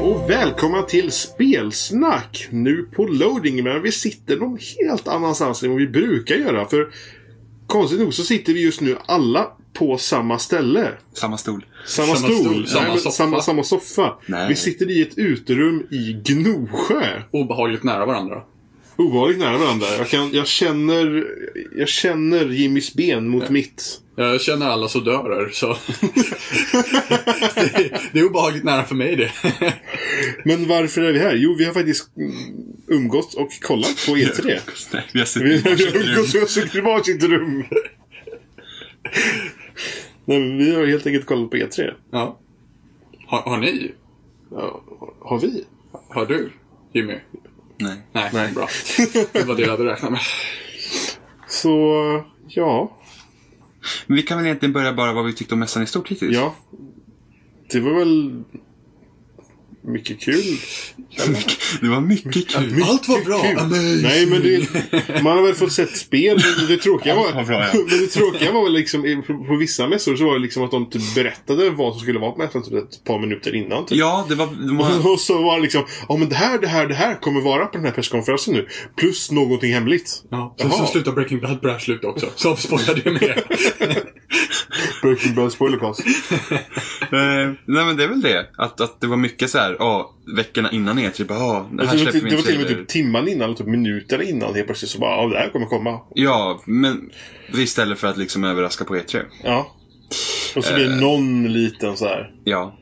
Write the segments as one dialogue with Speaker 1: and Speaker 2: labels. Speaker 1: och välkomna till Spelsnack! Nu på loading, men vi sitter någon helt annanstans än vad vi brukar göra. För konstigt nog så sitter vi just nu alla på samma ställe.
Speaker 2: Samma stol.
Speaker 1: Samma,
Speaker 3: Samma
Speaker 1: stol,
Speaker 3: stol,
Speaker 1: Nej,
Speaker 3: samma
Speaker 1: men
Speaker 3: soffa.
Speaker 1: Samma, samma soffa.
Speaker 2: Nej.
Speaker 1: Vi sitter i ett uterum i Gnosjö.
Speaker 3: Obehagligt nära varandra.
Speaker 1: Ovanligt nära varandra. Jag, kan, jag, känner, jag känner Jimmys ben mot mitt.
Speaker 3: Jag känner alla så dörer, så... det, det är obehagligt nära för mig det.
Speaker 1: Men varför är vi här? Jo, vi har faktiskt mm, umgåtts och kollat på E E3.
Speaker 2: Nej, vi har suttit
Speaker 1: Vi
Speaker 2: i
Speaker 1: vi har
Speaker 2: varsitt rum.
Speaker 1: umgåtts och suttit i varsitt rum. Nej, men vi har helt enkelt kollat på E E3.
Speaker 3: Ja. Har, har ni?
Speaker 1: Ja, har vi?
Speaker 3: Har du, Jimmy?
Speaker 2: Nej.
Speaker 3: Nej,
Speaker 1: Nej.
Speaker 3: bra. Det var det jag hade räknat med.
Speaker 1: Så, ja.
Speaker 2: Men vi kan väl egentligen börja bara vad vi tyckte om mässan i stort hittills.
Speaker 1: Ja. Det var väl mycket kul.
Speaker 2: Det var mycket kul.
Speaker 3: Allt var bra!
Speaker 1: Kul.
Speaker 3: Amazing.
Speaker 1: Nej, men det, man har väl fått sett spel. men Det tråkiga var,
Speaker 2: Allt var bra, ja.
Speaker 1: men det tråkiga var väl liksom, på- på vissa mässor så var det liksom att de typ berättade vad som skulle vara på mässan typ ett par minuter innan. Typ.
Speaker 2: Ja, det var... De var
Speaker 1: Och så var det liksom, ja men det här, det här, det här kommer vara på den här presskonferensen nu. Plus någonting hemligt.
Speaker 3: Ja, sen
Speaker 1: Jaha.
Speaker 3: så slutar Breaking Bad på det här slutet också. Så avspårar det med.
Speaker 1: Breaking Bad spoilercast.
Speaker 2: eh, nej, men det är väl det. Att, att det var mycket så här, ja, veckorna innan E E3. Bara, ja, det
Speaker 1: Det,
Speaker 2: här
Speaker 1: var
Speaker 2: släpper
Speaker 1: till-
Speaker 2: vi
Speaker 1: det
Speaker 2: en
Speaker 1: var till och med
Speaker 2: trailer.
Speaker 1: typ timman innan, eller typ minuter innan helt plötsligt så bara, ja det här kommer komma.
Speaker 2: Ja, men istället för att liksom överraska på E3.
Speaker 1: Ja. Och så blir det någon liten så här.
Speaker 2: Ja.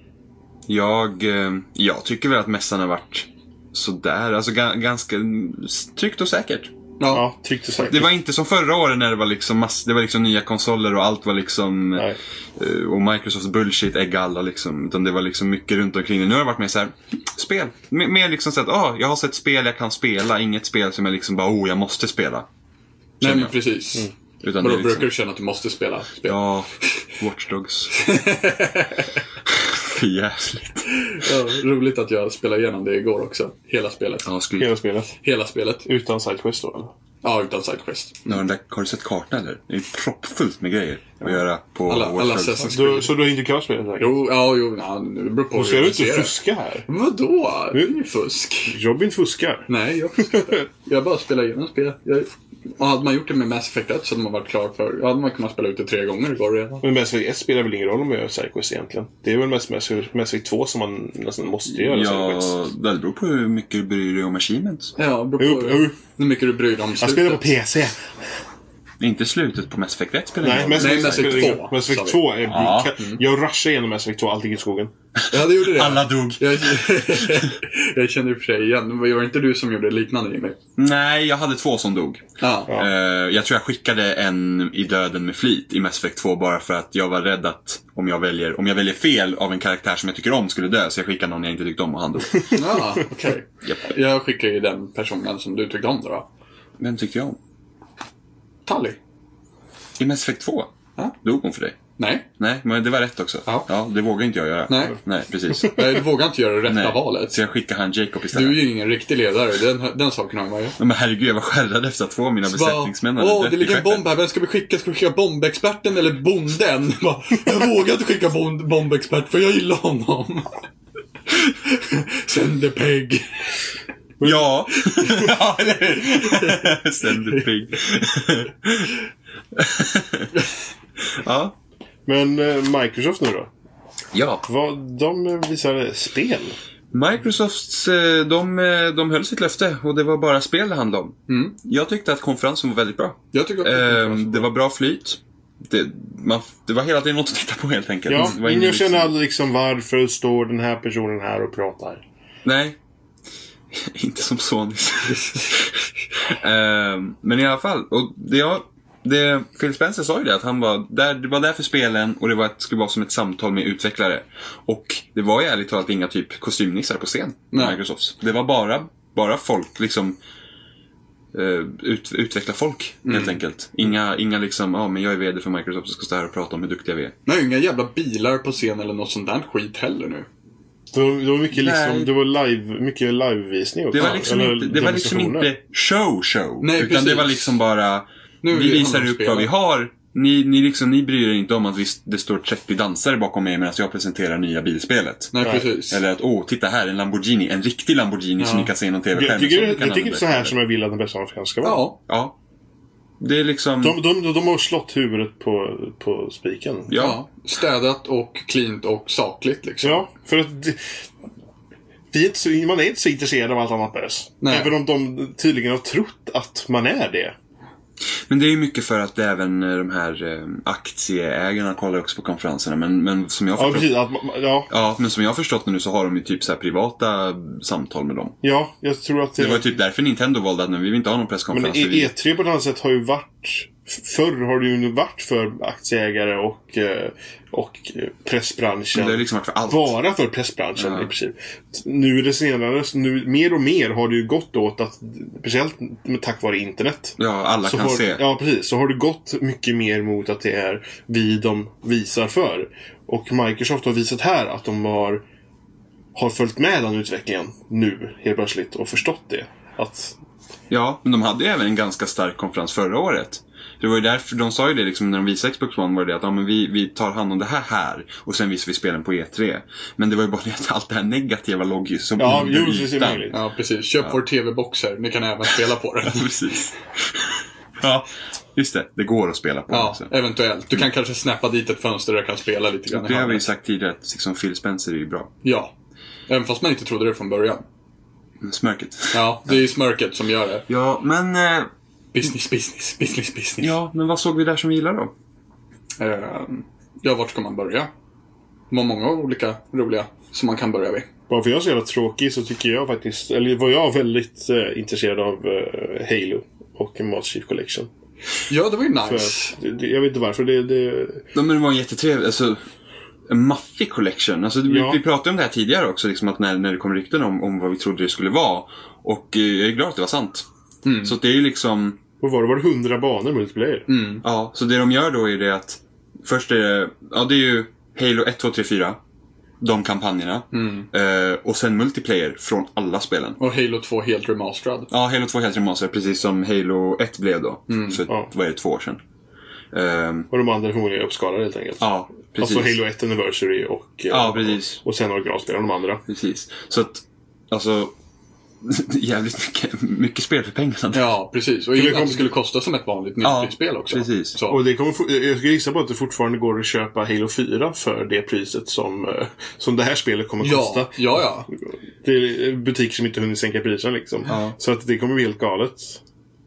Speaker 2: Jag, eh, jag tycker väl att mässan har varit sådär. Alltså ga- ganska mm, tryggt och säkert.
Speaker 3: Ja.
Speaker 1: Ja, tryckte säkert.
Speaker 2: Det var inte som förra året när det var liksom, mass- det var liksom nya konsoler och allt var liksom...
Speaker 1: Nej.
Speaker 2: Eh, Och Microsofts bullshit ägg alla liksom. Utan det var liksom mycket runt omkring det. Nu har det varit mer så här, spel. M- mer liksom så att, ah, jag har sett spel jag kan spela. Inget spel som jag liksom bara, oh, jag måste spela.
Speaker 3: Nej, men precis.
Speaker 2: Utan
Speaker 3: Men
Speaker 2: det
Speaker 3: då
Speaker 2: är liksom,
Speaker 3: brukar du känna att du måste spela spel.
Speaker 2: Ja, Watch Dogs. För jävligt.
Speaker 3: Ja, roligt att jag spelade igenom det igår också. Hela spelet.
Speaker 2: Ja, skulle...
Speaker 1: Hela spelet.
Speaker 3: Hela spelet.
Speaker 1: Utan sidequest då eller?
Speaker 3: Ja, utan sidequest.
Speaker 2: Ja, den där, har du sett kartan eller? Det är proppfullt med grejer att göra på
Speaker 3: Alla,
Speaker 2: Watch
Speaker 3: alla
Speaker 2: Dogs.
Speaker 3: Assassin's
Speaker 1: Du,
Speaker 3: Creed.
Speaker 1: så du har inte klarat spelet? säkert?
Speaker 3: Jo, ja, jo, ja, nu beror på
Speaker 1: Då ska
Speaker 3: hur
Speaker 1: du
Speaker 3: du
Speaker 1: inte
Speaker 3: ser det.
Speaker 1: fuska här.
Speaker 3: Vadå? Det är ju fusk.
Speaker 1: Robin fuskar.
Speaker 3: Nej, jag fuskar inte. Jag bara spelar igenom spel. Jag... Och hade man gjort det med Mass Effect 1 så hade man varit klar för... Då hade man kunnat spela ut det tre gånger igår redan.
Speaker 1: Men Mass Effect 1 spelar väl ingen roll om jag gör sidequest egentligen? Det är väl mest Mass Effect Mass Effect 2 som man nästan måste göra sidequest.
Speaker 2: Ja, det beror på hur mycket du bryr dig om achievements.
Speaker 3: Ja, det beror på
Speaker 1: Jo, jo.
Speaker 3: hur mycket du bryr dig om
Speaker 1: Jag
Speaker 3: slutet.
Speaker 1: spelar på PC.
Speaker 2: Inte slutet på Mass Effect 1 spelar ingen
Speaker 1: Nej,
Speaker 2: roll.
Speaker 1: Mass
Speaker 3: Nej,
Speaker 1: Effect
Speaker 3: Mass Effect
Speaker 1: spelar ingen
Speaker 3: 2,
Speaker 1: roll. Mass Effect
Speaker 3: sa vi.
Speaker 1: 2 är...
Speaker 2: Ja. Mm.
Speaker 1: Jag rushade igenom Mass Effect 2, allt gick i skogen.
Speaker 3: Ja, det gjorde det.
Speaker 2: Alla dog.
Speaker 3: Jag, jag kände i och för sig igen. Men var det inte du som gjorde liknande Jimmy?
Speaker 2: Nej, jag hade två som dog.
Speaker 3: Ja. ja.
Speaker 2: Eh, jag tror jag skickade en i döden med flit i Mass Effect 2 bara för att jag var rädd att om jag väljer, om jag väljer fel av en karaktär som jag tycker om skulle dö. Så jag skickade någon jag inte tyckte om och han dog.
Speaker 3: okej.
Speaker 2: Japp.
Speaker 3: Jag skickar ju den personen som du tyckte om då. då.
Speaker 2: Vem tyckte jag om?
Speaker 3: Tally?
Speaker 2: I Mass Effect 2?
Speaker 3: Ja.
Speaker 2: Dog hon för dig?
Speaker 3: Nej.
Speaker 2: Nej, men det var rätt också.
Speaker 3: Ja.
Speaker 2: det vågar inte jag göra.
Speaker 3: Nej.
Speaker 2: Nej, precis.
Speaker 3: Nej, Du vågar inte göra det rätta
Speaker 2: Nej.
Speaker 3: valet.
Speaker 2: Så jag skickade han Jacob istället.
Speaker 3: Du är ju ingen riktig ledare, den, den saken har man ju.
Speaker 2: Men herregud, jag var skärrad efter att två av mina besättningsmän
Speaker 3: Bara, Åh,
Speaker 2: dött
Speaker 3: det
Speaker 2: i
Speaker 3: ligger en
Speaker 2: skeppet."
Speaker 3: bomb här. Vem ska vi skicka? Ska vi skicka bombexperten eller bonden? Bara, Jag vågar inte skicka bom- bombexpert för jag gillar honom. Sände Peg.
Speaker 2: Ja! ja, eller hur? Sänd pigg. ja.
Speaker 1: Men eh, Microsoft nu då?
Speaker 2: Ja.
Speaker 1: Vad, de eh, visade spel.
Speaker 2: Microsofts, eh, de, eh, de höll sitt löfte och det var bara spel det handlade om.
Speaker 3: Mm.
Speaker 2: Jag tyckte att konferensen var väldigt bra.
Speaker 3: Jag tycker
Speaker 2: Eh,
Speaker 3: att
Speaker 2: Det var bra flyt. Det, man, det var hela tiden något att titta på helt enkelt.
Speaker 1: Ja,
Speaker 2: det var
Speaker 1: men
Speaker 2: ingen
Speaker 1: jag känner
Speaker 2: liksom-
Speaker 1: aldrig liksom varför står den här personen här och pratar?
Speaker 2: Nej. Inte som Sony. Ehm, men i alla fall. Och det jag, det, Phil Spencer sa ju det att han var där, det var där för spelen och det var, ett- skulle vara som ett samtal med utvecklare. Och det var ju ärligt talat inga typ kostymnissar på scen.
Speaker 3: Nej.
Speaker 2: Microsofts. Det var bara, bara folk liksom eh, ut, utveckla folk
Speaker 3: Mm.
Speaker 2: helt enkelt. Inga, inga liksom, ja men jag är VD för Microsoft och ska stå här och prata om hur duktiga vi är.
Speaker 3: Nej, inga jävla bilar på scen eller något sånt där skit heller nu.
Speaker 1: Det var, det var mycket liksom,
Speaker 2: Nej.
Speaker 1: det var live, mycket livevisning också.
Speaker 2: Det var liksom,
Speaker 1: Eller
Speaker 2: inte, det var liksom
Speaker 1: demonstrationer.
Speaker 2: inte show show.
Speaker 3: Nej,
Speaker 2: utan
Speaker 3: precis.
Speaker 2: det var liksom bara,
Speaker 3: Nu är
Speaker 2: vi
Speaker 3: det
Speaker 2: visar
Speaker 3: handlar om
Speaker 2: upp
Speaker 3: spel.
Speaker 2: vad vi har. Ni, ni, liksom, ni bryr er inte om att visst, det står 30 dansare bakom mig medan jag presenterar nya bilspelet.
Speaker 3: Nej,
Speaker 1: Nej.
Speaker 3: precis.
Speaker 2: Eller att, åh, titta här, en Lamborghini. En riktig Lamborghini som
Speaker 3: Ja.
Speaker 2: ni kan se i någon TV-skärm.
Speaker 1: Jag tycker,
Speaker 2: som ni
Speaker 1: jag
Speaker 2: kan
Speaker 1: tycker det är
Speaker 2: använda
Speaker 1: så här
Speaker 2: istället.
Speaker 1: som jag vill att en personalfilm ska vara.
Speaker 3: Ja.
Speaker 2: Ja. Det är liksom...
Speaker 1: De, de, de har slått huvudet på, på spiken.
Speaker 2: ja.
Speaker 3: ja. Städat och cleant och sakligt liksom.
Speaker 1: Ja, för att det, vi är inte så, man är inte så intresserad av allt annat bös.
Speaker 3: Nej.
Speaker 1: Även om de tydligen har trott att man är det.
Speaker 2: Men det är ju mycket för att även eh, de här eh, aktieägarna kollar också på konferenserna. Men, men som jag
Speaker 1: Ja,
Speaker 2: förstår...
Speaker 1: precis. Att, man- ja,
Speaker 2: Ja, men som jag har förstått det nu så har de ju typ så här privata samtal med dem.
Speaker 1: ja, jag tror att
Speaker 2: Det var ju typ därför Nintendo valde att nej, vi vill inte ha någon
Speaker 1: Men
Speaker 2: presskonferens. för vi-
Speaker 1: E- E3 på ett annat sätt har ju varit... Förr har det ju varit för aktieägare och, eh, och eh, pressbranschen.
Speaker 2: Det har liksom varit för allt.
Speaker 1: Bara för pressbranschen
Speaker 2: Ja.
Speaker 1: i princip. Nu det senare, nu, mer och mer har det ju gått åt att, speciellt med- tack vare internet.
Speaker 2: Ja, alla
Speaker 1: Så
Speaker 2: kan
Speaker 1: har,
Speaker 2: se.
Speaker 1: Ja, precis. Så har det gått mycket mer mot att det är vi de visar för. Och Microsoft har visat här att de har, har följt med den utvecklingen nu, helt plötsligt, och förstått det. Att
Speaker 2: Ja, men de hade ju även en ganska stark konferens förra året. Det var ju därför, de sa ju det liksom när de visade Xbox One var det att ja, men vi, vi tar hand om det här här och sen visar vi spelen på E3. Men det var ju bara det att allt det här negativa låg ju som
Speaker 1: Ja,
Speaker 2: under
Speaker 1: jo, precis, det är
Speaker 2: ytan.
Speaker 1: möjligt.
Speaker 3: Ja, precis. Köp vår TV-box här. Ni kan även spela på den.
Speaker 2: Ja, precis. Ja, just det. Det går att spela på
Speaker 3: Ja,
Speaker 2: också.
Speaker 3: eventuellt. Du kan kanske snappa dit ett fönster där jag kan spela lite grann. i
Speaker 2: Det har vi
Speaker 3: handen.
Speaker 2: ju sagt tidigare att liksom Phil Spencer är ju bra.
Speaker 3: Ja. Även fast man inte trodde det från början.
Speaker 2: Men Smörket.
Speaker 3: Ja, det är ju smörket som gör det.
Speaker 2: Ja, men... eh,
Speaker 3: Business, business, business, business.
Speaker 2: Ja, men vad såg vi där som vi gillade då?
Speaker 3: Ehm, ja, vart ska man börja? De har många olika roliga som man kan börja vid.
Speaker 1: Bara för jag är så jävla tråkig så tycker jag faktiskt, eller var jag väldigt eh, intresserad av eh, Halo och Master Chief Collection.
Speaker 3: Ja, det var ju
Speaker 1: För
Speaker 3: nice.
Speaker 1: att, det, det- jag vet inte varför. Det, det,
Speaker 2: Ja, men det var en jättetrevlig, alltså en maffig collection. Alltså, vi,
Speaker 1: Ja.
Speaker 2: vi pratade om det här tidigare också, liksom, att när, när det kom rykten om, om vad vi trodde det skulle vara. Och eh, jag är glad att det var sant.
Speaker 1: Mm.
Speaker 2: Så att det är ju liksom,
Speaker 1: vad var det? Var det 100 banor multiplayer?
Speaker 3: Mm.
Speaker 2: ja, så det de gör då är det att först är det, ja det är ju Halo 1, 2, 3, 4. De kampanjerna.
Speaker 1: Mm.
Speaker 2: Eh, och sen multiplayer från alla spelen.
Speaker 3: Och Halo 2 helt remasterad.
Speaker 2: Ja, Halo 2 helt remaster, precis som Halo 1 blev då. För
Speaker 1: Mm. Ja.
Speaker 2: vad är det, två år sedan. Ehm,
Speaker 1: Och de andra förmodligen är uppskalade helt enkelt.
Speaker 2: ja, precis.
Speaker 1: Alltså Halo 1 Anniversary och, eh,
Speaker 2: Ja, precis.
Speaker 1: och, och sen originalspel och de andra.
Speaker 2: Precis. Så att, alltså, jävligt mycket, mycket spel för pengarna.
Speaker 3: Ja, precis. Och innan
Speaker 1: kom-
Speaker 3: det skulle kosta som ett vanligt
Speaker 2: Ja,
Speaker 3: nytt spel också.
Speaker 2: precis.
Speaker 3: Så.
Speaker 1: Och det kommer, fo- jag skulle gissa på att det fortfarande går att köpa Halo 4 för det priset som, eh, som det här spelet kommer kosta.
Speaker 3: Ja, ja, ja.
Speaker 1: Det är butiker som inte hunnit sänka priserna liksom.
Speaker 2: Ja.
Speaker 1: Så att det kommer bli helt galet.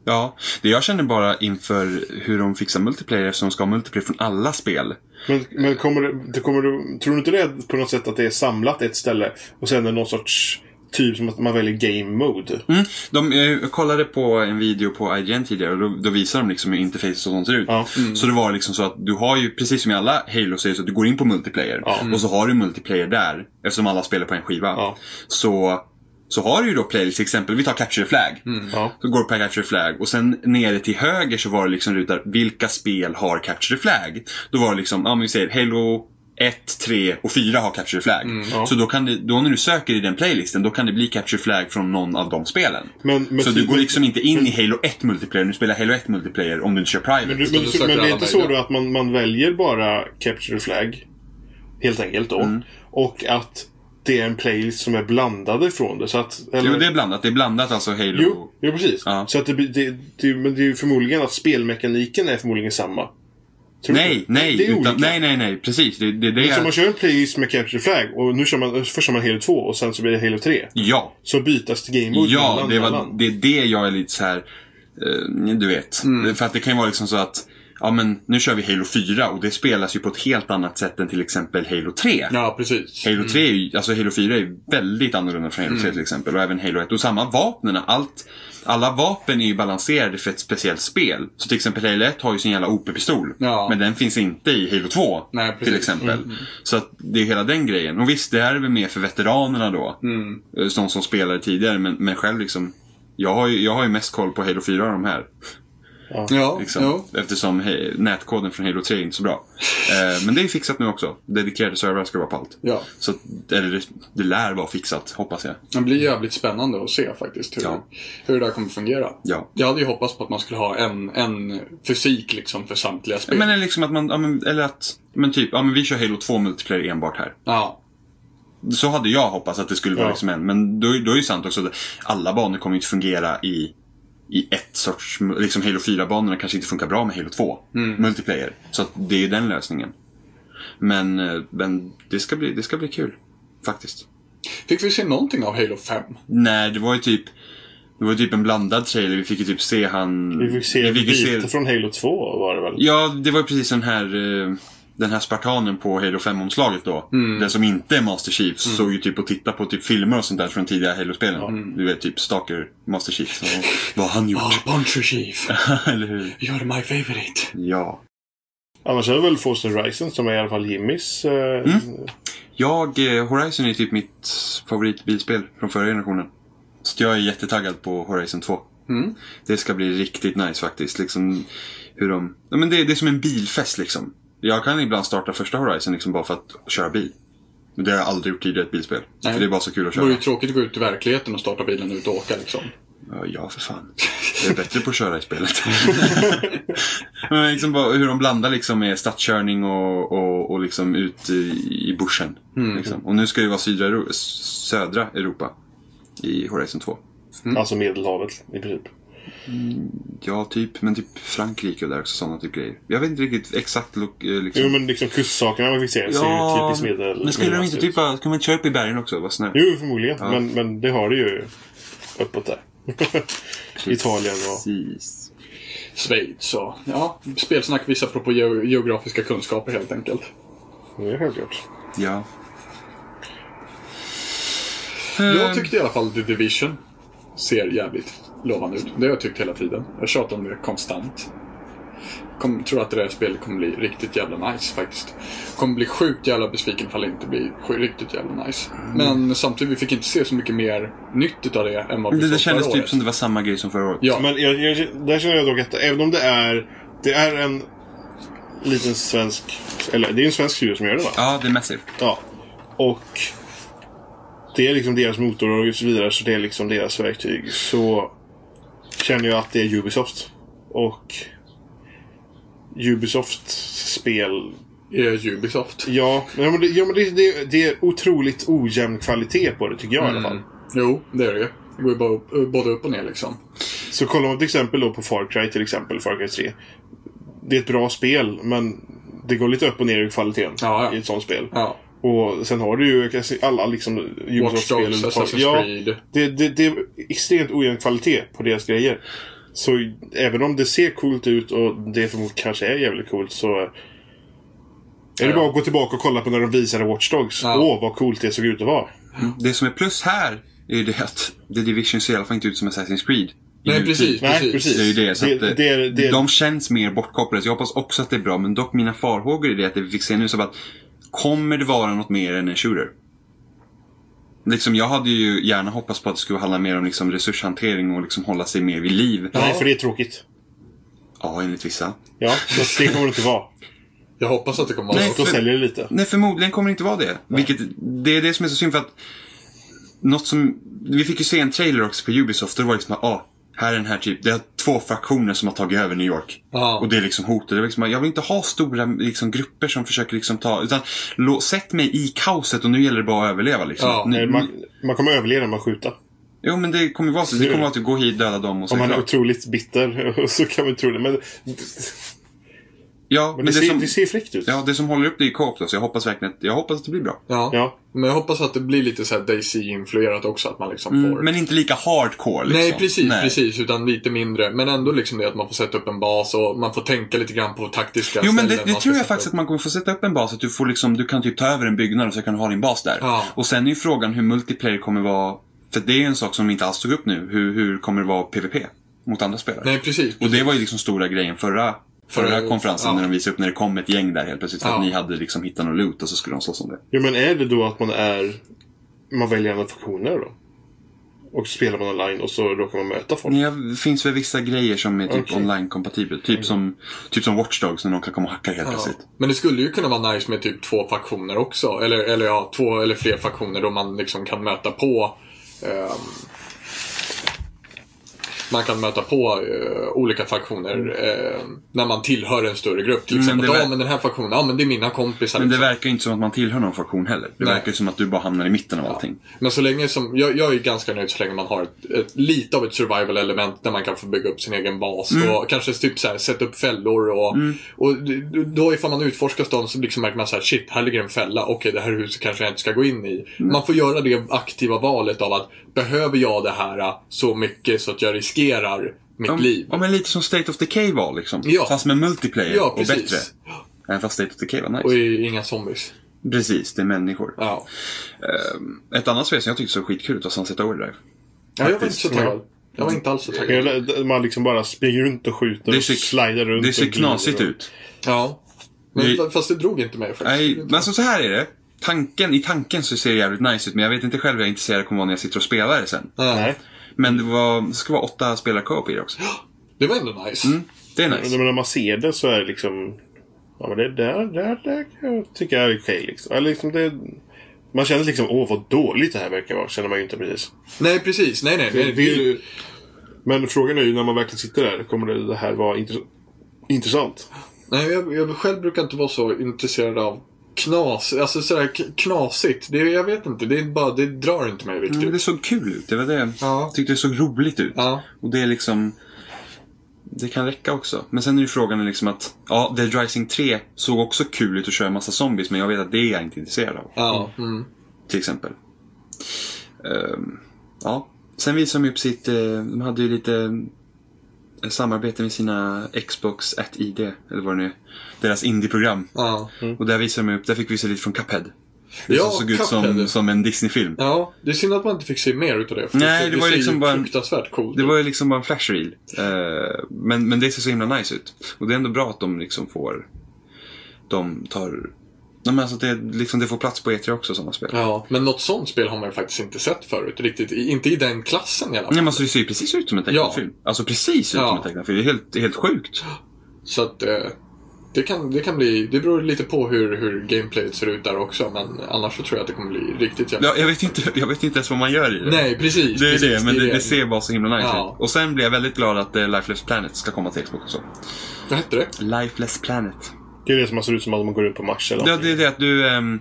Speaker 2: Ja, det jag känner bara inför hur de fixar multiplayer, eftersom de ska ha multiplayer från alla spel.
Speaker 1: Men, men kommer det, det kommer det, tror du inte det är på något sätt att det är samlat ett ställe och sen är det någon sorts typ som att man väljer game mode?
Speaker 2: Mm. De, jag kollade på en video på IGN tidigare och då, då visar de liksom hur interfacet och sånt ser ut.
Speaker 1: Ja.
Speaker 2: Så det var liksom så att du har ju, precis som i alla Halo säger så att du går in på multiplayer.
Speaker 1: Ja.
Speaker 2: Och så har du multiplayer där, eftersom alla spelar på en skiva.
Speaker 1: Ja.
Speaker 2: Så, så har du ju då play, till exempel, vi tar Capture the Flag.
Speaker 1: Ja.
Speaker 2: Så går det på Capture the Flag och sen nere till höger så var det liksom rutar, vilka spel har Capture the Flag? Då var det liksom, ja men vi säger Halo 1, 3 och 4 har Capture the Flag.
Speaker 1: Mm, ja.
Speaker 2: Så då kan det, då när du söker i den playlisten, då kan det bli Capture the Flag från någon av de spelen.
Speaker 1: Men, men, typ-
Speaker 2: så du går
Speaker 1: men-
Speaker 2: liksom inte in i Halo 1 multiplayer, nu spelar Halo 1 multiplayer om du inte kör private.
Speaker 1: Men, du, men,
Speaker 3: du
Speaker 1: du,
Speaker 3: söker
Speaker 1: men det är
Speaker 3: alla
Speaker 1: inte så då
Speaker 3: möjliga.
Speaker 1: att man, man väljer bara Capture the Flag. Helt enkelt då.
Speaker 2: Mm.
Speaker 1: Och att det är en playlist som är blandade från det. Så att, eller,
Speaker 2: Jo, det är blandat. Det är blandat alltså Halo...
Speaker 1: jo, jo, precis.
Speaker 2: Ja.
Speaker 1: Så att det, blir- det, det, men det är ju förmodligen att spelmekaniken är förmodligen samma. Tror du
Speaker 2: Nej,
Speaker 1: inte?
Speaker 2: nej,
Speaker 1: Det är
Speaker 2: utan,
Speaker 1: olika.
Speaker 2: nej, nej, nej, precis. Det, det, det
Speaker 1: Så man
Speaker 2: är...
Speaker 1: kör en playlist med Capture the Flag och nu kör man, först kör man Halo 2 och sen så blir det Halo 3.
Speaker 2: Ja,
Speaker 1: Så bytas till Game Mode
Speaker 2: Ja,
Speaker 1: mellan-
Speaker 2: det, var,
Speaker 1: mellan.
Speaker 2: det är det jag är lite så här. eh, du vet. För att det kan ju vara liksom så att Ja men nu kör vi Halo 4 och det spelas ju på ett helt annat sätt än till exempel Halo 3.
Speaker 3: Ja, precis.
Speaker 2: Halo 3 är ju, alltså Halo 4 är ju väldigt annorlunda från Halo
Speaker 3: Mm.
Speaker 2: 3 till exempel och även Halo 1. Och samma vapnen, allt, alla vapen är ju balanserade för ett speciellt spel. Så till exempel Halo 1 har ju sin jävla OP-pistol.
Speaker 3: Ja.
Speaker 2: Men den finns inte i Halo 2
Speaker 3: Nej, precis. Mm.
Speaker 2: till exempel. Så att det är hela den grejen. Och visst, det här är väl mer för veteranerna då. Mm. De som spelade tidigare, men, men själv liksom. Jag har, ju, jag har ju mest koll på Halo 4 av de här.
Speaker 3: Ja,
Speaker 2: Liksom.
Speaker 3: jo.
Speaker 2: Eftersom he- nätkoden från Halo 3 är inte så bra. Eh, men det är fixat nu också. Dedikerade servrar ska vara på allt.
Speaker 3: Ja.
Speaker 2: Så, att- eller det, det lär vara fixat, hoppas jag.
Speaker 3: Det blir jävligt spännande att se faktiskt hur,
Speaker 2: Ja.
Speaker 3: hur det där kommer fungera.
Speaker 2: Ja.
Speaker 3: Jag hade ju hoppats på att man skulle ha en, en fysik liksom för samtliga spel.
Speaker 2: Men det är liksom att man, ja, men, eller att, men typ, ja men vi kör Halo 2 multiplayer enbart här.
Speaker 3: Ja,
Speaker 2: Så hade jag hoppats att det skulle vara
Speaker 1: Ja.
Speaker 2: liksom en, men då, är- då är ju sant också att alla banor kommer ju inte fungera i i ett sorts, liksom Halo 4-banorna kanske inte funkar bra med Halo 2 multiplayer. Så att det är ju den lösningen. Men, eh, men det, ska bli, det ska bli kul. Faktiskt.
Speaker 3: Fick vi se någonting av Halo 5?
Speaker 2: Nej, det var ju typ Det var ju typ en blandad trailer. Vi fick ju typ se han...
Speaker 1: Vi fick se
Speaker 2: vi fick ju
Speaker 1: lite från Halo 2 var det väl?
Speaker 2: Ja, det var ju precis den här eh, Den här spartanen på Halo 5-omslaget då. Den som inte är Master Chief. Såg ju typ och titta på typ filmer och sånt där från tidiga Halo-spelen. Du vet, typ Stalker Master Chief. Och vad har han gjort.
Speaker 3: Puncher Chief,
Speaker 2: Eller hur?
Speaker 3: you're my favorite.
Speaker 2: Ja.
Speaker 1: Annars är det väl Forza Horizon som är i alla fall Jimmys... Eh,
Speaker 2: Mm. Jag, eh, Horizon är typ mitt favoritbilspel från förra generationen. Så att jag är jättetaggad på Horizon 2.
Speaker 3: Mm.
Speaker 2: Det ska bli riktigt nice faktiskt. Liksom hur de... Ja, men det, det är som en bilfest liksom. Jag kan ibland starta första Horizon liksom bara för att köra bil. Men det har jag aldrig gjort tidigare i ett bilspel.
Speaker 3: Nej.
Speaker 2: För det är bara så kul att
Speaker 3: Det
Speaker 2: köra.
Speaker 3: vore ju tråkigt att gå ut i verkligheten och starta bilen och ut och åka liksom.
Speaker 2: Ja, Ja, för fan. Jag är bättre på att köra i spelet. Men liksom bara hur de blandar liksom med stadskörning och, och, och liksom ut i, i bushen.
Speaker 1: Mm.
Speaker 2: Liksom. Och nu ska det ju vara södra, Euro- södra Europa i Horizon 2.
Speaker 1: Alltså Medelhavet i princip.
Speaker 2: Ja, typ. Men typ Frankrike och där också, sådana typ grejer. Jag vet inte riktigt exakt lok- eh, liksom.
Speaker 1: Jo men liksom kustsakerna man fick se ser ju typiskt medel...
Speaker 2: men skulle de inte
Speaker 1: medelhavs
Speaker 2: typ
Speaker 1: ut.
Speaker 2: bara, kan man köra upp i bergen också? Vad snö.
Speaker 1: Jo, förmodligen.
Speaker 2: Ja.
Speaker 1: Men, men det har du ju uppåt där. Italien och...
Speaker 2: Precis.
Speaker 3: Schweiz och... Ja, spelsnack visar på ge- geografiska kunskaper helt enkelt.
Speaker 1: Det är självklart.
Speaker 2: Ja. Mm.
Speaker 3: Jag tyckte i alla fall The Division ser jävligt lovande ut. Det har jag tyckt hela tiden. Jag tjatar om det konstant. Kom, tror att det där spelet kommer bli riktigt jävla nice faktiskt. Kommer bli sjukt jävla besviken ifall det inte blir sj- riktigt jävla nice.
Speaker 2: Mm.
Speaker 3: Men samtidigt, vi fick inte se så mycket mer nytt utav det än vad vi
Speaker 2: Det,
Speaker 3: såg
Speaker 2: det kändes
Speaker 3: förra
Speaker 2: typ
Speaker 3: året.
Speaker 2: som det var samma grej som förra året.
Speaker 3: Ja,
Speaker 1: Men jag, jag, där känner jag dock att även om det är... Det är en liten svensk... Eller det är en svensk studio som gör det va?
Speaker 2: Ja, det är Massive.
Speaker 1: Ja. Och det är liksom deras motor och så vidare, så det är liksom deras verktyg. Så känner jag att det är Ubisoft. Och Ubisofts spel
Speaker 3: är Ubisoft.
Speaker 1: Ja, ja, men, det, ja, men det, det, det är otroligt ojämn kvalitet på det tycker jag
Speaker 3: Mm.
Speaker 1: i alla fall.
Speaker 3: Jo, det är det ju. Det går ju bara upp, både upp och ner liksom.
Speaker 1: Så kollar man till exempel då på Far Cry till exempel, Far Cry 3. Det är ett bra spel, men det går lite upp och ner i kvaliteten
Speaker 3: Ja, ja.
Speaker 1: i ett sånt spel.
Speaker 3: Ja.
Speaker 1: Och sen har du ju alla liksom
Speaker 3: Watch
Speaker 1: Ubisoft-spel
Speaker 3: Dogs,
Speaker 1: under-
Speaker 3: Assassin's
Speaker 1: Ja,
Speaker 3: Creed.
Speaker 1: det, det, det är extremt ojämn kvalitet på deras grejer. Så även om det ser coolt ut och det förmodligen kanske är jävligt coolt så... eh, Är det
Speaker 3: Ja.
Speaker 1: bara att gå tillbaka och kolla på när de visade Watch Dogs.
Speaker 3: Ja.
Speaker 1: Åh, vad coolt det såg ut att vara.
Speaker 2: Det som är plus här är ju det att The Division ser i alla fall inte ut som Assassin's Creed. i
Speaker 3: Nej,
Speaker 2: nutid.
Speaker 3: precis.
Speaker 1: Nej, precis.
Speaker 2: Det är ju det. Så
Speaker 1: Det-
Speaker 2: att, eh,
Speaker 1: det är- det är-
Speaker 2: De känns mer bortkopplade. Så jag hoppas också att det är bra. Men dock mina farhågor är det att det vi fick se nu som att kommer det vara något mer än en shooter? Liksom, jag hade ju gärna hoppats på att det skulle handla mer om liksom resurshantering och liksom hålla sig mer vid liv.
Speaker 1: Nej, för det är tråkigt.
Speaker 2: Ja, enligt vissa.
Speaker 1: Ja, så det kommer det inte vara.
Speaker 3: Jag hoppas att det kommer vara
Speaker 2: Nej,
Speaker 3: så.
Speaker 1: Då
Speaker 2: för-
Speaker 1: säljer det lite.
Speaker 2: Nej, förmodligen kommer det inte vara det. Vilket, det är det som är så synd för att... Något som... Vi fick ju se en trailer också på Ubisoft och det var liksom att, ah, här är den här typ. Det är två fraktioner som har tagit över New York.
Speaker 3: Ja.
Speaker 2: Och det är liksom hotet. Det var liksom, jag vill inte ha stora liksom, grupper som försöker liksom ta... Utan lå, sätt mig i kaoset och nu gäller det bara att överleva liksom.
Speaker 3: Ja.
Speaker 2: nu,
Speaker 1: Nej, Eh, Man, man kommer överleva med att skjuta.
Speaker 2: Jo men det kommer ju vara så. Det kommer vara att du går hit, döda dem och så
Speaker 1: Om
Speaker 2: är
Speaker 1: man
Speaker 2: det
Speaker 1: är
Speaker 2: klart.
Speaker 1: otroligt bitter så kan man tro det. Men, men,
Speaker 2: Ja, men
Speaker 1: det,
Speaker 2: det,
Speaker 1: ser,
Speaker 2: som...
Speaker 1: det ser fräckt ut.
Speaker 2: Ja, det som håller upp det är ju co-op då, så jag hoppas verkligen att, jag hoppas att det blir bra.
Speaker 3: Ja.
Speaker 1: Ja.
Speaker 3: Men jag hoppas att det blir lite så här Daisy-influerat också. Att man liksom får...
Speaker 2: Mm, Men inte lika hardcore liksom.
Speaker 3: Nej, precis, precis. Utan lite mindre. Men ändå liksom det att man får sätta upp en bas och man får tänka lite grann på taktiska
Speaker 2: Jo men
Speaker 3: ställen
Speaker 2: det,
Speaker 3: man
Speaker 2: det
Speaker 3: ska
Speaker 2: tror jag
Speaker 3: sätta
Speaker 2: faktiskt
Speaker 3: upp.
Speaker 2: att man kommer få sätta upp en bas. Att du, får liksom, du kan typ ta över en byggnad och så kan du ha din bas där.
Speaker 3: Ja.
Speaker 2: Och sen är ju frågan hur multiplayer kommer vara. För det är ju en sak som vi inte alls tog upp nu. Hur, hur kommer det vara PVP mot andra spelare?
Speaker 3: Nej, precis.
Speaker 2: Och det var ju liksom stora grejen förra, förra
Speaker 3: Förra-
Speaker 2: konferensen
Speaker 3: ja.
Speaker 2: när de visade upp när det kom ett gäng där helt plötsligt. För
Speaker 3: Ja.
Speaker 2: att ni hade liksom hittat något loot och så skulle de slåss om det.
Speaker 1: Jo, men är det då att man är... Man väljer andra funktioner då? Och så spelar man online och så råkar man möta folk.
Speaker 2: Ja, det finns väl vissa grejer som är typ
Speaker 1: Okej.
Speaker 2: online-kompatibel.
Speaker 3: Mm.
Speaker 2: Typ, som, typ som Watch Dogs när någon kan komma och hacka helt plötsligt.
Speaker 3: Men det skulle ju kunna vara nice med typ två faktioner också. Eller, eller ja, två eller fler faktioner då man liksom kan möta på ehm, man kan möta på eh, olika faktioner eh, när man tillhör en större grupp. Till
Speaker 2: Men
Speaker 3: exempel,
Speaker 2: Mm. det ver-
Speaker 3: ja men den här faktionen, ja men det är mina kompisar.
Speaker 2: Men det
Speaker 3: liksom.
Speaker 2: verkar ju inte som att man tillhör någon funktion heller. Det
Speaker 3: Nej.
Speaker 2: verkar ju som att du bara hamnar i mitten av allting.
Speaker 3: Men så länge som, jag, jag är ganska nöjd så länge man har ett, ett, lite av ett survival element där man kan få bygga upp sin egen bas
Speaker 2: Mm.
Speaker 3: och kanske typ så här, sätta upp fällor och, och d- då ifall man utforskar stan så liksom märker man så här shit, här ligger en fälla, okej det här huset kanske jag inte ska gå in i.
Speaker 2: Mm.
Speaker 3: Man får göra det aktiva valet av att behöver jag det här äh, så mycket så att jag riskerar mitt
Speaker 2: Ja,
Speaker 3: liv?
Speaker 2: ja, men lite som State of Decay var liksom.
Speaker 3: Ja.
Speaker 2: Fast med multiplayer
Speaker 3: Ja,
Speaker 2: och
Speaker 3: precis.
Speaker 2: bättre. Även fast State of Decay var nice.
Speaker 3: Och i- inga zombies.
Speaker 2: Precis, det är människor. Ehm,
Speaker 3: Ja.
Speaker 2: Ett annat spel som jag tyckte såg skitkul ut var Sunset Overdrive.
Speaker 3: ja jag var inte
Speaker 2: Faktiskt,
Speaker 3: så taggad. Jag var inte alls så taggad.
Speaker 1: Eller Man liksom bara springer runt och skjuter
Speaker 2: Mm. Det
Speaker 1: och
Speaker 2: ser-
Speaker 1: slidar runt.
Speaker 2: Det ser
Speaker 1: och glider
Speaker 2: knasigt
Speaker 1: och-
Speaker 2: ut.
Speaker 3: Ja. Men,
Speaker 2: Vi-
Speaker 3: Fast det drog inte mig faktiskt.
Speaker 2: Nej, men alltså, så här är det. Tanken, I tanken så ser det jävligt nice ut, men jag vet inte själv hur jag intresserad kommer vara när jag sitter och spelar det sen.
Speaker 1: Nej.
Speaker 2: Men det, var, det ska vara åtta spelare co-op i det också.
Speaker 3: Det var ändå
Speaker 2: Mm.
Speaker 3: nice.
Speaker 2: Det är
Speaker 1: Men
Speaker 2: nice.
Speaker 1: när man ser det så är det liksom... Ja men det där, där, där kan jag tycka är okej liksom. Eller liksom det... Man känner liksom, åh vad dåligt det här verkar vara. Känner man ju inte precis.
Speaker 3: Nej, precis. Nej, nej. Det, det, är ju-
Speaker 1: Men frågan är ju när man verkligen sitter där, kommer det, det här vara intress- intressant?
Speaker 3: nej jag, jag själv brukar inte vara så intresserad av knas. Alltså sådär k- knasigt. Det, jag vet inte. Det, är bara, det drar inte mig riktigt.
Speaker 2: Men Mm, det såg kul ut. Det var det.
Speaker 3: Ja.
Speaker 2: Jag tyckte det såg roligt ut.
Speaker 3: Ja.
Speaker 2: Och det är liksom... Det kan räcka också. Men sen är ju frågan liksom att... Ja, Dead Rising 3 såg också kul ut att köra massa zombies, men jag vet att det är jag inte intresserad av.
Speaker 3: Ja. Mm.
Speaker 2: Till exempel. Ehm, ja. Sen visade de upp sitt... eh, De hade ju lite eh, samarbete med sina Xbox at ID, eller vad det nu är. Deras indie-program.
Speaker 3: Ja.
Speaker 2: Och där visade de upp, där fick vi se lite från Cuphead. Det
Speaker 3: Mm. Ja,
Speaker 2: som såg ut som,
Speaker 3: Cuphead.
Speaker 2: som en Disney-film.
Speaker 3: ja. Det är synd att man inte fick se mer utav det. För
Speaker 2: Nej, det var
Speaker 3: ser
Speaker 2: liksom
Speaker 3: ju
Speaker 2: bara en-
Speaker 3: fruktansvärt coolt
Speaker 2: Det
Speaker 3: ut.
Speaker 2: var ju liksom bara en flashreel. Eh, men, men det ser så himla nice ut. Och det är ändå bra att de liksom får... De tar... Nej, men alltså det, liksom, det får plats på E3 också, sådana spel.
Speaker 3: Ja, men något sånt spel har man ju faktiskt inte sett förut. Riktigt. I- Inte i den klassen i alla
Speaker 2: Nej,
Speaker 3: fall.
Speaker 2: men alltså, det ser ju precis ut som en tecknad
Speaker 3: Ja.
Speaker 2: film. Alltså precis ut
Speaker 3: Ja.
Speaker 2: som en tecknad film. Det är helt, det är helt sjukt.
Speaker 3: Så att... Eh, det kan, det kan bli... Det beror lite på hur, hur gameplayet ser ut där också. Men annars så tror jag att det kommer bli riktigt jävla...
Speaker 2: Ja, jag, vet inte, jag vet inte ens vad man gör i det.
Speaker 3: Nej, precis.
Speaker 2: Det är
Speaker 3: precis,
Speaker 2: det, men det, det ser bara så himla nice
Speaker 3: Ja.
Speaker 2: ut. Och sen blir jag väldigt glad att eh, Lifeless Planet ska komma till Xbox också.
Speaker 3: Vad hette det?
Speaker 2: Lifeless Planet.
Speaker 1: Det är det som man ser ut som att man går ut på Mars eller
Speaker 2: Ja,
Speaker 1: någonting.
Speaker 2: det är det att du... ehm,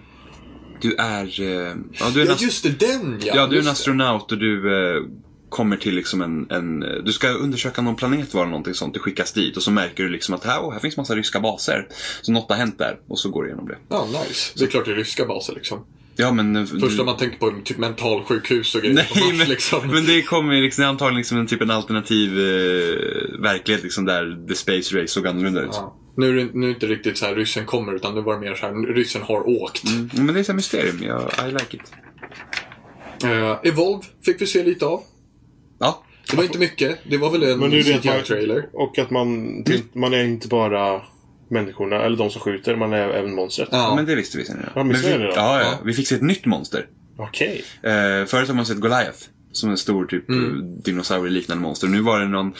Speaker 2: du är... ehm, ja, du är en
Speaker 3: Ja, just det. Den ja!
Speaker 2: Ja, du är en
Speaker 3: Just det.
Speaker 2: astronaut och du eh, kommer till liksom en, en... eh, Du ska undersöka någon planet var det någonting sånt. Du skickas dit och så märker du liksom att här, åh, här finns massa ryska baser. Så något har hänt där och så går du igenom det.
Speaker 3: Ja, nice. Det är klart det är ryska baser liksom.
Speaker 2: Ja, men... eh,
Speaker 3: Första
Speaker 2: du...
Speaker 3: man tänker på är typ mentalsjukhus och grejer på
Speaker 2: Nej,
Speaker 3: Mars
Speaker 2: men,
Speaker 3: liksom.
Speaker 2: men det kommer ju liksom, det är antagligen liksom en, typ en alternativ eh, verklighet liksom där The Space Race såg annorlunda ut.
Speaker 3: Ja. Nu är det nu är det inte riktigt så här ryssen kommer utan nu var det mer så här ryssen har åkt.
Speaker 2: Men det är ett mysterium. Jag, I like it.
Speaker 3: Eh, Evolve fick vi se lite av.
Speaker 2: Ja,
Speaker 3: Det var inte mycket. Det var väl en
Speaker 1: Men det är ju det att man-
Speaker 3: CGI-trailer.
Speaker 1: Och att man,
Speaker 3: Mm.
Speaker 1: man är inte bara människorna, eller de som skjuter, man är även monstret.
Speaker 3: Ja.
Speaker 2: men det visste vi sen redan.
Speaker 1: Ja, men
Speaker 2: Men vi,
Speaker 1: så är det
Speaker 2: ja,
Speaker 1: då.
Speaker 2: ja,
Speaker 3: Ja.
Speaker 2: vi fick se ett nytt monster.
Speaker 1: Okej.
Speaker 2: Eh, förut har man sett Goliath som en stor typ
Speaker 3: Mm.
Speaker 2: dinosaurie-liknande monster. Nu var det någon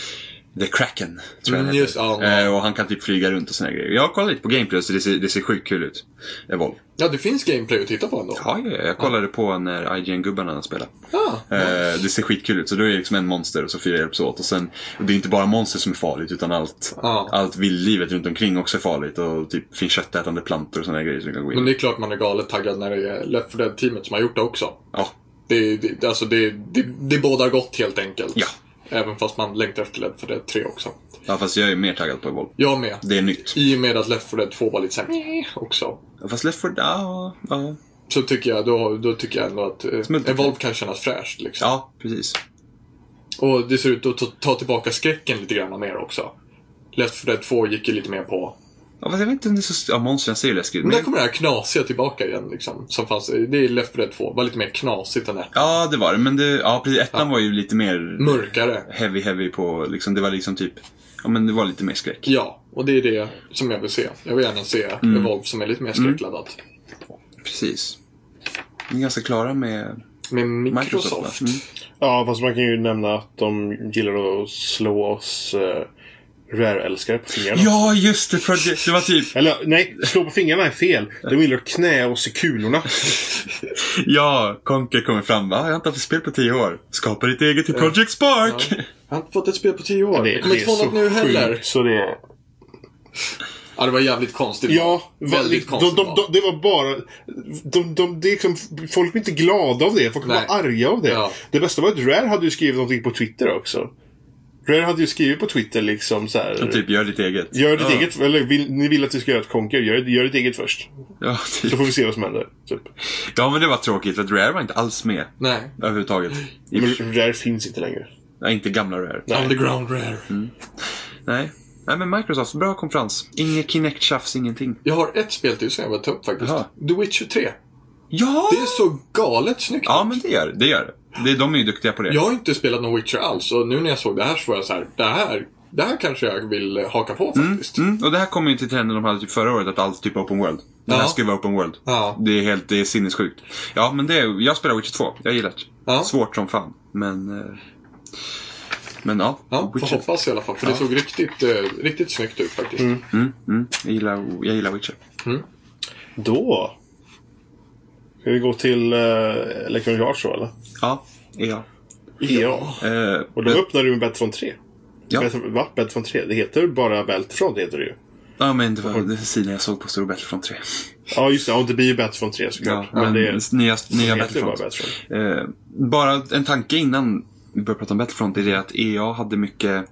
Speaker 2: The Kraken, tror jag
Speaker 3: Mm,
Speaker 2: den
Speaker 3: just,
Speaker 2: heter.
Speaker 3: ja.
Speaker 2: eh, Och han kan typ flyga runt och såna här grejer. Jag har kollat lite på gameplay så det ser, det ser sjukt kul ut. Evolve.
Speaker 3: Ja, det finns gameplay att titta på ändå.
Speaker 2: Ja, ja, ja, jag kollade på när IGN-gubbarna spelade.
Speaker 3: Ah,
Speaker 2: Eh, det ser skitkul ut. Så då är det liksom en monster och så fyra hjälps åt. Och sen, och det är inte bara monster som är farligt utan allt,
Speaker 3: Ja.
Speaker 2: allt vildlivet runt omkring också är farligt. Och typ finns köttätande plantor och såna här grejer som kan gå in.
Speaker 3: Men det är klart man är galet taggad när det är Left 4 Dead-teamet som har gjort det också.
Speaker 2: Ja.
Speaker 3: Det, det, alltså det, det, det bådar gott helt enkelt.
Speaker 2: Ja.
Speaker 3: Även fast man längtar efter Left 4 Dead 3 också.
Speaker 2: ja, fast jag är mer taggad på Evolve.
Speaker 3: Jag med.
Speaker 2: Det är nytt.
Speaker 3: I och med att Left 4 Dead 2 var lite såhär också.
Speaker 2: Fast Left 4 ja, ja.
Speaker 3: Så tycker jag, då, då tycker jag ändå att eh,
Speaker 2: Smultigt.
Speaker 3: Evolve kan kännas fräscht. Liksom.
Speaker 2: Ja, precis.
Speaker 3: Och det ser ut att ta, ta tillbaka skräcken lite grann mer också. Left 4 Dead 2 gick ju lite mer på...
Speaker 2: Ja, fast jag vet inte om det är så... Ja, monstren ser ju läskiga ut.
Speaker 3: Men
Speaker 2: Men...
Speaker 3: där kommer det här knasiga tillbaka igen liksom. Som fanns, det är Left 4 Dead 2. Var lite mer knasigt än det.
Speaker 2: Ja, det var det. Men det... Ja, precis. Ettan var ju lite mer
Speaker 3: Mörkare.
Speaker 2: heavy, heavy på... Liksom, det var liksom typ... Ja, men det var lite mer skräck.
Speaker 3: Ja, och det är det som jag vill se. Jag vill gärna se
Speaker 1: Mm.
Speaker 3: Evolve som är lite mer skräckladdat.
Speaker 2: Precis. Vi är ganska klara med
Speaker 3: Med
Speaker 2: Microsoft,
Speaker 3: Microsoft.
Speaker 1: alltså.
Speaker 2: va? Mm.
Speaker 1: Ja, fast man kan ju nämna att de gillar att slå oss eh, Rare-älskare på fingrarna.
Speaker 2: Ja, just det! För det, det var typ...
Speaker 1: Eller nej, slå på fingrarna är fel. De gillar att knä oss i kulorna.
Speaker 2: Ja, Conker kommer fram. Va? Jag har inte haft ett spel på tio år. Skapa ditt eget i Project Spark!
Speaker 3: Jag har inte fått ett spel på tio år.
Speaker 1: Det,
Speaker 3: jag kommer
Speaker 1: det är
Speaker 3: inte få
Speaker 1: så
Speaker 3: något nu heller.
Speaker 1: sjukt, Så det är...
Speaker 3: Ja, det var jävligt konstigt.
Speaker 1: Ja,
Speaker 3: väldigt
Speaker 1: väldigt liksom, de, de, de,
Speaker 3: konstigt. val.
Speaker 1: Det var bara... De, de, det är liksom, folk blir inte glada av det. Folk blir
Speaker 3: Nej.
Speaker 1: bara arga av det.
Speaker 3: Ja.
Speaker 1: Det bästa var att Rare hade ju skrivit någonting på Twitter också. Rare hade ju skrivit på Twitter liksom så här.
Speaker 2: Typ, gör ditt eget.
Speaker 1: Gör ditt
Speaker 2: ja.
Speaker 1: eget, eller vill, ni vill att vi ska göra ett konker, gör, gör ditt eget först.
Speaker 2: Ja,
Speaker 1: Så
Speaker 2: typ.
Speaker 1: får vi se vad som händer. Typ.
Speaker 2: ja, men det var tråkigt för att Rare var inte alls med.
Speaker 3: Nej.
Speaker 2: Överhuvudtaget. I,
Speaker 1: Men Rare finns inte längre.
Speaker 2: ja, inte gamla Rare.
Speaker 1: Nej.
Speaker 3: Underground Rare.
Speaker 2: Nej. Nej, men Microsoft. Bra konferens. Inget Kinect-tjafs, ingenting.
Speaker 3: Jag har ett spel till som jag vill ta upp faktiskt.
Speaker 2: Jaha.
Speaker 3: The Witcher 3.
Speaker 2: Ja!
Speaker 3: Det är så galet snyggt.
Speaker 2: Ja, men det gör det. gör det. det. De är ju duktiga på det.
Speaker 3: Jag har inte spelat någon Witcher alls och nu när jag såg det här så var jag så här, det här, det här kanske jag vill eh, haka på faktiskt.
Speaker 2: Mm, och det här kommer ju till trenden de hade typ förra året, att allt typ är open world. Det här
Speaker 3: Ja.
Speaker 2: ska ju vara open world.
Speaker 3: Ja.
Speaker 2: Det är helt det är sinnessjukt. Ja, men det är, jag spelar Witcher 2. Jag gillar det.
Speaker 3: Ja.
Speaker 2: Svårt som fan, men... eh, Men ja,
Speaker 3: Ja, får
Speaker 2: Witcher.
Speaker 3: hoppas i alla fall. För det såg riktigt, eh, riktigt snyggt ut faktiskt.
Speaker 2: Mm, mm, jag, gillar, jag gillar Witcher.
Speaker 1: Då. Ska vi gå till uh, Electronic Arts då eller?
Speaker 2: Ja, ja.
Speaker 1: Ja.
Speaker 2: Eh,
Speaker 1: Och då
Speaker 2: men-
Speaker 1: öppnar du med Battlefront 3.
Speaker 2: Ja.
Speaker 1: Battle- Va? Battlefront 3? Det heter bara Battlefront heter det ju.
Speaker 2: ja, men det var den sidan jag såg på stod Battlefront 3.
Speaker 1: Ja just det, ja, det blir ju Battlefront 3 såklart.
Speaker 2: Ja,
Speaker 1: men det
Speaker 2: men nya, nya
Speaker 1: heter ju bara
Speaker 2: Battlefront.
Speaker 1: Battlefront.
Speaker 2: Eh, bara en tanke innan vi börjar prata om Battlefront är det att EA hade mycket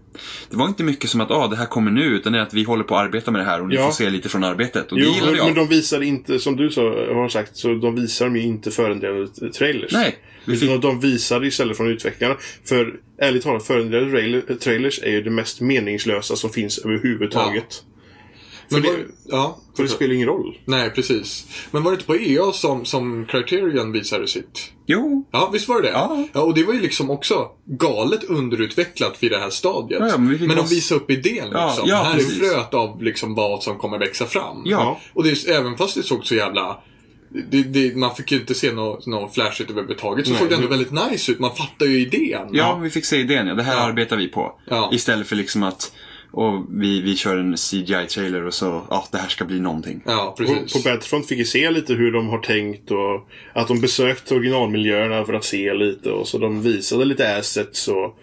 Speaker 2: Det var inte mycket som att ah, det här kommer nu utan det är att vi håller på att arbeta med det här och ni
Speaker 1: Ja.
Speaker 2: får se lite från arbetet. Och det
Speaker 1: Jo,
Speaker 2: gillade jag.
Speaker 1: men de visar inte, som du sa, har sagt, så de visar dem ju inte förendelade trailers.
Speaker 2: Nej, vi
Speaker 1: Utan
Speaker 2: fick...
Speaker 1: de visar istället från utvecklarna. För ärligt talat, förendelade trailer- trailers är ju det mest meningslösa som finns överhuvudtaget.
Speaker 3: Men
Speaker 1: För
Speaker 3: var,
Speaker 1: det-
Speaker 3: ja,
Speaker 1: För det spelar ingen roll.
Speaker 3: nej precis. Men var det inte på EA som, som Criterion visade sitt?
Speaker 2: Jo,
Speaker 3: Ja, visst var det det?
Speaker 2: Ja.
Speaker 3: ja. Och det var ju liksom också galet underutvecklat vid det här stadiet.
Speaker 2: Ja, ja, men vi fick
Speaker 3: de
Speaker 2: mass-
Speaker 3: visade upp idén
Speaker 2: Ja,
Speaker 3: liksom.
Speaker 2: ja,
Speaker 3: här
Speaker 2: precis.
Speaker 3: är fröet av liksom vad som kommer växa fram.
Speaker 2: Ja.
Speaker 3: Och det är, även fast det såg så jävla... Det, det, man fick ju inte se något nå flashigt överhuvudtaget. Så
Speaker 1: Nej.
Speaker 3: såg det ändå väldigt nice ut. Man fattar ju idén.
Speaker 2: ja, vi fick se idén ja. Det här
Speaker 3: Ja.
Speaker 2: arbetar vi på.
Speaker 3: Ja.
Speaker 2: Istället för liksom att och vi, vi kör en CGI-trailer och så, ja, det här ska bli någonting.
Speaker 3: Ja,
Speaker 1: Och
Speaker 3: precis.
Speaker 1: på Battlefront fick vi se lite hur de har tänkt och att de besökt originalmiljöerna för att se lite och så de visade lite assets och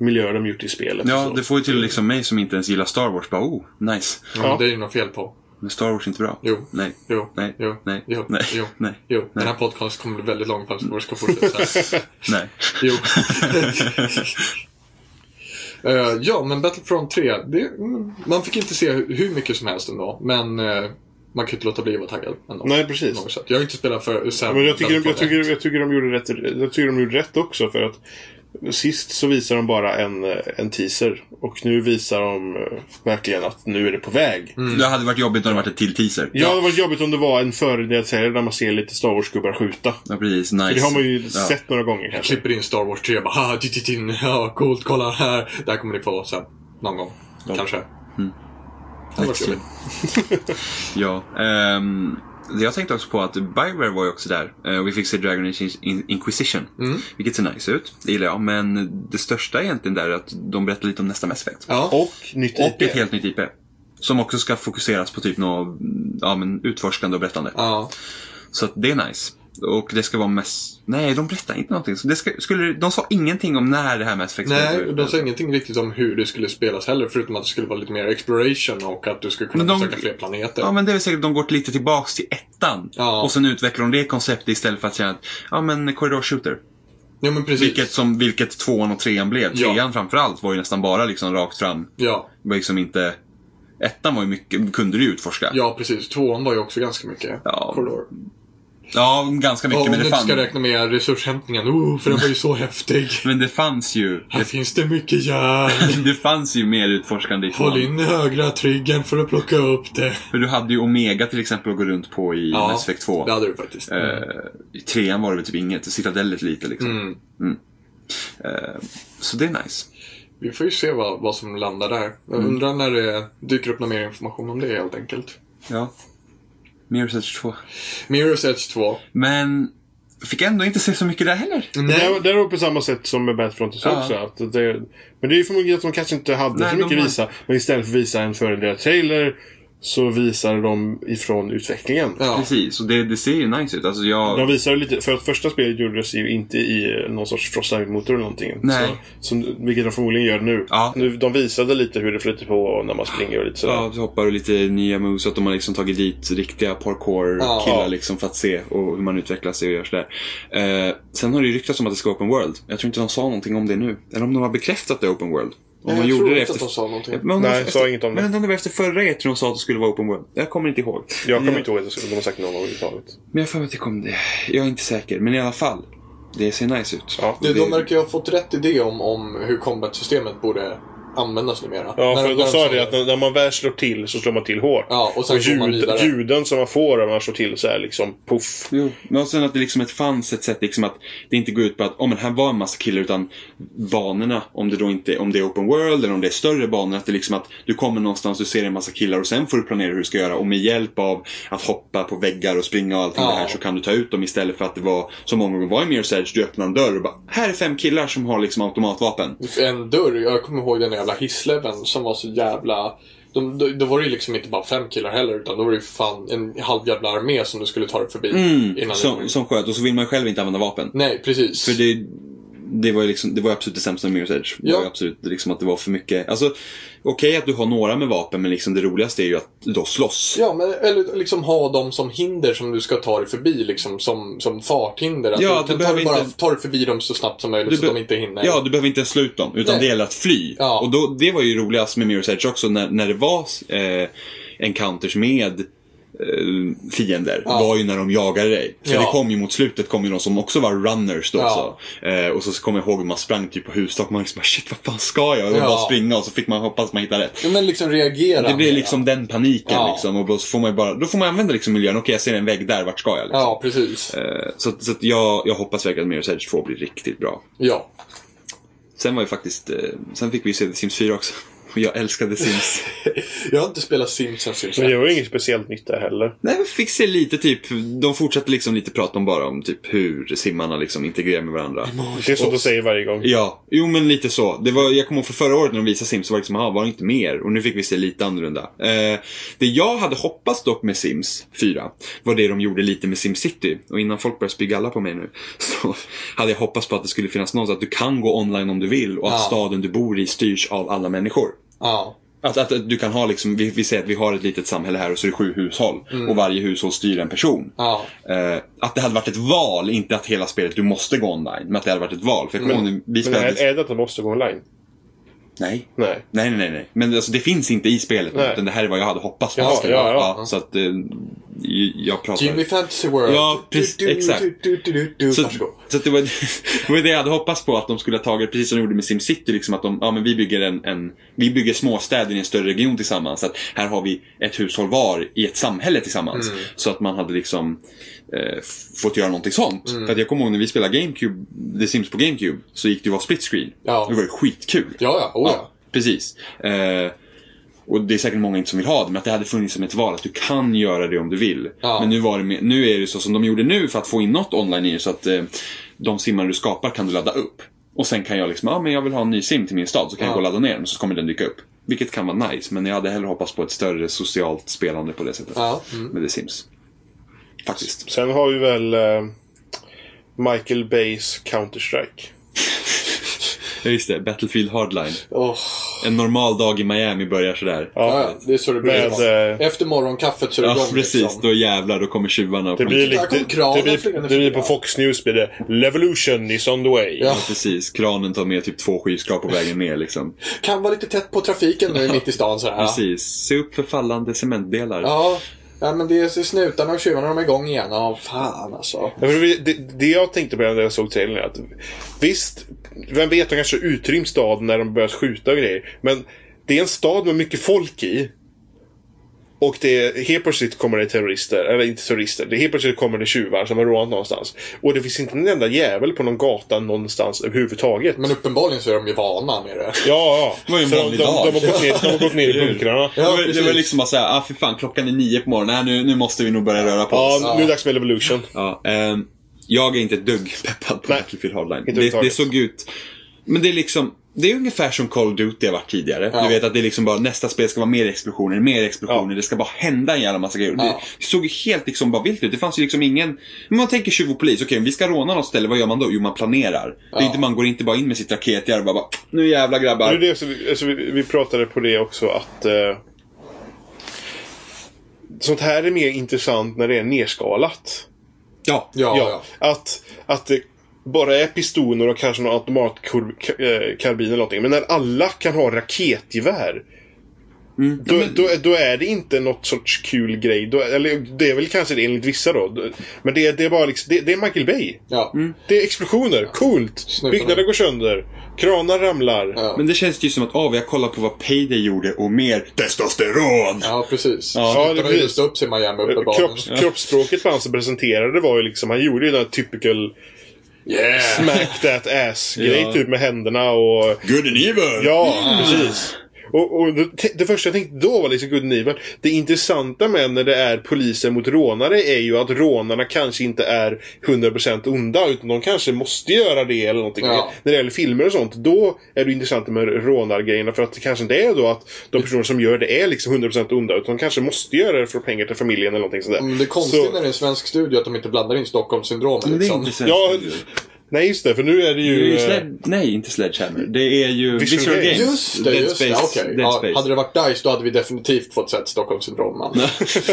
Speaker 1: miljöer de gjort i spelet.
Speaker 2: Mm. Ja,
Speaker 1: så.
Speaker 2: det får ju till liksom mig som inte ens gillar Star Wars bara, oh, nice.
Speaker 3: ja.
Speaker 1: ja.
Speaker 3: Det är ju något fel på.
Speaker 2: Men Star Wars är inte bra.
Speaker 3: Jo.
Speaker 2: Nej.
Speaker 3: Jo.
Speaker 2: Nej.
Speaker 3: Jo.
Speaker 2: Nej.
Speaker 3: Jo.
Speaker 2: Nej.
Speaker 3: Jo.
Speaker 2: Nej.
Speaker 3: Jo. Den här podcasten kommer bli väldigt lång fast vi ska fortsätta.
Speaker 2: Nej.
Speaker 3: Jo. Eh, ja, men Battlefront 3. Det, mm, man fick inte se hu- hur mycket som helst ändå. Men eh, man kan ju inte låta bli att vara taggad ändå.
Speaker 1: Nej,
Speaker 3: På
Speaker 1: precis.
Speaker 3: något sätt. Jag har inte spelat för sen
Speaker 1: Men jag tycker, jag,
Speaker 3: Battlefront
Speaker 1: tycker, jag, tycker de gjorde rätt, jag tycker de gjorde rätt också för att sist så visar de bara en, eh, en teaser och nu visar de eh, verkligen att nu är det på väg.
Speaker 3: Mm.
Speaker 2: Det hade varit jobbigt om det varit ett till teaser.
Speaker 1: Ja, det hade varit jobbigt om det var en föredelserie där man ser lite Star Wars-gubbar skjuta.
Speaker 2: Ja, precis. Nice.
Speaker 1: Det har man ju
Speaker 2: Ja.
Speaker 1: sett några gånger kanske.
Speaker 3: Klipper in Star Wars 3 och bara "Haha, tititin, ja, coolt, kolla här. Det här kommer ni få sen. Någon gång. Kanske. Det var
Speaker 2: Verkligen.
Speaker 3: trevligt.
Speaker 2: ja. ehm, det jag tänkte också på att Bioware var ju också där. eh, och vi fick se Dragon Age In- Inquisition.
Speaker 1: Mm.
Speaker 2: Vilket ser nice ut. Det gillar jag. Men det största egentligen där är att de berättar lite om nästa Mass
Speaker 1: Typ
Speaker 2: Effect.
Speaker 3: Ja.
Speaker 1: Och nytt
Speaker 2: Och
Speaker 1: IP.
Speaker 2: ett helt nytt IP. Som också ska fokuseras på typ något ja, men utforskande och berättande.
Speaker 3: Ja.
Speaker 2: Så att det är nice. Och det ska vara mest... Nej, de berättar inte någonting. Så det ska... skulle... De sa ingenting om när det här Mass Effect
Speaker 3: Nej,
Speaker 2: skulle-
Speaker 3: de sa ingenting riktigt om hur det skulle spelas heller. Förutom att det skulle vara lite mer exploration och att du skulle kunna
Speaker 2: Men de-
Speaker 3: besöka fler planeter.
Speaker 2: Ja, men det är väl säkert att de går lite tillbaks till ettan.
Speaker 3: Ja.
Speaker 2: Och sen utvecklar de det konceptet istället för att säga att, ja men korridorshooter.
Speaker 3: ja, men precis.
Speaker 2: Vilket, som, vilket tvåan och trean blev.
Speaker 3: Ja.
Speaker 2: Trean framförallt var ju nästan bara liksom rakt fram.
Speaker 3: Ja.
Speaker 2: Det var liksom inte... Ettan var ju mycket, kunde du ju utforska.
Speaker 3: Ja, precis. Tvåan var ju också ganska mycket
Speaker 2: Ja,
Speaker 3: korridor.
Speaker 2: Ja, ganska
Speaker 3: Ja,
Speaker 2: mycket
Speaker 3: om
Speaker 2: men
Speaker 3: du
Speaker 2: det
Speaker 3: inte
Speaker 2: fanns...
Speaker 3: ska räkna med resurshämtningen. Oh, för den var ju så häftig.
Speaker 2: Men det fanns ju...
Speaker 3: Här finns det mycket järn.
Speaker 2: Det fanns ju mer utforskande i
Speaker 3: Håll
Speaker 2: tvåan.
Speaker 3: in högra triggern för att plocka upp det.
Speaker 2: För du hade ju Omega till exempel att gå runt på i
Speaker 3: Ja,
Speaker 2: Mass Effect 2.
Speaker 3: Det hade du faktiskt.
Speaker 2: Eh, I trean var det väl typ inget. Citadellet lite liksom.
Speaker 3: Mm.
Speaker 2: Mm. Eh, så det är nice.
Speaker 3: Vi får ju se vad, vad som landar där. Jag
Speaker 2: Mm.
Speaker 3: undrar när det dyker upp någon mer information om det helt enkelt.
Speaker 2: Ja. Mirror's Edge 2.
Speaker 3: Mirror's Edge 2.
Speaker 2: Men fick ändå inte se så mycket där heller.
Speaker 1: Men Det är- det är nog på samma sätt som med Battlefront och så
Speaker 2: Ja.
Speaker 1: också. Att det, men det är ju förmodligen att de kanske inte hade
Speaker 2: Nej,
Speaker 1: så
Speaker 2: de
Speaker 1: mycket att
Speaker 2: har-
Speaker 1: visa. Men istället för att visa en före deras trailer så visar de ifrån utvecklingen.
Speaker 3: Ja.
Speaker 2: Precis, och det, det ser ju nice ut. Alltså jag...
Speaker 1: De visar lite, för att första spelet gjordes ju inte i eh, någon sorts Frostbite-motor eller någonting.
Speaker 2: Nej.
Speaker 1: Så, så, vilket de förmodligen gör nu.
Speaker 2: Ja.
Speaker 1: nu. De visade lite hur det flyter på när man springer och lite sådär.
Speaker 2: Ja, du hoppar och lite nya moves. Att de har liksom tagit dit riktiga
Speaker 3: Ja.
Speaker 2: parkour-killar liksom för att se och hur man utvecklar sig och gör sådär. Eh, sen har det ju ryktats om att det ska vara open world. Jag tror inte de sa någonting om det nu. Eller om de har bekräftat det open world. Om
Speaker 3: Jag
Speaker 2: de
Speaker 3: tror
Speaker 2: gjorde det
Speaker 3: inte att
Speaker 2: efter...
Speaker 3: de sa någonting.
Speaker 2: Men om de-
Speaker 1: Nej,
Speaker 2: efter...
Speaker 1: sa inget om det.
Speaker 2: Men om det var efter förra E3 de sa att det skulle vara open world. Jag kommer inte ihåg.
Speaker 1: Jag kommer inte ihåg att de har sagt något överhuvudtaget.
Speaker 2: Men jag har för mig att det kom det. Jag är inte säker. Men i alla fall. Det ser nice ut.
Speaker 1: Ja.
Speaker 3: Du, de verkar ju ha fått rätt idé om, om hur combat-systemet borde användas numera.
Speaker 1: Ja,
Speaker 3: När
Speaker 1: för de sa det att
Speaker 3: Ja,
Speaker 1: när, när man väl slår till så slår man till hårt.
Speaker 3: och sen
Speaker 1: och
Speaker 3: går man
Speaker 1: ljud,
Speaker 3: vidare.
Speaker 1: ljuden som man får när man slår till så är liksom puff.
Speaker 2: Jo, men och sen att det liksom ett, fanns ett sätt liksom att det inte går ut på att oh, men här var en massa killar utan banorna, om det då inte om det är open world eller om det är större banor, att det liksom att du kommer någonstans, du ser en massa killar och sen får du planera hur du ska göra och med hjälp av att hoppa på väggar och springa och allting
Speaker 3: Ja.
Speaker 2: det här så kan du ta ut dem istället för att det var som många gånger var i Mirror's Edge, du öppnar en dörr och bara här är fem killar som har liksom automatvapen.
Speaker 3: En dörr, jag kommer ihåg den jävla hissleven som var så jävla... De, då, då var det ju liksom inte bara fem killar heller utan då var det ju fan en halv jävla armé som du skulle ta dig förbi. innan du...
Speaker 2: Mm, Som, som sköt och så vill man ju själv inte använda vapen.
Speaker 3: Nej, precis.
Speaker 2: För det, det var ju liksom, det var ju absolut det sämsta med Mirror's Edge. Det
Speaker 3: Ja.
Speaker 2: var ju absolut liksom att det var för mycket. Alltså, okej att du har några med vapen, men liksom det roligaste är ju att då slåss.
Speaker 3: Ja, men, eller liksom ha dem som hinder som du ska ta dig förbi, liksom som, som farthinder. Alltså,
Speaker 2: Ja,
Speaker 3: du
Speaker 2: du
Speaker 3: kan ta
Speaker 2: behöver
Speaker 3: dig, bara,
Speaker 2: inte-
Speaker 3: ta dig förbi dem så snabbt som möjligt
Speaker 2: Du
Speaker 3: så
Speaker 2: be-
Speaker 3: att de inte hinner.
Speaker 2: Ja, du behöver inte ens slå ut dem, utan
Speaker 3: Nej.
Speaker 2: det gäller att fly.
Speaker 3: Ja.
Speaker 2: Och då, det var ju roligast med Mirror's Edge också, när, när det var eh, encounters med eh, fiender
Speaker 3: Ja.
Speaker 2: var ju när de jagade dig. För
Speaker 3: Ja.
Speaker 2: det kom ju mot slutet kom ju de som också var runners då
Speaker 3: Ja.
Speaker 2: så. Eh, och så kommer jag ihåg hur man sprang typ på hustak och man liksom bara shit vad fan ska jag? Och
Speaker 3: Ja.
Speaker 2: bara springa och så fick man hoppas man hittar rätt.
Speaker 3: Ja, men liksom reagera.
Speaker 2: Det blir
Speaker 3: mer.
Speaker 2: liksom den paniken
Speaker 3: Ja.
Speaker 2: liksom. Och då får man ju bara, då får man använda liksom miljön. Okej, jag ser en vägg där, vart ska jag? Liksom.
Speaker 3: Ja, precis.
Speaker 2: Eh, Så, att- så att jag, jag hoppas verkligen att Mirror's Edge 2 blir riktigt bra.
Speaker 3: Ja.
Speaker 2: Sen var ju faktiskt, eh, sen fick vi ju se The Sims 4 också. Och jag älskade Sims.
Speaker 3: Jag har inte spelat Sims sen Sims
Speaker 1: Men det var ju inget speciellt nytt där heller.
Speaker 2: Nej, men fick se lite typ, de fortsatte liksom lite prata om bara om typ hur simmarna liksom integrerar med varandra.
Speaker 1: Det är sånt de säger varje gång.
Speaker 2: Ja, jo men lite så. Det var, jag kommer ihåg för förra året när de visade Sims så var det liksom, aha, var det inte mer? Och nu fick vi se lite annorlunda. Eh, det jag hade hoppats dock med Sims 4 var det de gjorde lite med SimCity. Och innan folk börjar spy alla på mig nu så hade jag hoppats på att det skulle finnas något så att du kan gå online om du vill och att
Speaker 3: Ja.
Speaker 2: staden du bor i styrs av alla människor.
Speaker 3: Ja.
Speaker 2: Att, att, att du kan ha liksom, vi, vi säger att vi har ett litet samhälle här och så är det sju hushåll.
Speaker 1: Mm.
Speaker 2: Och varje hushåll styr en person.
Speaker 3: Ja.
Speaker 2: Eh, att det hade varit ett val, inte att hela spelet, du måste gå online. Men att det hade varit ett val. För jag kommer ihåg när vi
Speaker 1: Men
Speaker 2: spelade...
Speaker 1: är, är det att de måste gå online?
Speaker 2: Nej.
Speaker 1: Nej.
Speaker 2: Nej, nej, nej, nej. Men alltså, det finns inte i spelet.
Speaker 1: Nej.
Speaker 2: Utan det här är vad jag hade hoppats på. att
Speaker 1: Jaha,
Speaker 2: det skulle
Speaker 1: ja,
Speaker 2: vara.
Speaker 1: ja.
Speaker 2: så att eh, j- jag pratar...
Speaker 3: Jimmy Fantasy World.
Speaker 2: Ja, precis,
Speaker 3: Du, du, du,
Speaker 2: exakt.
Speaker 3: Du, du, du, du,
Speaker 2: Så,
Speaker 3: Varsågod.
Speaker 2: så att det, var, det var det jag hade hoppats på, att de skulle ha tagit, precis som de gjorde med SimCity, liksom att de, ja men vi bygger en, en vi bygger småstäder i en större region tillsammans. Så att här har vi ett hushåll var i ett samhälle tillsammans.
Speaker 1: Mm.
Speaker 2: Så att man hade liksom eh, f- fått göra någonting sånt.
Speaker 1: Mm.
Speaker 2: För att jag kommer ihåg när vi spelade GameCube, The Sims på GameCube, så gick det ju att vara split screen.
Speaker 3: Ja.
Speaker 2: Det var ju skitkul.
Speaker 3: Ja, ja. Oh, ja.
Speaker 2: Precis. Eh, och det är säkert många inte som vill ha det, men att det hade funnits som ett val att du kan göra det om du vill.
Speaker 3: Ja.
Speaker 2: Men nu, var det med, nu är det så som de gjorde nu för att få in något online i det, så att eh, de simmar du skapar kan du ladda upp. Och sen kan jag liksom, ja ah, men jag vill ha en ny sim till min stad, så kan jag gå och ladda ner den, så kommer den dyka upp. Vilket kan vara nice, men jag hade hellre hoppats på ett större socialt spelande på det sättet.
Speaker 3: Ja. Mm.
Speaker 2: Med The Sims. Faktiskt.
Speaker 1: Sen har vi väl eh, Michael Bays Counter-Strike.
Speaker 2: Ja, just det, Battlefield Hardline.
Speaker 3: Åh.
Speaker 2: En normal dag i Miami börjar sådär.
Speaker 3: Ja, ja, det är så det blir.
Speaker 1: Med, eh,
Speaker 3: Efter morgonkaffet så är det
Speaker 2: Ja,
Speaker 3: igång.
Speaker 2: precis.
Speaker 3: liksom.
Speaker 2: Då jävlar, då kommer tjuvarna. och
Speaker 1: Det blir,
Speaker 2: plundrar.
Speaker 1: lite,
Speaker 3: Där kom
Speaker 1: det, det,
Speaker 3: kranen
Speaker 1: blir,
Speaker 3: flygande
Speaker 1: det blir på
Speaker 3: förbi.
Speaker 1: Fox News blir det Levolution is on the way.
Speaker 3: Ja.
Speaker 2: Ja, precis. Kranen tar med typ två skyskrapor på vägen ner liksom.
Speaker 3: Kan vara lite tätt på trafiken nu mitt i stan så här.
Speaker 2: Precis. Se upp för fallande cementdelar.
Speaker 3: Ja. Ja, men det är så snutarna och tjuvarna de är igång igen. Ja, fan alltså.
Speaker 1: Ja, för Det, det- det jag tänkte på när jag såg trailern är att visst, vem vet, de kanske utrymt staden när de börjar skjuta och grejer. Men det är en stad med mycket folk i. Och det är, helt plötsligt kommer det terrorister, eller inte terrorister, det är helt plötsligt kommer det tjuvar som har rånat någonstans. Och det finns inte en enda jävel på någon gata någonstans överhuvudtaget.
Speaker 3: Men uppenbarligen så är de ju vana med det.
Speaker 1: Ja,
Speaker 2: Det var ju
Speaker 1: ja.
Speaker 2: en
Speaker 1: Så de, de,
Speaker 2: vanlig
Speaker 1: de,
Speaker 2: dag.
Speaker 1: har gått ner, de har gått ner i bunkrarna.
Speaker 2: det,
Speaker 3: Ja,
Speaker 2: var, det
Speaker 3: precis.
Speaker 2: var liksom bara såhär, ah för fan klockan är nio på morgonen, Nej, nu, nu måste vi nog börja röra på oss.
Speaker 1: Ja, nu är det dags för Levolution.
Speaker 2: Ja, ehm, Jag är inte ett dugg peppad på
Speaker 1: Nej.
Speaker 2: Battlefield Hardline.
Speaker 1: Inte
Speaker 2: Det, det
Speaker 1: överhuvudtaget.
Speaker 2: såg ut... Men det är liksom... Det är ungefär som Call of Duty har varit tidigare.
Speaker 3: Ja.
Speaker 2: Du vet att det är liksom bara nästa spel ska vara mer explosioner, mer explosioner.
Speaker 1: Ja.
Speaker 2: Det ska bara hända en jävla massa grejer. Det,
Speaker 3: Ja.
Speaker 2: det såg ju helt liksom bara vilt ut. Det fanns ju liksom ingen... Men man tänker tjuv och polis. Okej, om vi ska råna något ställe, vad gör man då? Jo, man planerar. Det är
Speaker 3: Ja.
Speaker 2: inte, man går inte bara in med sitt raketgevär och bara, bara Nu jävla grabbar.
Speaker 1: Det är det, som vi, alltså, vi, vi pratade på det också att eh, sånt här är mer intressant när det är nerskalat.
Speaker 2: Ja.
Speaker 3: Ja, ja.
Speaker 1: Ja, Att, att det bara är pistoner och kanske någon automatkarbin eller någonting. Men när alla kan ha raketgevär.
Speaker 3: Mm.
Speaker 1: Då, då, då är det inte något sorts kul grej. Då, eller det är väl kanske det enligt vissa då. Då- Men det, det är bara liksom, det, det är Michael Bay.
Speaker 3: ja.
Speaker 2: Mm.
Speaker 1: Det är explosioner, coolt!
Speaker 3: Snutarna.
Speaker 1: Byggnader går sönder, kranar ramlar.
Speaker 3: Ja.
Speaker 2: Men det känns ju som att, ah, vi har kollat på vad Payday gjorde och mer testosteron.
Speaker 3: Ja, precis.
Speaker 2: Ja,
Speaker 3: Ja,
Speaker 1: det
Speaker 3: det
Speaker 1: är
Speaker 3: har ju
Speaker 1: precis.
Speaker 3: lyst upp sig i Miami uppenbarligen.
Speaker 1: Kropps, Kroppsspråket på han som presenterade var ju liksom, han gjorde ju den här typical
Speaker 3: Yeah!
Speaker 1: smack that ass-grej
Speaker 2: Ja.
Speaker 1: typ med händerna och...
Speaker 2: Good and evil. Mm.
Speaker 1: Ja,
Speaker 3: Mm.
Speaker 1: precis. Och, och det, det första jag tänkte då var liksom good and evil. Det intressanta med när det är poliser mot rånare är ju att rånarna kanske inte är 100% onda. Utan de kanske måste göra det eller någonting.
Speaker 3: Ja.
Speaker 1: När det gäller filmer och sånt. Då är det intressant med rånargrejerna. För att det kanske inte är då att de personer som gör det är liksom 100% onda. Utan de kanske måste göra det för pengar till familjen eller någonting sånt där.
Speaker 3: Men Mm, Det är konstigt
Speaker 1: Så-
Speaker 3: när det är en svensk studio att de inte blandar in Stockholmssyndromet
Speaker 2: Men det är
Speaker 3: liksom.
Speaker 2: inte Sledge-
Speaker 1: Ja, nej just det. För nu är det
Speaker 2: det är
Speaker 1: ju...
Speaker 2: ju
Speaker 1: eh,
Speaker 2: Sled... Nej, inte Sledgehammer. Det är ju Visual,
Speaker 1: Visual
Speaker 2: Games.
Speaker 1: Games.
Speaker 3: Just det,
Speaker 2: Dead
Speaker 3: just
Speaker 2: Space.
Speaker 3: det. okej.
Speaker 2: Dead
Speaker 3: Ja,
Speaker 2: Space.
Speaker 3: hade det varit DICE då hade vi definitivt fått sett Stockholmssyndrom man.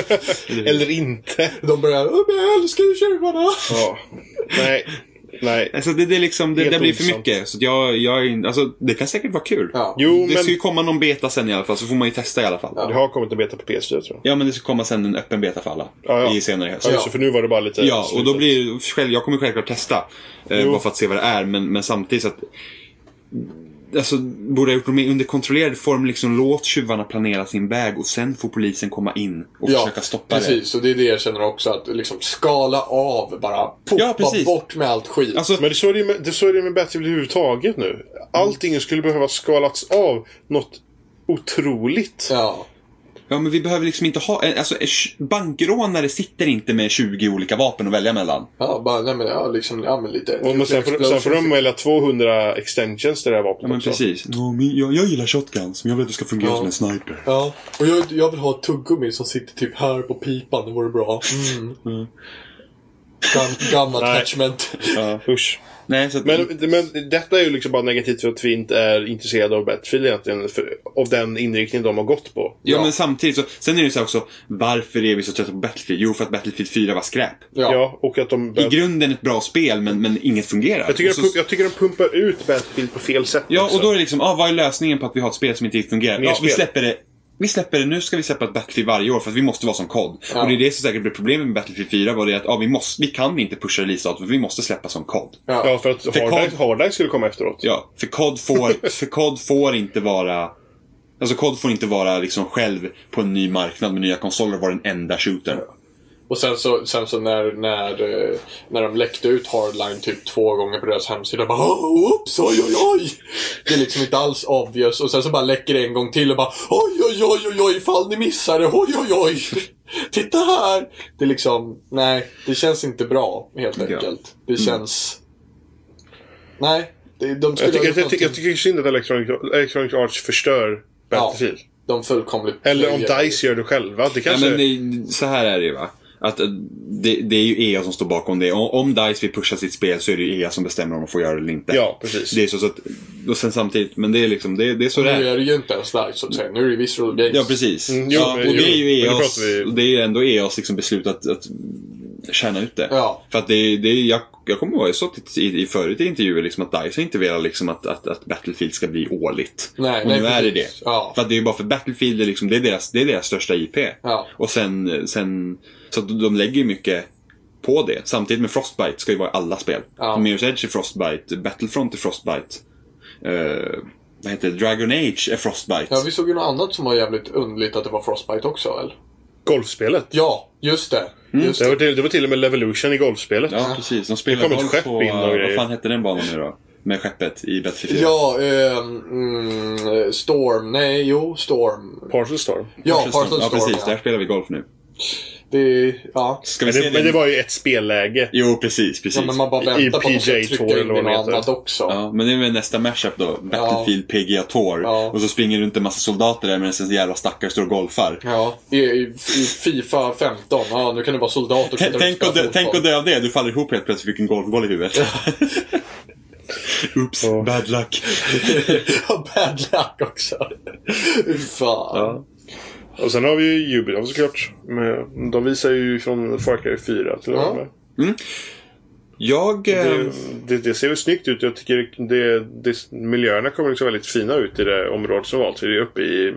Speaker 1: Eller inte.
Speaker 3: De börjar "Åh, men jag älskar ju tjuvarna.
Speaker 1: Ja. Nej. Nej.
Speaker 2: Alltså det, det är liksom, det,
Speaker 1: Helt
Speaker 2: det blir för
Speaker 1: ointressant.
Speaker 2: mycket. Så att jag, jag, är in- alltså, det kan säkert vara kul.
Speaker 3: Ja.
Speaker 1: Jo,
Speaker 2: det
Speaker 1: men...
Speaker 2: ska ju komma någon beta sen i alla fall, så får man ju testa i alla fall. Ja,
Speaker 1: Det har kommit en beta på PS4 tror jag.
Speaker 2: men det ska komma sen en öppen beta för alla.
Speaker 1: Ja, ja.
Speaker 2: I senare i höst.
Speaker 1: Ja,
Speaker 2: Ja,
Speaker 1: just det, för nu var det bara lite...
Speaker 2: och då blir det- själv, jag kommer självklart testa. Eh,
Speaker 1: Jo.
Speaker 2: bara för att se vad det är, men, men samtidigt så att... Alltså, borde ha gjort det mer under kontrollerad form. Liksom låt tjuvarna planera sin väg och sen får polisen komma in och försöka stoppa det.
Speaker 3: precis. Och det är det jag känner också. Att liksom skala av bara. Poppa
Speaker 2: Ja, precis.
Speaker 3: bort med allt skit.
Speaker 2: Alltså,
Speaker 1: Men det så är det ju med, det så är det med Battlefield överhuvudtaget nu. Allting skulle behöva skalats av något otroligt.
Speaker 3: ja.
Speaker 2: Ja, men vi behöver liksom inte ha... eh, Alltså, eh, sh- bankrånare sitter inte med 20 olika vapen att välja mellan.
Speaker 3: Ja, bara, nej men, ja, liksom, ja, men lite.
Speaker 1: Och men sen, får, sen får de
Speaker 3: Explosions.
Speaker 1: välja 200 extensions till det här
Speaker 2: Ja,
Speaker 1: vapnet
Speaker 2: men
Speaker 1: också.
Speaker 2: precis. Ja, men jag, jag gillar shotguns, men jag vill att det ska fungera
Speaker 3: Ja.
Speaker 2: som en sniper.
Speaker 3: Ja, och jag, jag vill ha ett tuggummi som sitter typ här på pipan, det vore bra. Mm. Gum, gum attachment.
Speaker 1: Usch.
Speaker 2: Nej, så att...
Speaker 1: Men, men detta är ju liksom bara negativt för att vi inte är intresserade av Battlefield egentligen. För, av den inriktning de har gått på.
Speaker 2: Ja,
Speaker 3: Ja.
Speaker 2: men samtidigt så, sen är det så här också, varför är vi så trötta på Battlefield? Jo, för att Battlefield 4 var skräp.
Speaker 1: Ja,
Speaker 3: Ja.
Speaker 1: och att de...
Speaker 2: I grunden ett bra spel, men, men inget fungerar.
Speaker 1: jag, tycker
Speaker 2: Och
Speaker 1: de,
Speaker 2: så-
Speaker 1: pump- jag tycker de pumpar ut Battlefield på fel sätt
Speaker 2: Ja,
Speaker 1: också.
Speaker 2: och då är det liksom, ah, vad är lösningen på att vi har ett spel som inte fungerar?
Speaker 1: Mer
Speaker 2: Ja, vi
Speaker 1: spel.
Speaker 2: släpper det. Vi släpper det, nu ska vi släppa ett Battlefield varje år för att vi måste vara som COD.
Speaker 3: Ja.
Speaker 2: Och det är det som säkert blir problemet med Battlefield 4 var det att ah, vi, måste, vi kan inte pusha releasedatum för vi måste släppa som COD.
Speaker 1: Ja, för att
Speaker 2: För
Speaker 1: Hardline
Speaker 2: Cod-
Speaker 1: Hardline skulle komma efteråt.
Speaker 2: Ja, för COD får, för COD får inte vara... Alltså COD får inte vara liksom själv på en ny marknad med nya konsoler och vara den enda shootern.
Speaker 3: Och sen så, sen så när, när, eh, när de läckte ut Hardline typ två gånger på deras hemsida. Bara "Åh, oops, oj, oj, oj. Det är liksom inte alls obvious. Och sen så bara läcker det en gång till och bara oj, oj, oj, oj, oj, ifall ni missar det. Oj, oj, oj. Titta här. Det är liksom, nej, det känns inte bra helt
Speaker 2: Ja.
Speaker 3: enkelt. Det känns... Nej. det- De skulle
Speaker 1: Mm. Jag, tycker- jag,
Speaker 3: ha gjort
Speaker 1: tycker- jag
Speaker 3: någonting-
Speaker 1: tycker synd att Electronic, Electronic Arts förstör Battlefield.
Speaker 3: de fullkomligt...
Speaker 1: Eller om DICE gör det själva. Det kanske...
Speaker 2: Nej, men det, så här är det ju va. Att eh, det, det är ju EA som står bakom det. Om, om DICE vill pusha sitt spel så är det ju EA som bestämmer om de får göra det eller inte.
Speaker 1: Ja, precis.
Speaker 2: Det är så, så att, och sen samtidigt, men det är liksom, det, det är så det
Speaker 3: Nu
Speaker 2: är.
Speaker 3: är det ju inte ens DICE så att säga. Nu är det Visual Games.
Speaker 2: Ja, precis.
Speaker 1: Mm, jo,
Speaker 2: ja, och
Speaker 1: men-
Speaker 2: det är ju
Speaker 1: jo, men det
Speaker 2: EAs,
Speaker 1: pratar vi-
Speaker 2: och det är ju ändå EAs liksom beslut att, att tjäna ut det.
Speaker 3: Ja.
Speaker 2: För att det är, det är jag, jag kommer ihåg, jag sa till- i, i förut i intervjuer liksom att DICE har inte velat liksom att, att, att Battlefield ska bli årligt.
Speaker 3: Nej,
Speaker 2: och
Speaker 3: nej,
Speaker 2: nu är det det.
Speaker 3: precis. Ja.
Speaker 2: För att det är ju bara för Battlefield, är liksom, det, är deras, det är deras största IP.
Speaker 3: Ja.
Speaker 2: Och sen, sen, så att de lägger ju mycket på det. Samtidigt med Frostbite ska ju vara i alla spel.
Speaker 3: Ja.
Speaker 2: Mirror's Edge är Frostbite, Battlefront är Frostbite. Eh, vad heter det? Dragon Age är Frostbite.
Speaker 3: Ja, vi såg ju något annat som var jävligt underligt att det var Frostbite också, eller?
Speaker 1: Golfspelet.
Speaker 3: Ja, just det. Just
Speaker 1: Mm. Det,
Speaker 3: det.
Speaker 1: var till, det var till och med Levolution i golfspelet.
Speaker 2: Ja, precis. De spelar
Speaker 1: Det kom ett
Speaker 2: golf
Speaker 1: skepp
Speaker 2: på...
Speaker 1: in och
Speaker 2: Vad
Speaker 1: grejer.
Speaker 2: fan hette den banan nu då? Med skeppet i Battlefield 4.
Speaker 3: Ja, ehm, mm, Storm. Nej, jo, Storm.
Speaker 1: Parcel Storm.
Speaker 3: Ja,
Speaker 2: Parsons
Speaker 3: Parsons Storm.
Speaker 2: Ja, precis.
Speaker 3: ja.
Speaker 2: Där spelar vi golf nu.
Speaker 3: Det är, ja.
Speaker 2: Ska vi
Speaker 1: Men
Speaker 2: se
Speaker 1: det,
Speaker 2: din...
Speaker 1: men det var ju ett spelläge.
Speaker 2: Jo, precis, precis.
Speaker 3: ja men man bara
Speaker 1: I-
Speaker 3: väntar
Speaker 1: i
Speaker 3: på att de ska
Speaker 1: PJ
Speaker 3: trycka
Speaker 1: Tour
Speaker 3: in
Speaker 1: eller
Speaker 3: i
Speaker 1: vad de
Speaker 3: något
Speaker 1: heter.
Speaker 3: annat också.
Speaker 2: Ja, men det är väl nästa mashup då. Battlefield PGA Tour.
Speaker 3: Ja.
Speaker 2: Och så springer runt en massa soldater där medan en jävla stackare står och golfar.
Speaker 3: Ja, i, i, i Fifa 15. Ja, nu kan du vara soldat och
Speaker 2: T-
Speaker 3: kunna
Speaker 2: Tänk
Speaker 3: spela
Speaker 2: att dö-
Speaker 3: fotboll.
Speaker 2: tänk att dö av det. Du faller ihop helt plötsligt och fick en golfboll i huvudet. Oops,
Speaker 1: Ja.
Speaker 2: bad luck.
Speaker 3: Ja, bad luck också. Fy Fan.
Speaker 2: Ja.
Speaker 1: Och sen har vi ju Ubisoft såklart. Men de visar ju från Far Cry 4 till och
Speaker 3: Ja.
Speaker 1: med.
Speaker 2: Jag...
Speaker 1: Det,
Speaker 2: Eh,
Speaker 1: det, det ser väl snyggt ut. Jag tycker det, det, miljöerna kommer liksom väldigt fina ut i det området som valts. Vi är uppe i...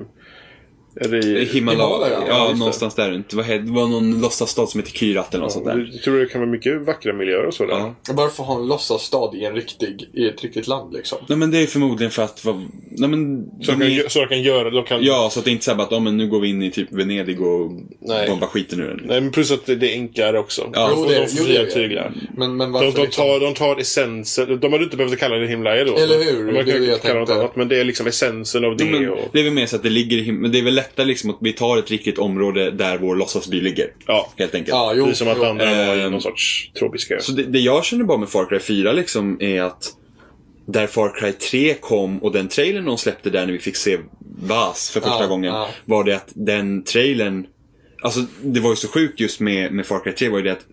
Speaker 1: Är det i
Speaker 2: Himalaya,
Speaker 3: Himalaya,
Speaker 2: ja,
Speaker 3: ja,
Speaker 1: just det.
Speaker 2: någonstans där runt. Det var, det var någon låtsasstad som hette Kyrat eller något sånt där.
Speaker 1: Jag tror det kan vara mycket vackra miljöer och så där.
Speaker 2: Ja.
Speaker 3: Varför ha en låtsasstad i, en riktig, i ett riktigt land liksom?
Speaker 2: Nej men det är förmodligen för att... vad- Nej, men,
Speaker 1: Så, de kan, gö- så de kan göra... De kan,
Speaker 2: Ja, så att det inte är så här bara att oh, men nu går vi in i typ Venedig och
Speaker 1: Nej.
Speaker 2: bombar skiten ur den.
Speaker 1: Nej, men plus att det, det är enklare också.
Speaker 2: Ja.
Speaker 1: De
Speaker 3: Jo,
Speaker 1: får,
Speaker 3: det-
Speaker 1: de får
Speaker 3: jo, det
Speaker 1: fria
Speaker 3: är det.
Speaker 1: tyglar.
Speaker 3: Men, men varför
Speaker 1: De, de,
Speaker 3: liksom-
Speaker 1: tar, de tar essensen. De hade inte behövt kalla det Himalaya då.
Speaker 3: Eller hur?
Speaker 1: Man
Speaker 3: Det är
Speaker 1: kan
Speaker 3: det
Speaker 1: ju
Speaker 3: jag
Speaker 1: kalla det något
Speaker 3: tänkte.
Speaker 1: annat. Men det är liksom essensen av det.
Speaker 2: Jo, men,
Speaker 1: och,
Speaker 2: det är väl mer så att det ligger i him- Men det är väl lättare liksom att vi tar ett riktigt område där vår låtsasby ligger.
Speaker 1: ja,
Speaker 2: Helt enkelt.
Speaker 3: Ja, jo.
Speaker 1: det är som att
Speaker 3: jo.
Speaker 1: andra var i
Speaker 2: Ehm.
Speaker 1: någon sorts tropisk ö.
Speaker 2: Så det, det jag känner bara med Far Cry 4 liksom är att där Far Cry 3 kom och den trailern de släppte där när vi fick se Vaz för första
Speaker 3: Ja,
Speaker 2: gången.
Speaker 3: ja.
Speaker 2: Var det att den trailern, alltså det var ju så sjukt just med, med Far Cry 3 var ju det att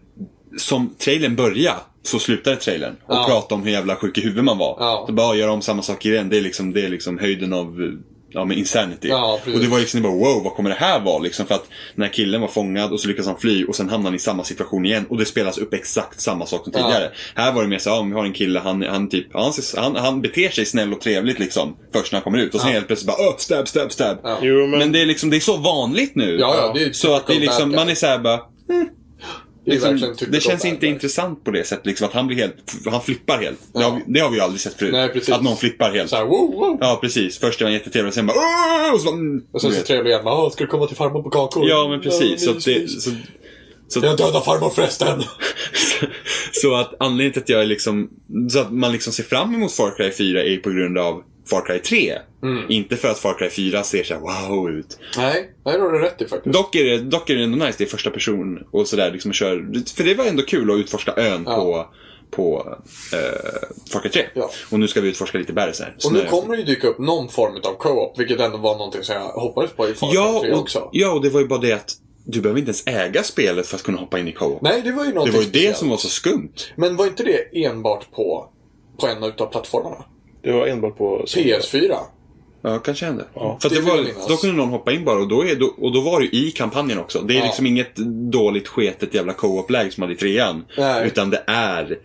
Speaker 2: som trailern började så slutade trailern och
Speaker 3: Ja.
Speaker 2: pratade om hur jävla sjuk i huvudet man var.
Speaker 3: Ja.
Speaker 2: Så bara göra om samma sak igen, det är liksom, det är liksom höjden av Ja men insanity.
Speaker 3: Ja, precis.
Speaker 2: och det var liksom bara wow, vad kommer det här vara liksom? För att när killen var fångad och så lyckas han fly och sen hamnar han i samma situation igen och det spelas upp exakt samma sak som
Speaker 3: Ja.
Speaker 2: tidigare. Här var det mer så här, ja, men vi har en kille, han, han, typ, han, ses- han, han beter sig snäll och trevligt liksom. Först när han kommer ut och sen
Speaker 3: Ja.
Speaker 2: helt plötsligt bara öh, stab, stab, stab.
Speaker 3: Ja.
Speaker 1: Jo,
Speaker 2: Men,
Speaker 1: men,
Speaker 2: det, är liksom, det är så vanligt nu.
Speaker 3: Ja, ja, det är ju
Speaker 2: så att det är
Speaker 3: typical
Speaker 2: liksom,
Speaker 3: bad guy.
Speaker 2: man är såhär bara,
Speaker 3: Det är verkligen typ
Speaker 2: liksom,
Speaker 3: typical
Speaker 2: det känns
Speaker 3: bad
Speaker 2: inte
Speaker 3: guy.
Speaker 2: intressant på det sättet. Liksom, att han blir helt, han flippar helt. Det, har, vi- det har vi ju aldrig sett förut.
Speaker 3: Nej, precis.
Speaker 2: att någon flippar helt.
Speaker 3: Så här, wow, wow.
Speaker 2: Ja, precis. Först är han jättetrevlig och sen bara "Åh!" och så, bara, mm,
Speaker 3: Och sen
Speaker 2: du
Speaker 3: så
Speaker 2: vet.
Speaker 3: trevlig igen. "Ah, Ska du komma till farmor på kakor?
Speaker 2: Ja, men precis. Så
Speaker 3: Ja,
Speaker 2: att det,
Speaker 3: mysmys.
Speaker 2: så, så,
Speaker 3: Jag dödar farmor förresten.
Speaker 2: så att anledningen till att jag är liksom, så att man liksom ser fram emot Far Cry 4 är ju på grund av Far Cry 3.
Speaker 3: Mm.
Speaker 2: Inte för att Far Cry 4 ser så här wow ut.
Speaker 3: Nej, nej, det har du rätt i faktiskt.
Speaker 2: Dock är det, dock är det ändå nice, det är första person och sådär liksom kör, för det var ändå kul att utforska ön
Speaker 3: Ja.
Speaker 2: på, på eh, Far Cry 3.
Speaker 3: Ja.
Speaker 2: Och nu ska vi utforska lite berg så här.
Speaker 3: Och nu
Speaker 2: Snö.
Speaker 3: kommer det ju dyka upp någon form av co-op, vilket ändå var någonting som jag hoppades på i Far Cry
Speaker 2: ja,
Speaker 3: 3
Speaker 2: och,
Speaker 3: också.
Speaker 2: ja, och det var ju bara det att du behöver inte ens äga spelet för att kunna hoppa in i co-op.
Speaker 3: Nej, det var ju
Speaker 2: Det
Speaker 3: någonting
Speaker 2: var ju det
Speaker 3: speciellt.
Speaker 2: som var så skumt.
Speaker 3: Men var inte det enbart på, på en av plattformarna?
Speaker 1: det var enbart på...
Speaker 3: PS4?
Speaker 2: Ja, kanske hände. För att
Speaker 3: Det
Speaker 2: det
Speaker 3: vill jag
Speaker 2: var,
Speaker 3: minnas.
Speaker 2: då kunde någon hoppa in bara och då, är, då, och då var det ju i kampanjen också. Det är
Speaker 3: Ja.
Speaker 2: liksom inget dåligt sketet jävla co-op-läge som man hade i trean.
Speaker 3: Nej.
Speaker 2: Utan det är...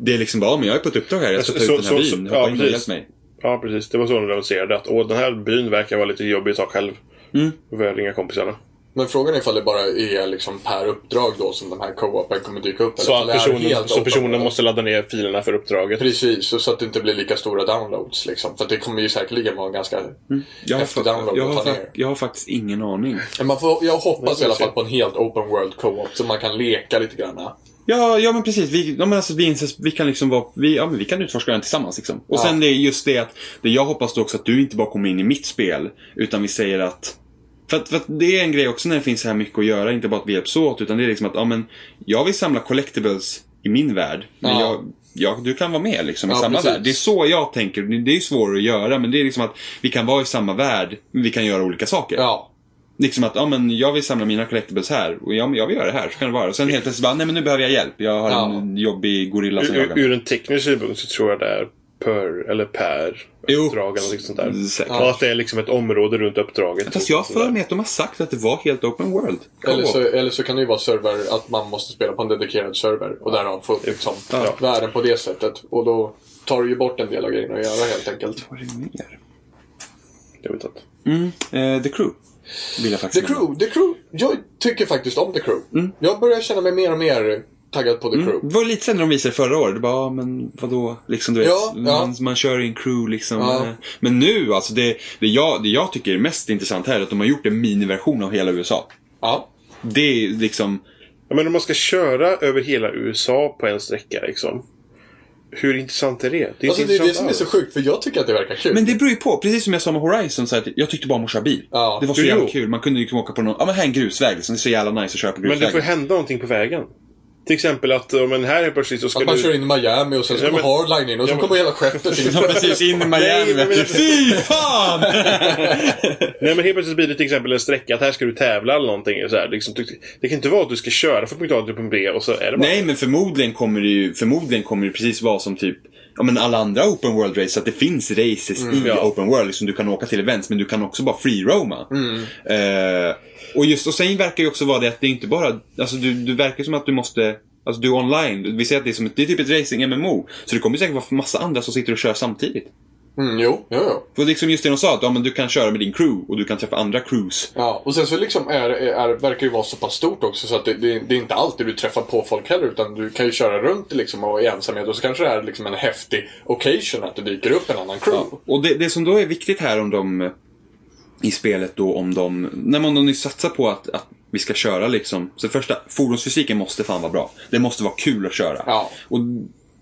Speaker 2: Det är liksom bara, ja, men jag är på ett uppdrag här, jag ska ta ut
Speaker 1: Så-
Speaker 2: den här
Speaker 1: så- så-
Speaker 2: byn.
Speaker 1: ja,
Speaker 2: Hoppa in och hjälp
Speaker 1: precis.
Speaker 2: mig.
Speaker 1: Ja, precis. Det var så de annonserade. Att Åh, den här byn verkar vara lite jobbig att ta själv.
Speaker 2: Mm.
Speaker 1: Då får jag ringa kompisarna.
Speaker 3: Men frågan är ifall det bara är liksom per uppdrag då som den här co-open kommer dyka upp.
Speaker 1: Så, att
Speaker 3: ifall det är
Speaker 1: personen,
Speaker 3: helt
Speaker 1: så
Speaker 3: open
Speaker 1: personen
Speaker 3: world.
Speaker 1: måste ladda ner filerna för uppdraget.
Speaker 3: Precis, och så att det inte blir lika stora downloads liksom. För att det kommer ju säkerligen vara ganska...
Speaker 2: Jag har,
Speaker 3: Efter
Speaker 2: fa-
Speaker 3: download
Speaker 2: jag,
Speaker 3: och
Speaker 2: har
Speaker 3: ta
Speaker 2: fa-
Speaker 3: ner.
Speaker 2: jag har faktiskt ingen aning.
Speaker 3: Men man får, jag hoppas i alla
Speaker 1: se.
Speaker 3: fall på en helt open world co-op så man kan leka lite grann.
Speaker 2: Ja, ja men precis. Vi, ja, men alltså, vi, inses, vi kan liksom vara, vi, ja, men vi kan utforska den tillsammans. Liksom. Och
Speaker 3: Ja.
Speaker 2: sen det är just det att, det jag hoppas då också att du inte bara kommer in i mitt spel, utan vi säger att för att, för att det är en grej också när det finns så här mycket att göra, inte bara att vi hjälps åt, utan det är liksom att, ja men, jag vill samla collectibles i min värld, men
Speaker 3: Ja.
Speaker 2: jag, jag, du kan vara med liksom i
Speaker 3: Ja,
Speaker 2: samma
Speaker 3: precis.
Speaker 2: värld. Det är så jag tänker, det det är ju svårare att göra, men det är liksom att vi kan vara i samma värld, men vi kan göra olika saker.
Speaker 3: Ja.
Speaker 2: Liksom att, ja men jag vill samla mina collectibles här och jag, jag vill göra det här, så kan det vara. Och sen helt plötsligt bara, nej men nu behöver jag hjälp. Jag har
Speaker 3: Ja.
Speaker 2: en jobbig gorilla som
Speaker 1: Ur,
Speaker 2: jagar
Speaker 1: ur,
Speaker 2: mig.
Speaker 1: ur en teknisk synpunkt så tror jag det är per, eller per
Speaker 2: Jo.
Speaker 1: uppdrag eller något sånt där.
Speaker 2: Säkert.
Speaker 1: Och att det är liksom ett område runt uppdraget.
Speaker 2: Fast jag har
Speaker 1: Sånt där.
Speaker 2: för mig att de har sagt att det var helt open world.
Speaker 3: Eller så,
Speaker 2: Co-op.
Speaker 3: eller så kan det ju vara server, att man måste spela på en dedikerad server och därav få upp liksom,
Speaker 2: Ja.
Speaker 3: världen på det sättet. Och då tar du ju bort en del av grejerna att göra helt enkelt.
Speaker 2: Vad är det mer?
Speaker 1: Jag vet inte.
Speaker 2: Mm, eh, The Crew. Vill jag
Speaker 3: The
Speaker 2: faktiskt nämna.
Speaker 3: Crew, The Crew. Jag tycker faktiskt om The Crew. Jag börjar känna mig mer och mer taggad på The Crew.
Speaker 2: Det var lite sen när de visade förra året. Det bara, ja, men vadå? Liksom, du vet,
Speaker 3: Ja, ja.
Speaker 2: Man, man kör i en crew liksom.
Speaker 3: Ja.
Speaker 2: eh. Men nu, alltså det, det, jag, det jag tycker är mest intressant här är att de har gjort en miniversion av hela USA.
Speaker 3: Ja.
Speaker 2: Det är liksom...
Speaker 1: Ja, men om man ska köra över hela USA på en sträcka liksom. hur intressant är det? Det är inte
Speaker 3: Alltså, det är
Speaker 1: intressant
Speaker 3: det som är
Speaker 1: alls.
Speaker 3: så sjukt, för jag tycker att det verkar kul.
Speaker 2: Men det beror ju på. Precis som jag sa med Horizon, så att jag tyckte bara om att köra bil.
Speaker 3: Ja.
Speaker 2: Det var så
Speaker 1: Jo,
Speaker 2: jävla
Speaker 1: jo.
Speaker 2: kul. Man kunde ju liksom åka på någon, ja men här är en grusväg liksom. Det är så jävla nice att köra på
Speaker 1: Men det
Speaker 2: grusvägen.
Speaker 1: får hända någonting på vägen. Till exempel att om en här är plötsligt så ska
Speaker 3: Att man
Speaker 1: du...
Speaker 3: kör in i Miami och sen så
Speaker 1: Ja,
Speaker 3: kommer
Speaker 1: men-
Speaker 3: Hardline in och så
Speaker 1: Ja, men-
Speaker 3: kommer hela skeppet in.
Speaker 2: Ja, precis. In i Miami.
Speaker 1: Nej, men-
Speaker 2: vet du. Fy fan!
Speaker 1: Nej men helt plötsligt blir det till exempel en sträcka att här ska du tävla eller någonting. Så här, liksom, Du- det kan inte vara att du ska köra från punkt A till punkt B och så är det bara...
Speaker 2: Nej, men förmodligen kommer det ju, förmodligen kommer det precis vara som typ Ja men alla andra open world race, att det finns races i
Speaker 1: Mm. ja.
Speaker 2: open world. Liksom, du kan åka till events men du kan också bara free-roama.
Speaker 1: Mm.
Speaker 2: Eh, och, just, och sen verkar ju också vara det att det är inte bara, alltså du, du verkar som att du måste, alltså du är online. Vi säger att det är, som ett, det är typ ett racing-MMO. Så det kommer säkert vara massa andra som sitter och kör samtidigt.
Speaker 3: Mm, jo, jo, jo.
Speaker 2: För liksom just det de sa, att ja, men du kan köra med din crew och du kan träffa andra crews.
Speaker 3: Ja, och sen så liksom är, är, verkar det vara så pass stort också så att det, det, det är inte alltid du träffar på folk heller utan du kan ju köra runt liksom och i ensamhet och så kanske det är liksom en häftig occasion att det dyker upp en annan crew.
Speaker 2: Ja, och det, det som då är viktigt här om de i spelet då om de, när man nu satsar på att, att vi ska köra liksom. Så det första, fordonsfysiken måste fan vara bra. Det måste vara kul att köra.
Speaker 3: Ja.
Speaker 2: Och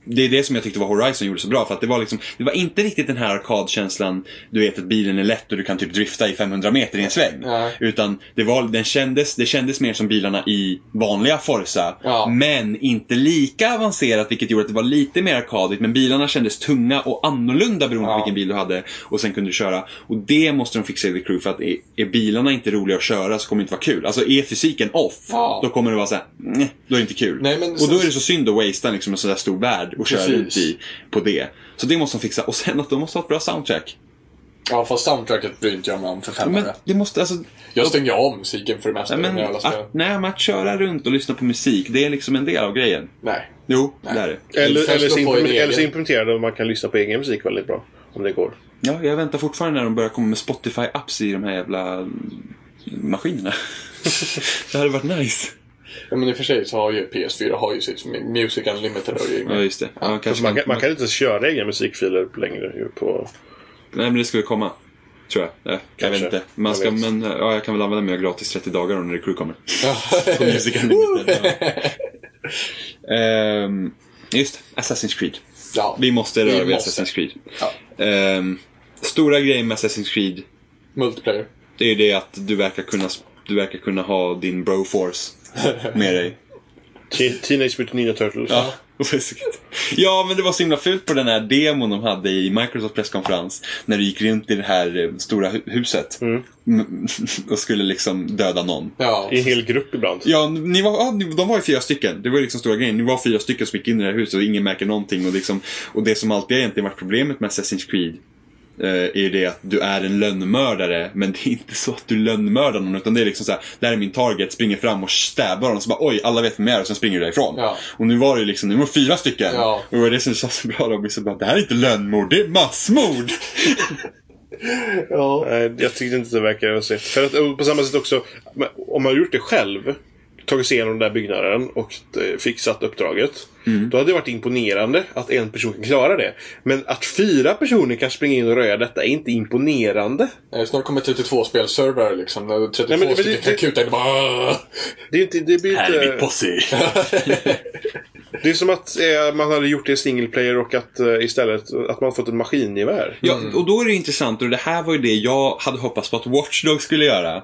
Speaker 2: det är det som jag tyckte var Horizon gjorde så bra. För att det var liksom, det var inte riktigt den här arkadkänslan, du vet att bilen är lätt och du kan typ drifta i 500 meter i en sväng.
Speaker 3: Nej.
Speaker 2: Utan det, var, den kändes, det kändes mer som bilarna i vanliga Forza.
Speaker 3: Ja.
Speaker 2: Men inte lika avancerat vilket gjorde att det var lite mer arkadigt. Men bilarna kändes tunga och annorlunda beroende på
Speaker 3: Ja.
Speaker 2: vilken bil du hade. Och sen kunde du köra. Och det måste de fixa i The Crew för att är, är bilarna inte roliga att köra så kommer det inte vara kul. Alltså är fysiken off,
Speaker 3: Ja.
Speaker 2: då kommer det vara såhär, "Nej, då är det inte kul.
Speaker 3: Nej, men
Speaker 2: och
Speaker 3: sen-
Speaker 2: då är det så synd att wastea liksom en sån där stor värld och köra
Speaker 3: Precis.
Speaker 2: runt i på det. Så det måste de fixa. Och sen att de måste ha ett bra soundtrack.
Speaker 3: Ja, fast soundtracket bryr inte jag mig om för fem
Speaker 2: Men
Speaker 3: öre.
Speaker 2: det måste, alltså,
Speaker 3: Jag stänger ju av musiken för det mesta
Speaker 2: nej, men, ah.
Speaker 3: när jag spelar.
Speaker 2: att, nej, men att köra runt och lyssna på musik, det är liksom en del av grejen.
Speaker 3: Nej.
Speaker 2: Jo, det är det.
Speaker 1: Eller,
Speaker 3: Sen
Speaker 1: eller,
Speaker 3: slå
Speaker 1: så
Speaker 3: på en
Speaker 1: implementerade,
Speaker 3: egen.
Speaker 1: eller så implementerar de att man kan lyssna på egen musik väldigt bra. Om det går.
Speaker 2: Ja, jag väntar fortfarande när de börjar komma med Spotify-apps i de här jävla mm, maskinerna. det hade varit nice.
Speaker 3: Ja, men i och för sig så har ju PS4 har ju sitt som Music Unlimited. har ju-
Speaker 2: Ja, just det. Ja, kanske
Speaker 1: Man kan, man kan inte ens köra egna musikfiler längre. ju På,
Speaker 2: Nej, men det ska väl komma. Tror jag. Eh, jag vet
Speaker 1: Kanske.
Speaker 2: inte. Man
Speaker 1: Jag
Speaker 2: ska,
Speaker 1: vet.
Speaker 2: men, eh, ja, jag kan väl använda mig av gratis 30 dagar om när Crew kommer.
Speaker 3: Ja.
Speaker 2: På Music Unlimited. ja. Ehm, just det. Assassin's Creed.
Speaker 3: ja.
Speaker 2: Vi måste röra
Speaker 3: Vi
Speaker 2: vid
Speaker 3: måste.
Speaker 2: Assassin's Creed.
Speaker 3: Ja.
Speaker 2: Ehm, stora grejen med Assassin's Creed
Speaker 3: Multiplayer.
Speaker 2: Det är ju det att du verkar kunna, du verkar kunna ha din broforce med dig.
Speaker 1: Te- Teenage Mutant Ninja Turtles.
Speaker 2: Precis. ja, men det var så himla fult på den här demon de hade i Microsofts presskonferens. När du gick runt i det här eh, stora hu- huset. Mm, Och skulle liksom döda någon.
Speaker 3: Ja.
Speaker 1: I en hel grupp ibland.
Speaker 2: Ja, ni var, ja, ni- de var ju fyra stycken. Det var ju liksom stora grejen. Ni var fyra stycken som gick in i det här huset och ingen märker någonting. Och, liksom, och det som alltid har egentligen varit problemet med Assassin's Creed eh, är ju det att du är en lönnmördare, men det är inte så att du lönnmördar någon. Utan det är liksom så här, där är min target, springer fram och stäbar dem. Så bara oj, alla vet vem jag är och sen springer du därifrån.
Speaker 3: Ja.
Speaker 2: Och nu var det ju liksom, nu var det fyra stycken.
Speaker 3: Ja.
Speaker 2: Och det var det som känns så bra. De så bara, det här är inte lönnmord, det är massmord.
Speaker 3: Ja.
Speaker 1: Nej, Eh, jag tyckte inte det verkade så. För att, och på samma sätt också, men om man har gjort det själv, tagit sig igenom den där byggnaden och eh, fixat uppdraget.
Speaker 2: Mm.
Speaker 1: Då hade det varit imponerande att en person kan klara det. Men att fyra personer kan springa in och röja detta är inte imponerande.
Speaker 3: Eh, Snart kommer 32 spelservrar liksom. där 32
Speaker 1: Nej, men- men
Speaker 3: stycken
Speaker 1: det-
Speaker 3: kan
Speaker 1: det-
Speaker 3: kuta in och bara... "Ah!"
Speaker 1: Det, är inte, det blir
Speaker 2: Här är mitt
Speaker 1: inte...
Speaker 2: posse.
Speaker 1: Det är som att eh, man hade gjort det i single player och att eh, istället att man fått ett maskingevär.
Speaker 2: Ja, och då är det intressant och det här var ju det jag hade hoppats på att Watch Dogs skulle göra.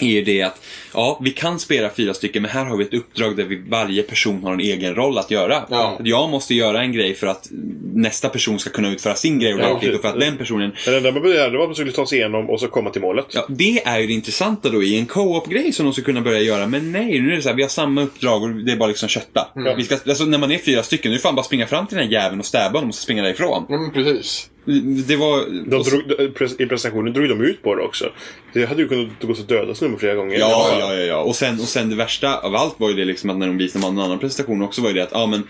Speaker 2: Är ju det att, ja, vi kan spela fyra stycken men här har vi ett uppdrag där vi, varje person har en egen roll att göra.
Speaker 3: Ja.
Speaker 2: Att Jag måste göra en grej för att nästa person ska kunna utföra sin grej ordentligt
Speaker 1: precis.
Speaker 2: och för att den personen
Speaker 1: Men det enda man begärde var att man skulle ta sig igenom och så komma till målet.
Speaker 2: Ja, det är ju det intressanta då i en co-op-grej som de skulle kunna börja göra. Men nej, nu är det så här, vi har samma uppdrag och det är bara liksom kötta. Vi ska, alltså, när man är fyra stycken, nu är det fan bara springa fram till den här jäveln och stäba honom och så springa därifrån.
Speaker 3: Ja, men precis.
Speaker 2: Mm, Det var...
Speaker 1: De
Speaker 2: och så-
Speaker 1: drog, de- I presentationen drog de ut på det också. Det hade ju kunnat gå och döda snubben flera gånger.
Speaker 2: Ja, ja, ja, ja. Och sen, och sen det värsta av allt var ju det liksom att när de visade en annan presentation också var ju det att, ja men,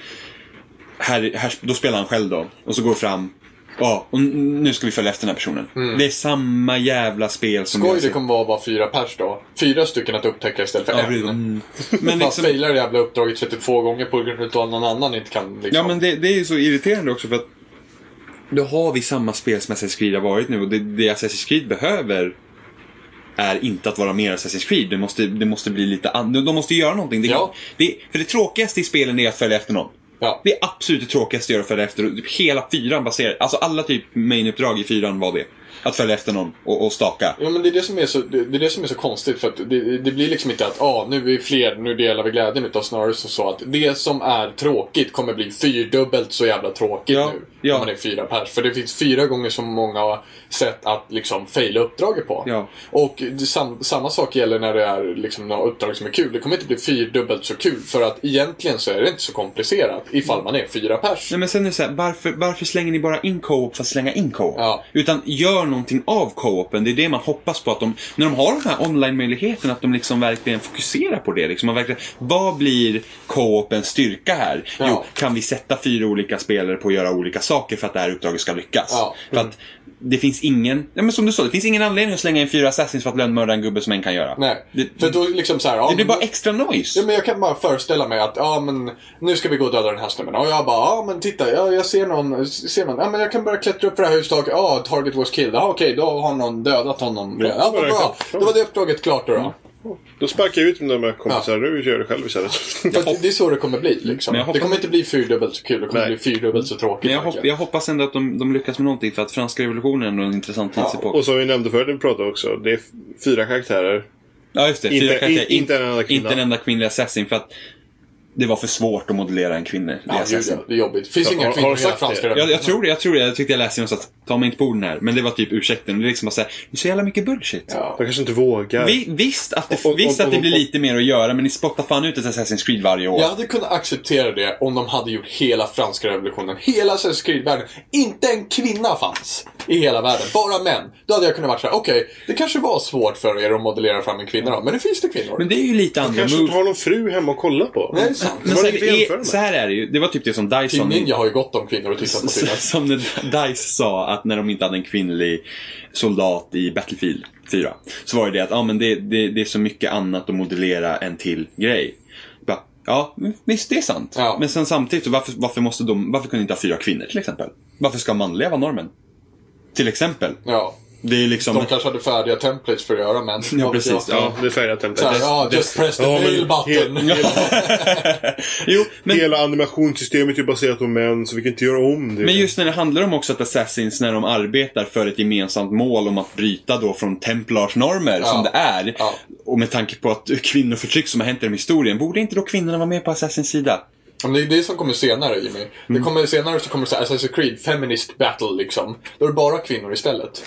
Speaker 2: här, här, då spelar han själv då. Och så går fram, ja, och n- nu ska vi följa efter den här personen. Det är samma jävla spel som
Speaker 3: Mm. Skoj
Speaker 2: jag
Speaker 3: det
Speaker 2: ser.
Speaker 3: kommer vara bara fyra pers då. Fyra stycken att upptäcka istället för
Speaker 2: Ja,
Speaker 3: en.
Speaker 2: precis. Mm. Men
Speaker 3: Man
Speaker 2: liksom,
Speaker 3: failar det jävla uppdraget 32 gånger på grund av att någon annan inte kan liksom.
Speaker 2: ja men det, det är ju så irriterande också för att då har vi samma spel som Assassin's Creed har varit nu och det, det Assassin's Creed behöver är inte att vara mer Assassin's Creed. Det måste, det måste bli lite an- De måste göra någonting. Det,
Speaker 3: Ja.
Speaker 2: det, för det tråkigaste i spelen är att följa efter någon.
Speaker 3: Ja.
Speaker 2: Det är absolut det tråkigaste att göra att följa efter. Typ hela fyran baserar, alltså alla typ main-uppdrag i fyran var det. Att följa efter någon och, och staka.
Speaker 3: Ja, men det är det som är så, det, det är det som är så konstigt. För att det, det blir liksom inte att ah, nu är vi fler, nu delar vi glädjen. Utan snarare så, så att det som är tråkigt kommer bli fyrdubbelt så jävla tråkigt
Speaker 2: Ja,
Speaker 3: nu.
Speaker 2: ja.
Speaker 3: Om man är fyra pers. För det finns fyra gånger så många sätt att liksom faila uppdraget på.
Speaker 2: Ja.
Speaker 3: Och det, sam, samma sak gäller när det är liksom några uppdrag som är kul. Det kommer inte bli fyrdubbelt så kul. För att egentligen så är det inte så komplicerat
Speaker 2: Mm.
Speaker 3: ifall man är fyra pers.
Speaker 2: Nej men sen är det så här, varför, varför slänger ni bara in co-op för att slänga in co-op?
Speaker 3: Ja.
Speaker 2: Utan gör någonting av co-open. Det är det man hoppas på att de, när de har de här online-möjligheten, att de liksom verkligen fokuserar på det. Liksom. Man verkligen, vad blir co-opens styrka här?
Speaker 3: Ja.
Speaker 2: Jo, kan vi sätta fyra olika spelare på att göra olika saker för att det här uppdraget ska lyckas?
Speaker 3: Ja.
Speaker 2: För att det finns ingen, ja, men som du sa, det finns ingen anledning att slänga in fyra assassins för att lönnmörda en gubbe som en kan göra.
Speaker 3: Nej.
Speaker 2: Det,
Speaker 3: för då liksom så här, ja,
Speaker 2: det blir
Speaker 3: men-
Speaker 2: bara extra noise.
Speaker 3: Ja, men jag kan bara föreställa mig att ja, men nu ska vi gå och döda den här snubben. Och jag bara, ja men titta, ja, jag ser någon. Ser man, ja, men jag kan börja klättra upp för det här hustaket. Ja, target was killed. Ja, okej, då har någon dödat honom. Ja, vad bra. Då var det uppdraget klart då. då.
Speaker 1: Då sparkar jag ut mina med kompisar. Du gör det själv istället.
Speaker 3: För att det är så det kommer bli. Liksom.
Speaker 2: Men jag hoppas-
Speaker 3: Det kommer inte bli fyrdubbelt så kul. Det kommer
Speaker 1: Nej.
Speaker 3: bli fyrdubbelt så tråkigt.
Speaker 2: Men jag, hopp, jag hoppas ändå att de, de lyckas med någonting för att franska revolutionen är ändå en intressant tidsepok.
Speaker 1: Och som vi nämnde förut när vi pratade också. Det är f- fyra karaktärer.
Speaker 2: Ja, just det.
Speaker 1: Inte-
Speaker 2: Fyra karaktärer.
Speaker 1: in- inte en enda kvinna.
Speaker 2: Inte en enda kvinnlig assassin för att det var för svårt att modellera en kvinnlig
Speaker 3: ja, gud,
Speaker 2: assassin.
Speaker 3: ja, det är jobbigt. Finns
Speaker 1: Ja, har-
Speaker 3: inga
Speaker 1: har
Speaker 3: kvinnor
Speaker 1: de
Speaker 3: i hela
Speaker 1: sagt det?
Speaker 3: franska
Speaker 2: Jag, jag tror det, jag tror det. Jag tyckte jag läste någonstans att ta mig inte på orden här. Men det var typ ursäkten. Det är liksom bara såhär, det är så jävla mycket bullshit.
Speaker 3: Ja.
Speaker 1: De kanske inte vågar.
Speaker 2: Vi, visst att det,
Speaker 1: Och- och-
Speaker 2: visst att det
Speaker 1: och-
Speaker 2: blir
Speaker 1: och-
Speaker 2: lite mer att göra, men ni spottar fan ut ett Assassin's Creed varje år.
Speaker 3: Jag hade kunnat acceptera det om de hade gjort hela franska revolutionen, hela Assassin's Creed-världen. Inte en kvinna fanns i hela världen, bara män. Då hade jag kunnat vara såhär, okej, det kanske var svårt för er att modellera fram en kvinna då, men nu finns det kvinnor.
Speaker 2: Men det är ju lite andra
Speaker 1: kanske inte
Speaker 2: moves.
Speaker 1: har någon fru hemma att kolla på.
Speaker 3: Nej, det är sant.
Speaker 1: har
Speaker 2: Men så här,
Speaker 1: inget att
Speaker 2: det
Speaker 1: jämföra
Speaker 2: är,
Speaker 1: med.
Speaker 2: så här är det ju. Det var typ det som
Speaker 3: Team
Speaker 2: Dyson...
Speaker 3: Ninja har ju gott om kvinnor att titta på tydligen.
Speaker 2: Som när DICE sa att när de inte hade en kvinnlig soldat i Battlefield 4. Så var det det att ah, men det, det, det är så mycket annat att modellera en till grej. Bara, ja, visst det är sant.
Speaker 3: Ja.
Speaker 2: Men sen samtidigt, så varför, varför, måste de, varför kunde de inte ha fyra kvinnor till exempel? Varför ska manliga vara normen? Till exempel.
Speaker 3: Ja.
Speaker 2: Det är liksom...
Speaker 3: De kanske hade färdiga templates för att göra män.
Speaker 2: Ja, precis.
Speaker 1: Ja,
Speaker 2: Ja.
Speaker 1: det är färgat templet.
Speaker 3: Såhär, ja, just press the male button.
Speaker 1: he- hela,
Speaker 2: jo, men,
Speaker 1: hela animationssystemet är ju baserat på män, så vi kan inte göra om det.
Speaker 2: Men just när det handlar om också att Assassins, när de arbetar för ett gemensamt mål om att bryta då från templarsnormer, som det är.
Speaker 3: Ja.
Speaker 2: Och med tanke på att kvinnoförtryck som har hänt genom historien, borde inte då kvinnorna vara med på Assassins sida?
Speaker 3: Ja, Men det är det som kommer senare Jimmy. Det
Speaker 2: Mm.
Speaker 3: kommer senare så kommer det så här, Assassin's Creed, feminist battle liksom. Då är det bara kvinnor istället.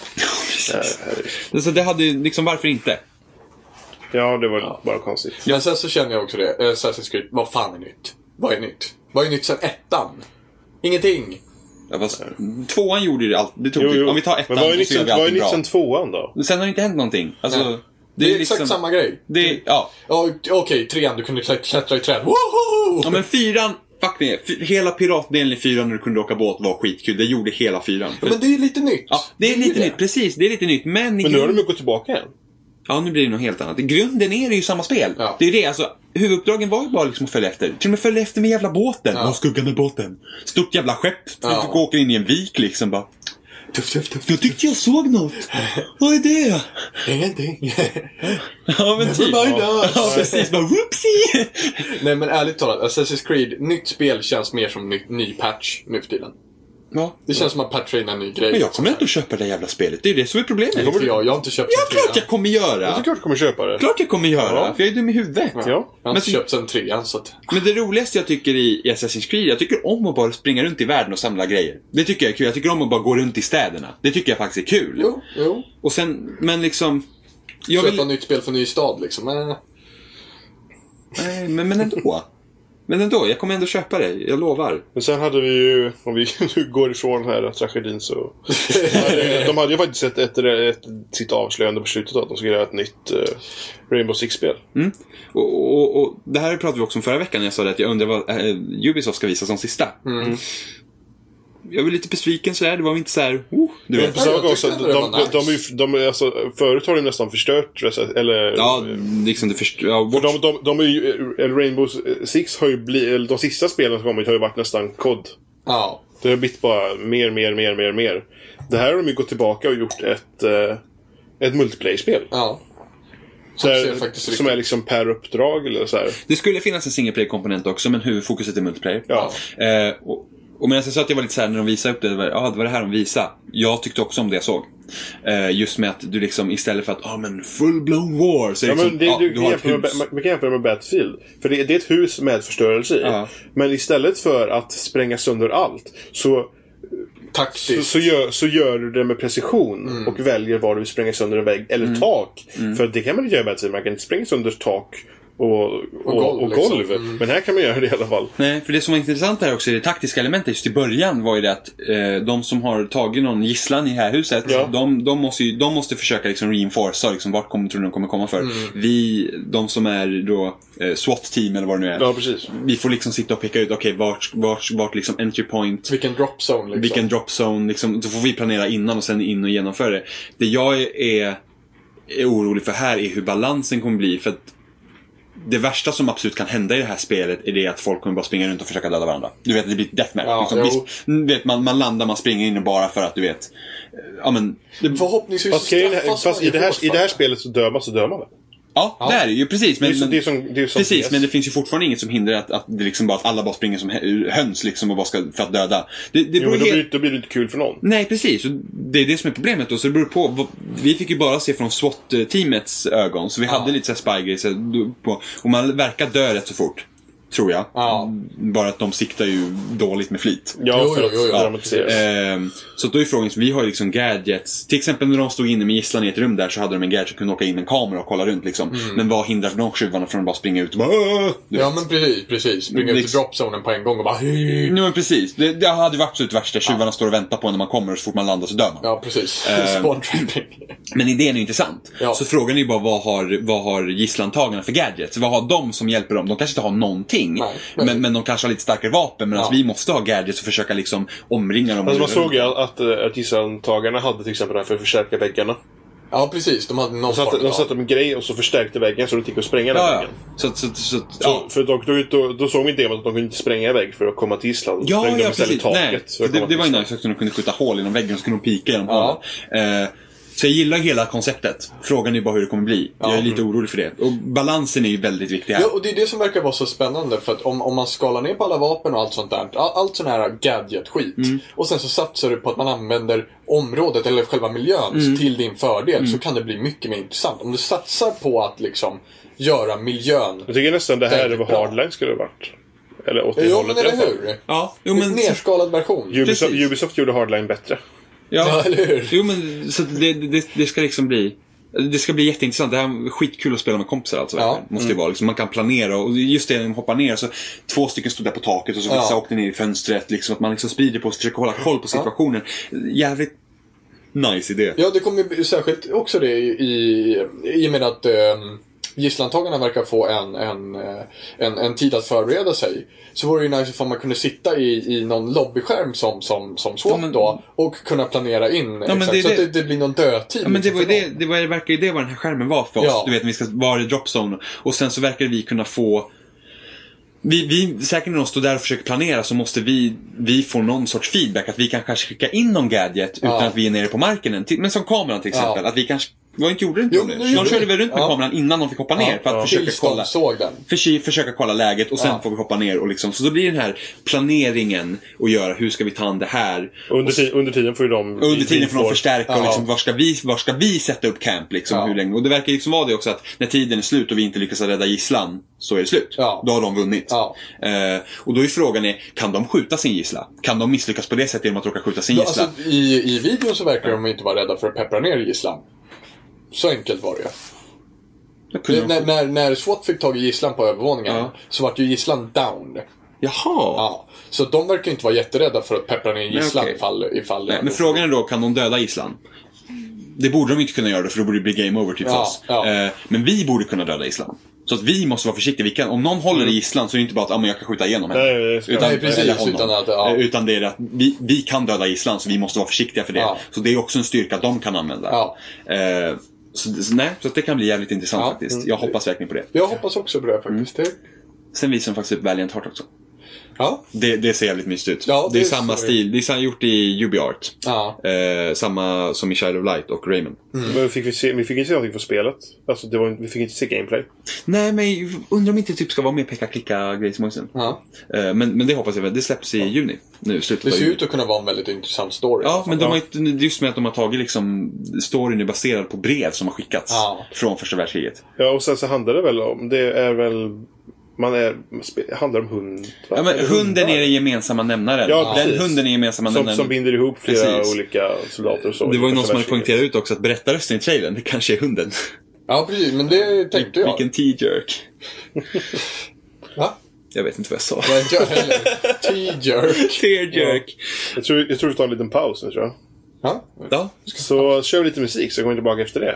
Speaker 2: Så det hade ju liksom, varför inte?
Speaker 1: Ja, det var bara konstigt.
Speaker 3: Men sen så känner jag också det, eh, Assassin's Creed, vad fan är nytt? Vad är nytt? Vad är nytt sen ettan? Ingenting.
Speaker 2: Ja, fast, tvåan gjorde ju allt. Det tog
Speaker 1: Jo, jo.
Speaker 2: Om vi tar ettan
Speaker 1: Men vad är
Speaker 2: så
Speaker 1: nytt
Speaker 2: gör
Speaker 1: sen-
Speaker 2: vi
Speaker 1: vad är liksom-
Speaker 2: allting
Speaker 1: nytt
Speaker 2: bra.
Speaker 1: sen tvåan då?
Speaker 2: Sen har det inte hänt någonting. Alltså,
Speaker 3: Nej. Det är, exakt
Speaker 2: liksom-
Speaker 3: samma grej.
Speaker 2: Det är, ja.
Speaker 3: Ja, Okej, trean, du kunde klätt- klättra i träd. Woho!
Speaker 2: ja, men fyran, fuck det. Fy- Hela piratdelen i fyran när du kunde åka båt var skitkul. Det gjorde hela fyran.
Speaker 3: Ja, men det är lite nytt.
Speaker 2: Ja, det är lite nytt, precis. Det är lite nytt, men... i
Speaker 1: Men nu har
Speaker 2: grunden-
Speaker 1: de ju gått tillbaka igen.
Speaker 2: Ja, nu blir det något helt annat. I grunden är det ju samma spel.
Speaker 3: Ja.
Speaker 2: Det är det, alltså. Huvuduppdragen var ju bara liksom att följa efter. Till och med följa efter med jävla båten. Ja. skuggan är båten. Stort jävla skepp.
Speaker 3: Ja.
Speaker 2: Vi fick åka in i en vik liksom bara.
Speaker 3: Tuff, tuff, tuff.
Speaker 2: Jag tyckte jag såg något. Vad är det?
Speaker 3: Ingenting.
Speaker 2: Ja, men typ.
Speaker 3: Never mind
Speaker 2: Ja,
Speaker 3: us.
Speaker 2: ja precis. Bara whoopsie!
Speaker 3: Nej men ärligt talat, Assassin's Creed, nytt spel känns mer som ny, ny patch nu för tiden.
Speaker 2: Ja.
Speaker 3: Det känns som att patcha in en ny grej.
Speaker 2: Men jag kommer inte att köpa det här jävla spelet. Det är ju det som är problemet.
Speaker 3: Inte jag, jag har inte köpt
Speaker 2: Ja,
Speaker 3: sen
Speaker 2: klart
Speaker 3: trean.
Speaker 2: jag kommer
Speaker 1: Jag
Speaker 2: göra.
Speaker 1: är klart du kommer köpa det.
Speaker 2: Klart jag kommer göra.
Speaker 1: Ja.
Speaker 2: För jag är dum i huvudet.
Speaker 1: Ja.
Speaker 3: Jag har inte
Speaker 2: Men-
Speaker 3: köpt sen trean så att...
Speaker 2: Men det roligaste jag tycker i i Assassin's Creed, jag tycker om att bara springa runt i världen och samla grejer. Det tycker jag är kul. Jag tycker om att bara gå runt i städerna. Det tycker jag faktiskt är kul.
Speaker 3: Jo, jo.
Speaker 2: Och sen, men liksom... Jag
Speaker 3: Köpa
Speaker 2: vill,
Speaker 3: nytt spel för ny stad liksom. Eh.
Speaker 2: nej, men, men ändå. Men ändå, jag kommer ändå köpa det. Jag lovar.
Speaker 1: Men sen hade vi ju, om vi nu går ifrån den här tragedin så... de hade ju faktiskt sett ett, ett, sitt avslöjande på slutet att de skulle göra ett nytt eh, Rainbow Six-spel.
Speaker 2: Och, och, och Det här pratade vi också om förra veckan när jag sa det att jag undrar vad eh, Ubisoft ska visa som sista. Jag var lite besviken sådär. Det var inte såhär... Oh, du vet.
Speaker 1: För saken
Speaker 3: jag tyckte
Speaker 1: också,
Speaker 3: ändå det
Speaker 1: de,
Speaker 3: var nice.
Speaker 1: de, de, är ju- de, är alltså, förut har de nästan förstört, Resi- eller...
Speaker 2: Ja, liksom det först... Ja, Watch-
Speaker 1: De, de, de är ju, eller Rainbow Six har ju blivit, de sista spelen som kommit har ju varit nästan kod.
Speaker 3: Ja.
Speaker 1: Det har blivit bara mer, mer, mer, mer, mer. Det här har de ju gått tillbaka och gjort ett, eh, ett multiplayer-spel.
Speaker 3: Ja.
Speaker 1: Så
Speaker 3: ser
Speaker 1: här,
Speaker 3: faktiskt
Speaker 1: som
Speaker 3: riktigt-
Speaker 1: är liksom per uppdrag eller så här.
Speaker 2: Det skulle finnas en single player komponent också, men huvudfokuset är multiplayer.
Speaker 1: Ja.
Speaker 2: Eh, och, och medan jag sa att jag var lite såhär när de visade upp det, det var, ah, det var det här de visade. Jag tyckte också om det jag såg. Eh, just med att du liksom istället för att, ah men full-blown war, så är
Speaker 1: Ja,
Speaker 2: det liksom,
Speaker 1: men det,
Speaker 2: ah,
Speaker 1: du,
Speaker 2: du
Speaker 1: kan
Speaker 2: har ett
Speaker 1: jämföra med,
Speaker 2: hus.
Speaker 1: Ba- man kan jämföra med Battlefield. För det, det är ett hus med förstörelse i.
Speaker 2: Ja.
Speaker 1: Men istället för att spränga sönder allt så, så,
Speaker 3: Taktiskt.
Speaker 1: så, gör, så gör du det med precision.
Speaker 2: Mm.
Speaker 1: Och väljer var du vill spränga sönder en vägg eller tak. För det kan man inte göra i Battlefield. Man kan inte spränga sönder tak och, och, och golv.
Speaker 3: golv, liksom.
Speaker 1: Men här kan man göra det i alla fall.
Speaker 2: Nej, för det som var intressant här också i det taktiska elementet just i början var ju det att eh, de som har tagit någon gisslan i det här huset,
Speaker 1: Ja.
Speaker 2: de, de, måste ju, de måste försöka liksom reinforca, liksom, vart kommer, tror ni de kommer komma
Speaker 1: Mm.
Speaker 2: för? Vi, de som är då eh, SWAT-team eller vad det nu är,
Speaker 1: Ja, precis.
Speaker 2: vi får liksom sitta och peka ut, okej, vart, vart, vart liksom entry point,
Speaker 3: Vilken drop zone liksom.
Speaker 2: vilken drop zone, liksom, så får vi planera innan och sen in och genomföra det. Det jag är, är orolig för här är hur balansen kommer bli. För att det värsta som absolut kan hända i det här spelet är det att folk kommer bara springa runt och försöka döda varandra. Du vet, det blir ett deathmatch.
Speaker 3: Ja,
Speaker 2: liksom.
Speaker 3: jo.
Speaker 2: Visst, mm, vet, man, man landar, man springer in bara för att du vet. eh, Ja, men, det,
Speaker 3: Förhoppningsvis
Speaker 1: Fast, grejen är-
Speaker 3: straffas
Speaker 1: fast
Speaker 3: man
Speaker 1: i,
Speaker 3: ju
Speaker 1: det här,
Speaker 3: hårt
Speaker 1: I det här
Speaker 3: för
Speaker 1: spelet så dör man så dör man. väl?
Speaker 2: ja, det är det ju. Precis.
Speaker 1: Det
Speaker 2: Men,
Speaker 1: är som,
Speaker 2: men,
Speaker 1: det är som, det är som
Speaker 2: Precis,
Speaker 1: PS.
Speaker 2: men det finns ju fortfarande inget som hindrar att, att, det liksom bara, att alla bara springer som hö- höns liksom och bara ska, för att döda. Det, det
Speaker 1: Jo,
Speaker 2: beror
Speaker 1: men då,
Speaker 2: helt-
Speaker 1: blir, då blir det inte kul för någon.
Speaker 2: Nej, precis. Och Det är det som är problemet. Då. Så det beror på. vad- Vi fick ju bara se från SWAT-teamets ögon. Så vi hade lite så här spy så här, du- på. Och man verkar dö rätt så fort. Tror jag.
Speaker 3: Ja.
Speaker 2: Bara att de siktar ju dåligt med flit.
Speaker 1: Ja,
Speaker 3: Jo,
Speaker 1: för
Speaker 3: jo,
Speaker 1: att
Speaker 3: jo, jo.
Speaker 1: dramatisera.
Speaker 2: Ehm, så att då är frågan, så vi har ju liksom gadgets. Till exempel när de stod inne med gisslan i ett rum där så hade de en gadget som kunde åka in med en kamera och kolla runt liksom. Men vad hindrar de tjuvarna från att bara springa ut och bara "Åh!" Du
Speaker 3: Ja
Speaker 2: vet.
Speaker 3: men precis, precis. Springa ut i
Speaker 2: Liksom-
Speaker 3: dropzonen på en gång och bara
Speaker 2: Nej, men precis. Det, det hade ju varit absolut värsta. Tjuvarna står och väntar på en när man kommer och så fort man landar så dör man.
Speaker 3: Ja precis.
Speaker 2: Ehm.
Speaker 3: Spawn trapping.
Speaker 2: Men idén är ju intressant.
Speaker 3: Ja.
Speaker 2: Så frågan är ju bara vad har, vad har gisslantagarna för gadgets? Vad har de som hjälper dem? De kanske inte har någonting.
Speaker 3: Nej, men-
Speaker 2: men, men de kanske har lite starkare vapen. Medan
Speaker 3: Ja.
Speaker 2: vi måste ha gadgets och försöka liksom omringa dem.
Speaker 1: Alltså man såg ju att, eh, att gissantagarna hade till exempel det här för att förstärka väggarna.
Speaker 3: Ja precis, de hade någon
Speaker 1: De satte,
Speaker 3: form
Speaker 1: de
Speaker 3: av...
Speaker 1: satte en grej och så förstärkte väggen så det gick att spränga den
Speaker 2: Ja, ja.
Speaker 1: väggen.
Speaker 2: Så, att- så, att- så, att-
Speaker 1: Så,
Speaker 2: ja.
Speaker 1: För då, då, då, då såg vi i demot att de kunde inte spränga iväg för att komma till Island. Då
Speaker 2: Ja,
Speaker 1: sprängde
Speaker 2: ja
Speaker 1: de istället
Speaker 2: precis. Nej,
Speaker 1: taket. för att
Speaker 2: det,
Speaker 1: komma
Speaker 2: det
Speaker 1: till
Speaker 2: var ju
Speaker 1: Island.
Speaker 2: nice också. De kunde skjuta hål genom väggen och så kunde de pika genom
Speaker 3: Ja.
Speaker 2: hålen. Eh, så jag gillar hela konceptet. Frågan är bara hur det kommer bli. Jag är lite orolig för det. Och balansen är ju väldigt viktig här.
Speaker 3: Ja, och det är det som verkar vara så spännande. För att om, om man skalar ner på alla vapen och allt sånt där. All, allt sån här gadget-skit.
Speaker 1: Mm.
Speaker 3: Och sen så satsar du på att man använder området eller själva miljön
Speaker 1: Mm.
Speaker 3: till din fördel. Så kan det bli mycket mer intressant. Om du satsar på att liksom göra miljön...
Speaker 1: Jag tycker nästan det här är
Speaker 3: Väldigt
Speaker 1: vad
Speaker 3: bra.
Speaker 1: Hardline skulle ha varit. Eller åt det
Speaker 3: Jo
Speaker 1: hållet
Speaker 3: men
Speaker 1: i alla
Speaker 3: eller
Speaker 1: fall.
Speaker 3: hur?
Speaker 2: Ja, jo,
Speaker 3: En
Speaker 2: men...
Speaker 3: nerskalad version.
Speaker 1: Ubisoft,
Speaker 2: Precis.
Speaker 1: Ubisoft gjorde Hardline bättre.
Speaker 3: Ja, eller hur?
Speaker 2: Jo, men så att det, det, det ska liksom bli... Det ska bli jätteintressant. Det här är skitkul att spela med kompisar alltså.
Speaker 3: Ja. Mm.
Speaker 2: verkligen. Måste det vara. Liksom, man kan planera och just det, när de hoppar ner så två stycken stod där på taket och så vissa
Speaker 3: Ja.
Speaker 2: åkte ner i fönstret. Liksom, att man liksom sprider på sig, försöker hålla koll på situationen. Jävligt nice idé.
Speaker 3: Ja, det kommer ju bli- särskilt också det i, i, i och med att eh, gisslantagarna verkar få en, en, eh, en, en tid att förbereda sig. Så vore det ju nice ifall man kunde sitta i, i någon lobbyskärm som, som, som SWAT
Speaker 2: Ja, men-
Speaker 3: då och kunna planera in
Speaker 2: men
Speaker 3: exakt,
Speaker 2: det är
Speaker 3: så att
Speaker 2: det-
Speaker 3: det, det blir någon dödtid.
Speaker 2: Ja, men det,
Speaker 3: liksom,
Speaker 2: var ju
Speaker 3: för
Speaker 2: det,
Speaker 3: dem.
Speaker 2: det, var, det verkar ju det vad den här skärmen var för oss.
Speaker 3: Ja.
Speaker 2: Du vet, när vi ska vara i dropzone. Och sen så verkar vi kunna få... Vi, vi, säkert när de står där och försöker planera så måste vi, vi få någon sorts feedback. Att vi kan kanske skicka in någon gadget utan
Speaker 3: Ja.
Speaker 2: att vi är nere på marken än. Till- Men som kameran till exempel.
Speaker 3: Ja.
Speaker 2: Att vi kanske... Vad inte gjorde inte
Speaker 3: Jo,
Speaker 2: de
Speaker 3: men
Speaker 2: det?
Speaker 3: nu gjorde
Speaker 2: De körde
Speaker 3: vi.
Speaker 2: väl runt med
Speaker 3: Ja.
Speaker 2: kameran innan de fick hoppa ner för att
Speaker 1: ja.
Speaker 2: försöka
Speaker 3: Tills de
Speaker 2: kolla
Speaker 3: såg den.
Speaker 2: för, försöka kolla läget och sen
Speaker 3: Ja.
Speaker 2: får vi hoppa ner och liksom, så då blir den här planeringen och göra hur ska vi ta an det här.
Speaker 1: Under, ti- under tiden får ju de...
Speaker 2: Och Under tiden får de förstärka och
Speaker 3: Ja.
Speaker 2: liksom, var, ska vi, var ska vi sätta upp camp liksom,
Speaker 3: Ja.
Speaker 2: hur länge? Och det verkar liksom vara det också att när tiden är slut och vi inte lyckas rädda gisslan så är det slut.
Speaker 3: Ja.
Speaker 2: Då har de vunnit.
Speaker 3: Ja.
Speaker 2: Eh, och då är frågan är, kan de skjuta sin gissla? Kan de misslyckas på det sättet genom att råka skjuta sin
Speaker 3: Ja,
Speaker 2: gissla?
Speaker 3: alltså, i, I videon så verkar de inte vara rädda för att peppra ner gisslan. Så enkelt var det ju.
Speaker 2: Då kunde
Speaker 3: Det-
Speaker 2: de...
Speaker 3: När, när, när SWAT fick tag i gisslan på övervåningen
Speaker 2: Ja.
Speaker 3: så vart ju gisslan down.
Speaker 2: Jaha!
Speaker 3: Ja, så de verkar ju inte vara jätterädda för att peppra ner gisslan
Speaker 2: okej.
Speaker 3: ifall, ifall
Speaker 2: Nej, men frågan är då, kan de döda gisslan? Det borde de inte kunna göra för då borde det bli game over typ för
Speaker 3: Ja,
Speaker 2: oss.
Speaker 3: ja.
Speaker 2: Eh, men vi borde kunna döda gisslan. Så att vi måste vara försiktiga. Vi kan, om någon
Speaker 3: Mm.
Speaker 2: håller i gisslan så är det inte bara att ah, men jag kan skjuta igenom henne.
Speaker 1: Nej, det ska-
Speaker 2: utan,
Speaker 3: Nej, precis,
Speaker 2: eller honom.
Speaker 3: utan att, ja.
Speaker 2: Eh, utan det är att vi, vi kan döda gisslan så vi måste vara försiktiga för det.
Speaker 3: Ja.
Speaker 2: Så det är också en styrka de kan använda.
Speaker 3: Ja.
Speaker 2: Eh, så, så, nej, så att det kan bli jävligt intressant
Speaker 3: Ja.
Speaker 2: faktiskt. Jag hoppas verkligen på det. Mm.
Speaker 3: Jag hoppas också på det faktiskt. Det-
Speaker 2: Sen visar de faktiskt upp Valiant Heart också.
Speaker 3: Ja.
Speaker 2: Det, det ser jävligt mysigt ut.
Speaker 3: Ja,
Speaker 2: det, är
Speaker 3: det
Speaker 2: samma
Speaker 3: ser-
Speaker 2: stil. Det är så- gjort i UbiArt.
Speaker 3: Ja.
Speaker 2: Eh, samma som i Child of Light och Raymond.
Speaker 1: Men fick vi, se, vi fick inte se någonting från spelet. Alltså, det var, inte- vi fick inte se gameplay.
Speaker 2: Nej, men undrar om inte typ ska vara med peka-klicka-grejer som också.
Speaker 3: ja.
Speaker 2: Eh, men, men det hoppas jag väl. Det släpps i juni. Nu, slutet av
Speaker 3: Det ser ju
Speaker 2: juni.
Speaker 3: ut att kunna vara en väldigt intressant story. i alla
Speaker 2: Ja,
Speaker 3: fall.
Speaker 2: men de har inte, det är just med att de har tagit liksom, storyn är baserad på brev som har skickats
Speaker 3: Ja.
Speaker 2: från första världskriget.
Speaker 1: Ja, och sen så handlar det väl om... Det är väl... Man är... spe- handlar om hund. va?
Speaker 2: Ja, men
Speaker 1: Eller
Speaker 2: hunden
Speaker 1: hundar.
Speaker 2: är den gemensamma nämnaren.
Speaker 1: Ja,
Speaker 2: den
Speaker 1: precis.
Speaker 2: hunden är gemensamma
Speaker 1: Som,
Speaker 2: nämnaren.
Speaker 1: som binder ihop flera
Speaker 2: Precis.
Speaker 1: olika soldater och så.
Speaker 2: det var
Speaker 1: i
Speaker 2: ju någon
Speaker 1: första
Speaker 2: som hade
Speaker 1: världskriget.
Speaker 2: poängterat ut också att berättarrösten i trailern, det kanske är hunden.
Speaker 3: Ja, precis. Men det tänkte jag.
Speaker 2: Vilken T-jerk.
Speaker 3: Va?
Speaker 2: Jag vet inte vad jag sa.
Speaker 3: Nej, inte jag heller. T-jerk.
Speaker 2: T-jerk.
Speaker 1: Jag tror, jag tror vi tar en liten paus nu, tror jag.
Speaker 3: Ja.
Speaker 2: Ja.
Speaker 1: Så kör vi lite musik så kommer vi tillbaka efter det.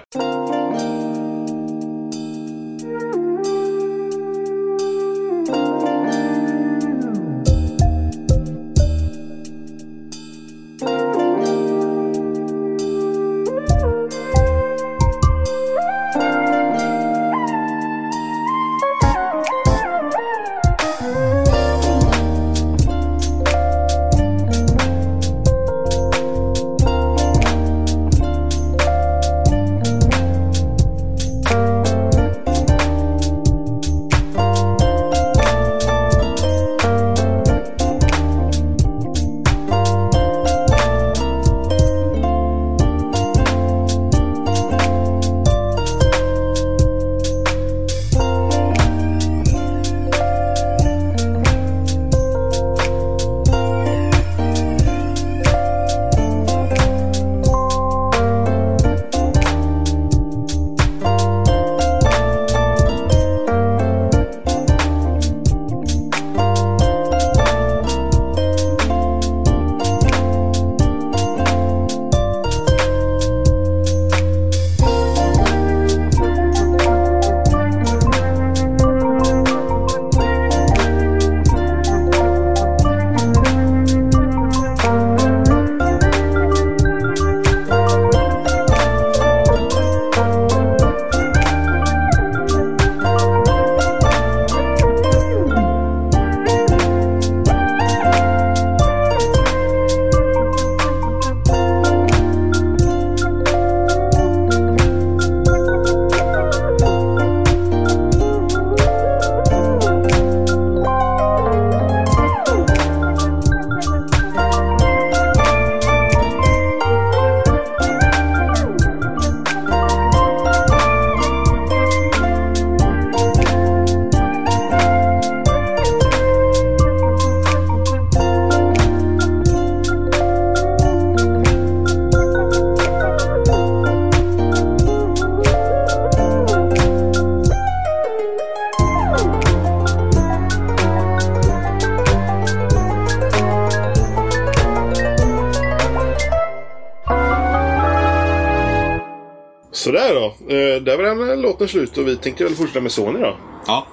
Speaker 1: Sådär då. Eh, där var den låten slut och vi tänkte väl fortsätta med Sony då.
Speaker 2: ja.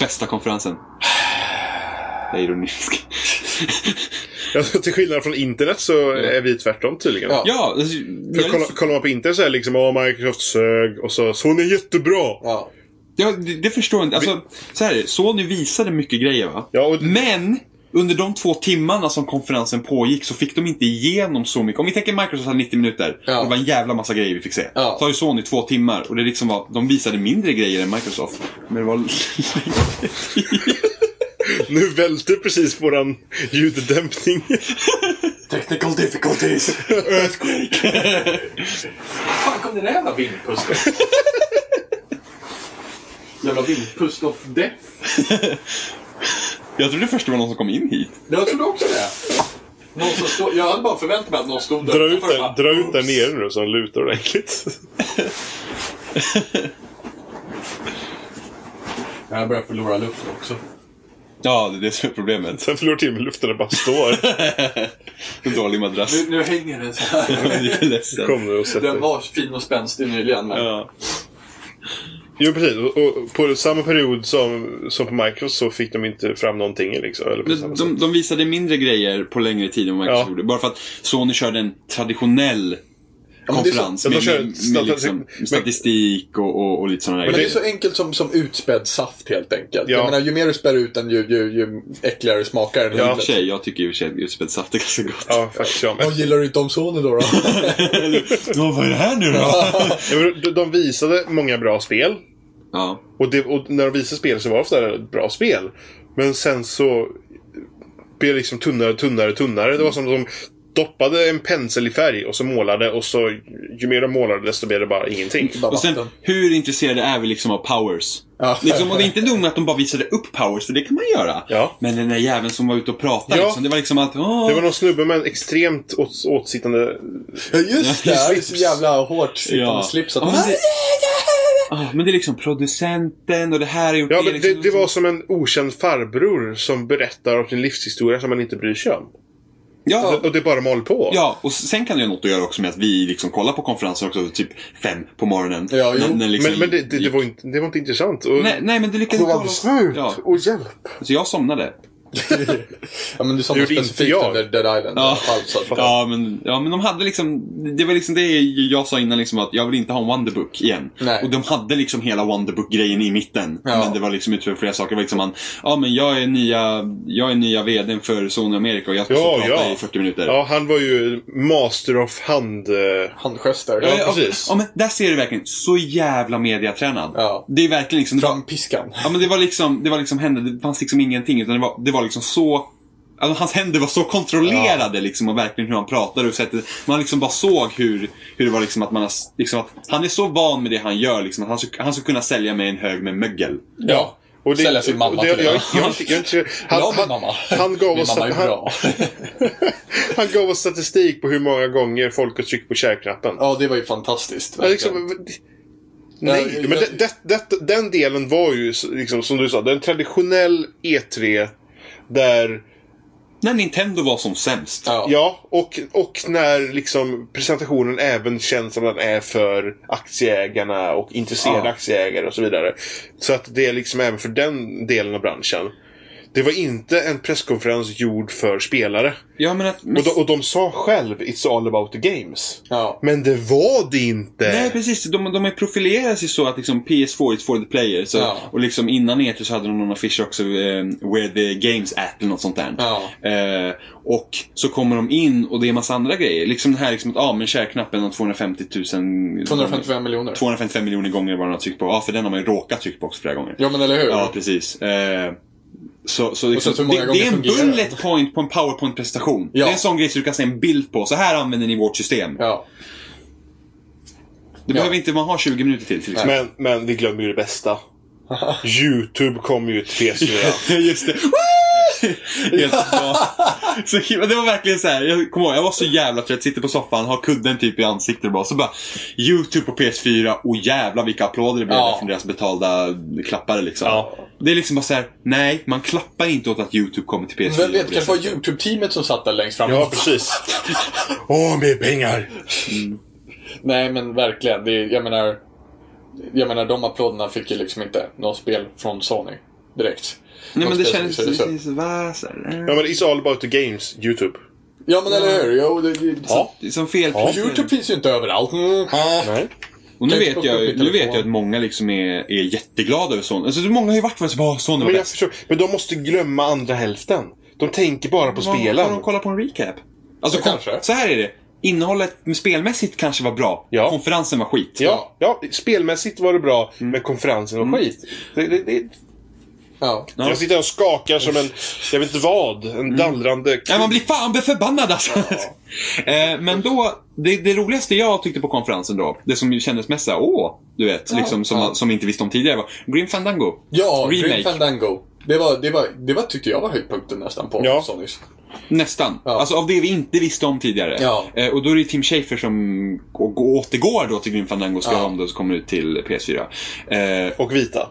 Speaker 2: Bästa konferensen. Jag är ironisk.
Speaker 1: Ja, till skillnad från internet så är vi tvärtom tydligen.
Speaker 3: Ja.
Speaker 2: ja, alltså,
Speaker 1: För
Speaker 2: jag-
Speaker 1: kolla, kollar man på internet så är det liksom Åh, Microsoft sög och så Sony är jättebra.
Speaker 3: Ja.
Speaker 2: Ja, det, det förstår jag inte. Alltså, så här, är det. Sony visade mycket grejer va?
Speaker 1: Ja, och-
Speaker 2: Men! Under de två timmarna som konferensen pågick så fick de inte igenom så mycket. Om vi tänker Microsoft hade 90 minuter
Speaker 3: Ja.
Speaker 2: och det var en jävla massa grejer vi fick se.
Speaker 3: Ja.
Speaker 2: Så har ju Sony två timmar och det liksom var, de visade mindre grejer än Microsoft. Men det var...
Speaker 1: Nu välte precis våran ljuddämpning.
Speaker 3: Technical difficulties. fan kom det där jävla vindpuslet? jävla vindpust of death.
Speaker 2: jag trodde först det var någon som kom in hit.
Speaker 3: Jag trodde också det. Någon som stod, jag hade bara förväntat mig att någon stod där
Speaker 1: Dra ut
Speaker 3: utanför och
Speaker 1: den,
Speaker 3: bara,
Speaker 1: dra ut den
Speaker 3: "Oops."
Speaker 1: nere nu så den lutar ordentligt.
Speaker 3: Jag börjar förlora luft också.
Speaker 2: Ja, det är det som är problemet.
Speaker 1: Sen förlorar till med luften och bara står.
Speaker 2: En dålig madrass.
Speaker 3: Nu, nu hänger den så här.
Speaker 2: Jag blir lite ledsen.
Speaker 1: Kom nu och sätt
Speaker 3: Den
Speaker 1: dig.
Speaker 3: var fin och spänstig nyligen men...
Speaker 2: Ja.
Speaker 1: Jo precis. Och, och på samma period som, som på Microsoft så fick de inte fram någonting liksom. Eller på
Speaker 2: De,
Speaker 1: samma sätt.
Speaker 2: de, de visade mindre grejer på längre tid än vad Microsoft
Speaker 1: Ja.
Speaker 2: gjorde. Bara för att Sony körde en traditionell
Speaker 1: men det är så-
Speaker 2: konferens
Speaker 1: Ja, de
Speaker 2: med,
Speaker 1: kör
Speaker 2: med, med
Speaker 1: statistik-
Speaker 2: liksom
Speaker 1: men-
Speaker 2: statistik och, och, och lite sådana där
Speaker 3: Men det är
Speaker 2: grejer.
Speaker 3: så enkelt som, som utspädd saft helt enkelt.
Speaker 1: Ja.
Speaker 3: Jag menar, ju mer du spär ut den ju, ju, ju äckligare smakar den.
Speaker 1: Ja.
Speaker 2: I och för sig, jag tycker i och för sig att utspädd saft är ganska gott.
Speaker 1: Ja, faktiskt. Ja. Men,
Speaker 3: Vad gillar du inte om sonen då? då?
Speaker 2: Ja, vad är det här nu då?
Speaker 1: Ja, men de- de visade många bra spel.
Speaker 2: ja.
Speaker 1: Och, det, och när de visade spel så var det ofta bra spel. Men sen så blev det liksom tunnare och tunnare och tunnare. Det var som att de doppade en pensel i färg och så målade och så ju mer de målade desto blev det bara ingenting.
Speaker 3: Bara
Speaker 2: Och sen,
Speaker 3: vatten.
Speaker 2: hur intresserade är vi liksom av powers?
Speaker 3: Ja.
Speaker 2: Liksom, och det är inte nog med att de bara visade upp powers, för det kan man göra.
Speaker 1: Ja.
Speaker 2: Men den där jäveln som var ute och pratade,
Speaker 1: Ja.
Speaker 2: liksom, det var liksom att... Åh,
Speaker 1: Det var någon snubbe med en extremt åt, åtsittande...
Speaker 3: Ja, just det!
Speaker 2: Ja,
Speaker 3: Det är så
Speaker 1: slips.
Speaker 3: jävla hårt sittande
Speaker 2: Ja.
Speaker 3: slips.
Speaker 2: Ja,
Speaker 3: Att
Speaker 2: men
Speaker 3: man...
Speaker 2: det- Ah, men det är liksom producenten och det här är gjort
Speaker 1: Ja,
Speaker 2: det,
Speaker 1: men det,
Speaker 2: liksom,
Speaker 1: det var som en okänd farbror som berättar om sin livshistoria som man inte bryr sig om.
Speaker 2: Ja,
Speaker 1: Och det bara mal på.
Speaker 2: ja, och sen kan det ju ha något att göra också med att vi liksom kollar på konferenser också typ fem på morgonen.
Speaker 3: Ja, jo.
Speaker 2: liksom-
Speaker 1: Men, men det, det, det, var inte, det var inte intressant. Och,
Speaker 2: Nej, nej, men det lyckades
Speaker 1: Det var absurt.
Speaker 2: Ja,
Speaker 1: och hjälp!
Speaker 2: så jag somnade.
Speaker 3: ja, men du sa
Speaker 1: Det
Speaker 3: något
Speaker 1: gjorde inte
Speaker 3: specifikt
Speaker 1: jag.
Speaker 3: under Dead Island. Alltså, i alla fall, så att-
Speaker 2: Ja, men, ja, men de hade liksom... Det var liksom det jag sa innan, liksom att jag vill inte ha en Wonderbook igen.
Speaker 3: Nej.
Speaker 2: Och de hade liksom hela Wonderbook-grejen i mitten.
Speaker 3: Ja.
Speaker 2: Men det var liksom utöver flera saker. Det var liksom han, ja men jag är nya, jag är nya VDn för Sony America och jag ska
Speaker 1: Ja,
Speaker 2: stå och prata
Speaker 1: ja.
Speaker 2: i 40 minuter.
Speaker 1: Ja, han var ju master of hand... eh,
Speaker 3: Handgester.
Speaker 1: Ja,
Speaker 3: Ja,
Speaker 1: ja. precis.
Speaker 2: Ja, men där ser du verkligen, så jävla mediatränad.
Speaker 3: Ja.
Speaker 2: Det är verkligen liksom... Det var,
Speaker 3: Fram piskan.
Speaker 2: ja, men det var liksom, det var liksom händer, det fanns liksom ingenting. Utan det var, det var liksom så... Alltså, hans händer var så kontrollerade liksom och verkligen hur han pratade och sättet. Man liksom bara såg hur, hur det var liksom att man har, s- liksom att Han är så van med det han gör liksom att han, skulle- han skulle kunna sälja mig en hög med mögel.
Speaker 3: Ja.
Speaker 1: Och det,
Speaker 3: Sälja sin mamma
Speaker 1: och det,
Speaker 3: till
Speaker 1: jag, jag,
Speaker 3: det.
Speaker 1: jag, jag, jag, han,
Speaker 3: Ja, min
Speaker 1: han,
Speaker 3: mamma.
Speaker 1: han gav
Speaker 3: Min
Speaker 1: oss...
Speaker 3: mamma är
Speaker 1: Han,
Speaker 3: bra.
Speaker 1: han gav oss statistik på hur många gånger folk har tryckt på kärknappen.
Speaker 3: Ja, det var ju fantastiskt.
Speaker 1: Ja,
Speaker 3: verkligen.
Speaker 1: liksom, nej,
Speaker 3: Ja, jag-
Speaker 1: men det, det, det, den delen var ju s- liksom, som du sa, den traditionell E3 där,
Speaker 2: När Nintendo var som sämst.
Speaker 3: Ja.
Speaker 1: ja, och, och när liksom presentationen även känns som den är för aktieägarna och intresserade
Speaker 2: Ja.
Speaker 1: aktieägare och så vidare. Så att det är liksom även för den delen av branschen. Det var inte en presskonferens gjord för spelare.
Speaker 2: Ja, men att, men,
Speaker 1: Och de, och de sa själv It's all about the games.
Speaker 3: Ja.
Speaker 1: Men det var det inte!
Speaker 2: Nej precis, de, de har profilerat sig så att liksom PS4 is for the player. Så,
Speaker 3: Ja.
Speaker 2: Och liksom innan E3 så hade de någon affisch också, eh, Where the Games App eller något sånt där.
Speaker 3: Ja.
Speaker 2: Eh, och så kommer de in och det är massa andra grejer. Liksom det här liksom att, ja ah, men kärknappen har 250 000...
Speaker 3: 255 miljoner.
Speaker 2: 255 miljoner gånger var den har tryckt på. Ja, för den har man ju råkat trycka på också flera gånger.
Speaker 3: Ja, men eller hur?
Speaker 2: Ja, precis. Eh, så, så
Speaker 3: så
Speaker 2: liksom,
Speaker 3: hur många
Speaker 2: det,
Speaker 3: gånger
Speaker 2: det är en
Speaker 3: fungerar
Speaker 2: bullet point på en powerpoint-presentation.
Speaker 3: Ja.
Speaker 2: Det är en sån grej som du kan se en bild på. Så här använder ni vårt system.
Speaker 3: Ja.
Speaker 2: Det behöver inte man ha 20 minuter till till exempel.
Speaker 1: Men, men vi glömmer ju det bästa. Youtube kom ju till PS4.
Speaker 2: Just det. Woo! Helt bra. så, himla- det var verkligen så här. Jag kommer ihåg, jag var så jävla trött. Sitter på soffan, har kudden typ i ansiktet och bara. Så bara YouTube på PS4 och jävla vilka applåder det blev
Speaker 3: Ja.
Speaker 2: där från deras betalda klappare liksom.
Speaker 1: Ja.
Speaker 2: Det är liksom bara så här. nej man klappar inte åt att YouTube kommer till PS4.
Speaker 3: Vem vet,
Speaker 2: på det
Speaker 3: kanske var
Speaker 2: sättet.
Speaker 3: YouTube-teamet som satt där längst fram.
Speaker 1: Ja, precis. Åh, mer pengar!
Speaker 3: Nej, men verkligen. Det, är- jag menar, jag menar, de applåderna fick ju liksom inte något spel från Sony direkt.
Speaker 2: Nej
Speaker 3: Något
Speaker 2: men det
Speaker 3: spel som
Speaker 2: kändes...
Speaker 3: visades upp.
Speaker 2: det kändes- va, så här,
Speaker 1: Ja,
Speaker 2: eh.
Speaker 1: men it's all about the games, Youtube.
Speaker 3: Ja, men eller hur? Jo, det, det,
Speaker 1: Ja.
Speaker 2: Det är Som fel
Speaker 3: så- YouTube finns ju inte överallt. Mm.
Speaker 1: Nej.
Speaker 2: Och nu
Speaker 3: Tänk
Speaker 2: vet,
Speaker 3: på
Speaker 2: jag,
Speaker 3: mitt telefon.
Speaker 2: nu vet jag att många liksom är, är jätteglada över Sony. Alltså, många har ju varit för att bara, Sony var
Speaker 1: Men, jag
Speaker 2: bäst.
Speaker 1: förstår, men de måste glömma andra hälften. De tänker bara på
Speaker 2: Har
Speaker 1: spelen.
Speaker 2: de kollat på en recap? Alltså,
Speaker 3: Ja,
Speaker 2: kom,
Speaker 3: kanske.
Speaker 2: så här är det. Innehållet med spelmässigt kanske var bra.
Speaker 1: Ja.
Speaker 2: Konferensen var skit.
Speaker 1: Ja, ja, spelmässigt var det bra, men konferensen var
Speaker 2: Mm.
Speaker 1: skit. Det, det, det,
Speaker 3: Ja.
Speaker 2: Ja. Mm.
Speaker 1: jag sitter här och skakar som en, jag vet inte vad, en dallrande...
Speaker 2: Ja, man blir fan förbannad alltså. Eh, Men då, det, det roligaste jag tyckte på konferensen då, det som ju kändes mest såhär, åh, du vet, liksom, som,
Speaker 3: ja.
Speaker 2: som vi inte visste om tidigare var Grim Fandango.
Speaker 3: Ja, Grim
Speaker 2: Remake.
Speaker 3: Fandango. Det var, det, var, det var, tyckte jag var höjdpunkten nästan på
Speaker 1: Ja.
Speaker 3: Sonys.
Speaker 2: Nästan.
Speaker 3: Ja.
Speaker 2: Alltså av det vi inte visste om tidigare.
Speaker 3: Ja.
Speaker 2: Eh, och då är det Tim Schafer som och, och återgår då till Grim Fandango och ska
Speaker 3: Ja.
Speaker 2: göra om det och så kommer det ut till PS4. Eh,
Speaker 1: Och vita.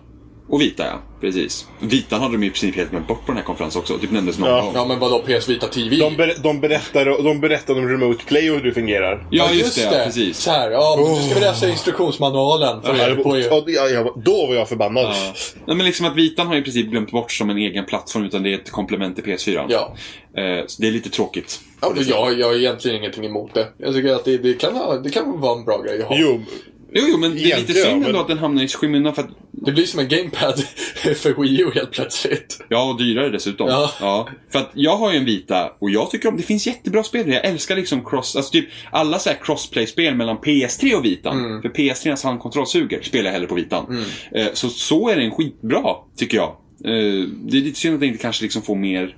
Speaker 2: Och vita ja, precis. Vitan hade de i princip helt glömt bort på den här konferensen också. Typ nämndes någon
Speaker 1: Ja.
Speaker 2: gång.
Speaker 3: Ja, men vadå PS Vita TV?
Speaker 1: De, ber- de, berättar, de berättar om remote play och hur det fungerar.
Speaker 2: Ja, just, det. Ja, precis. Oh.
Speaker 3: Så här, ja, men du ska väl läsa instruktionsmanualen för
Speaker 1: Ja,
Speaker 3: er
Speaker 1: det
Speaker 3: på er.
Speaker 1: var- ja, jag var- då var jag förbannad.
Speaker 2: Ja. Nej, men liksom att Vitan har i princip glömt bort som en egen plattform utan det är ett komplement till PS4.
Speaker 3: Ja.
Speaker 2: Eh, så det är lite tråkigt.
Speaker 3: Ja, men jag, jag har egentligen ingenting emot det. Jag tycker att det, det, kan, ha- det kan vara en bra grej att ha.
Speaker 1: Jo,
Speaker 2: Jo, jo men det är lite
Speaker 1: Egentligen,
Speaker 2: synd
Speaker 1: men-
Speaker 2: ändå att den hamnar i skymundan för att...
Speaker 3: Det blir som en gamepad för Wii U helt plötsligt.
Speaker 2: Ja, och dyrare dessutom.
Speaker 3: Ja.
Speaker 2: För att jag har ju en Vita och jag tycker om... Det finns jättebra spel Jag älskar liksom cross... Alltså typ alla så här crossplay-spel mellan PS3 och Vitan. För PS3s handkontroll suger. Spelar jag hellre på Vitan. Eh, så så är den skitbra, tycker jag. Eh, det är lite synd att den inte kanske liksom får mer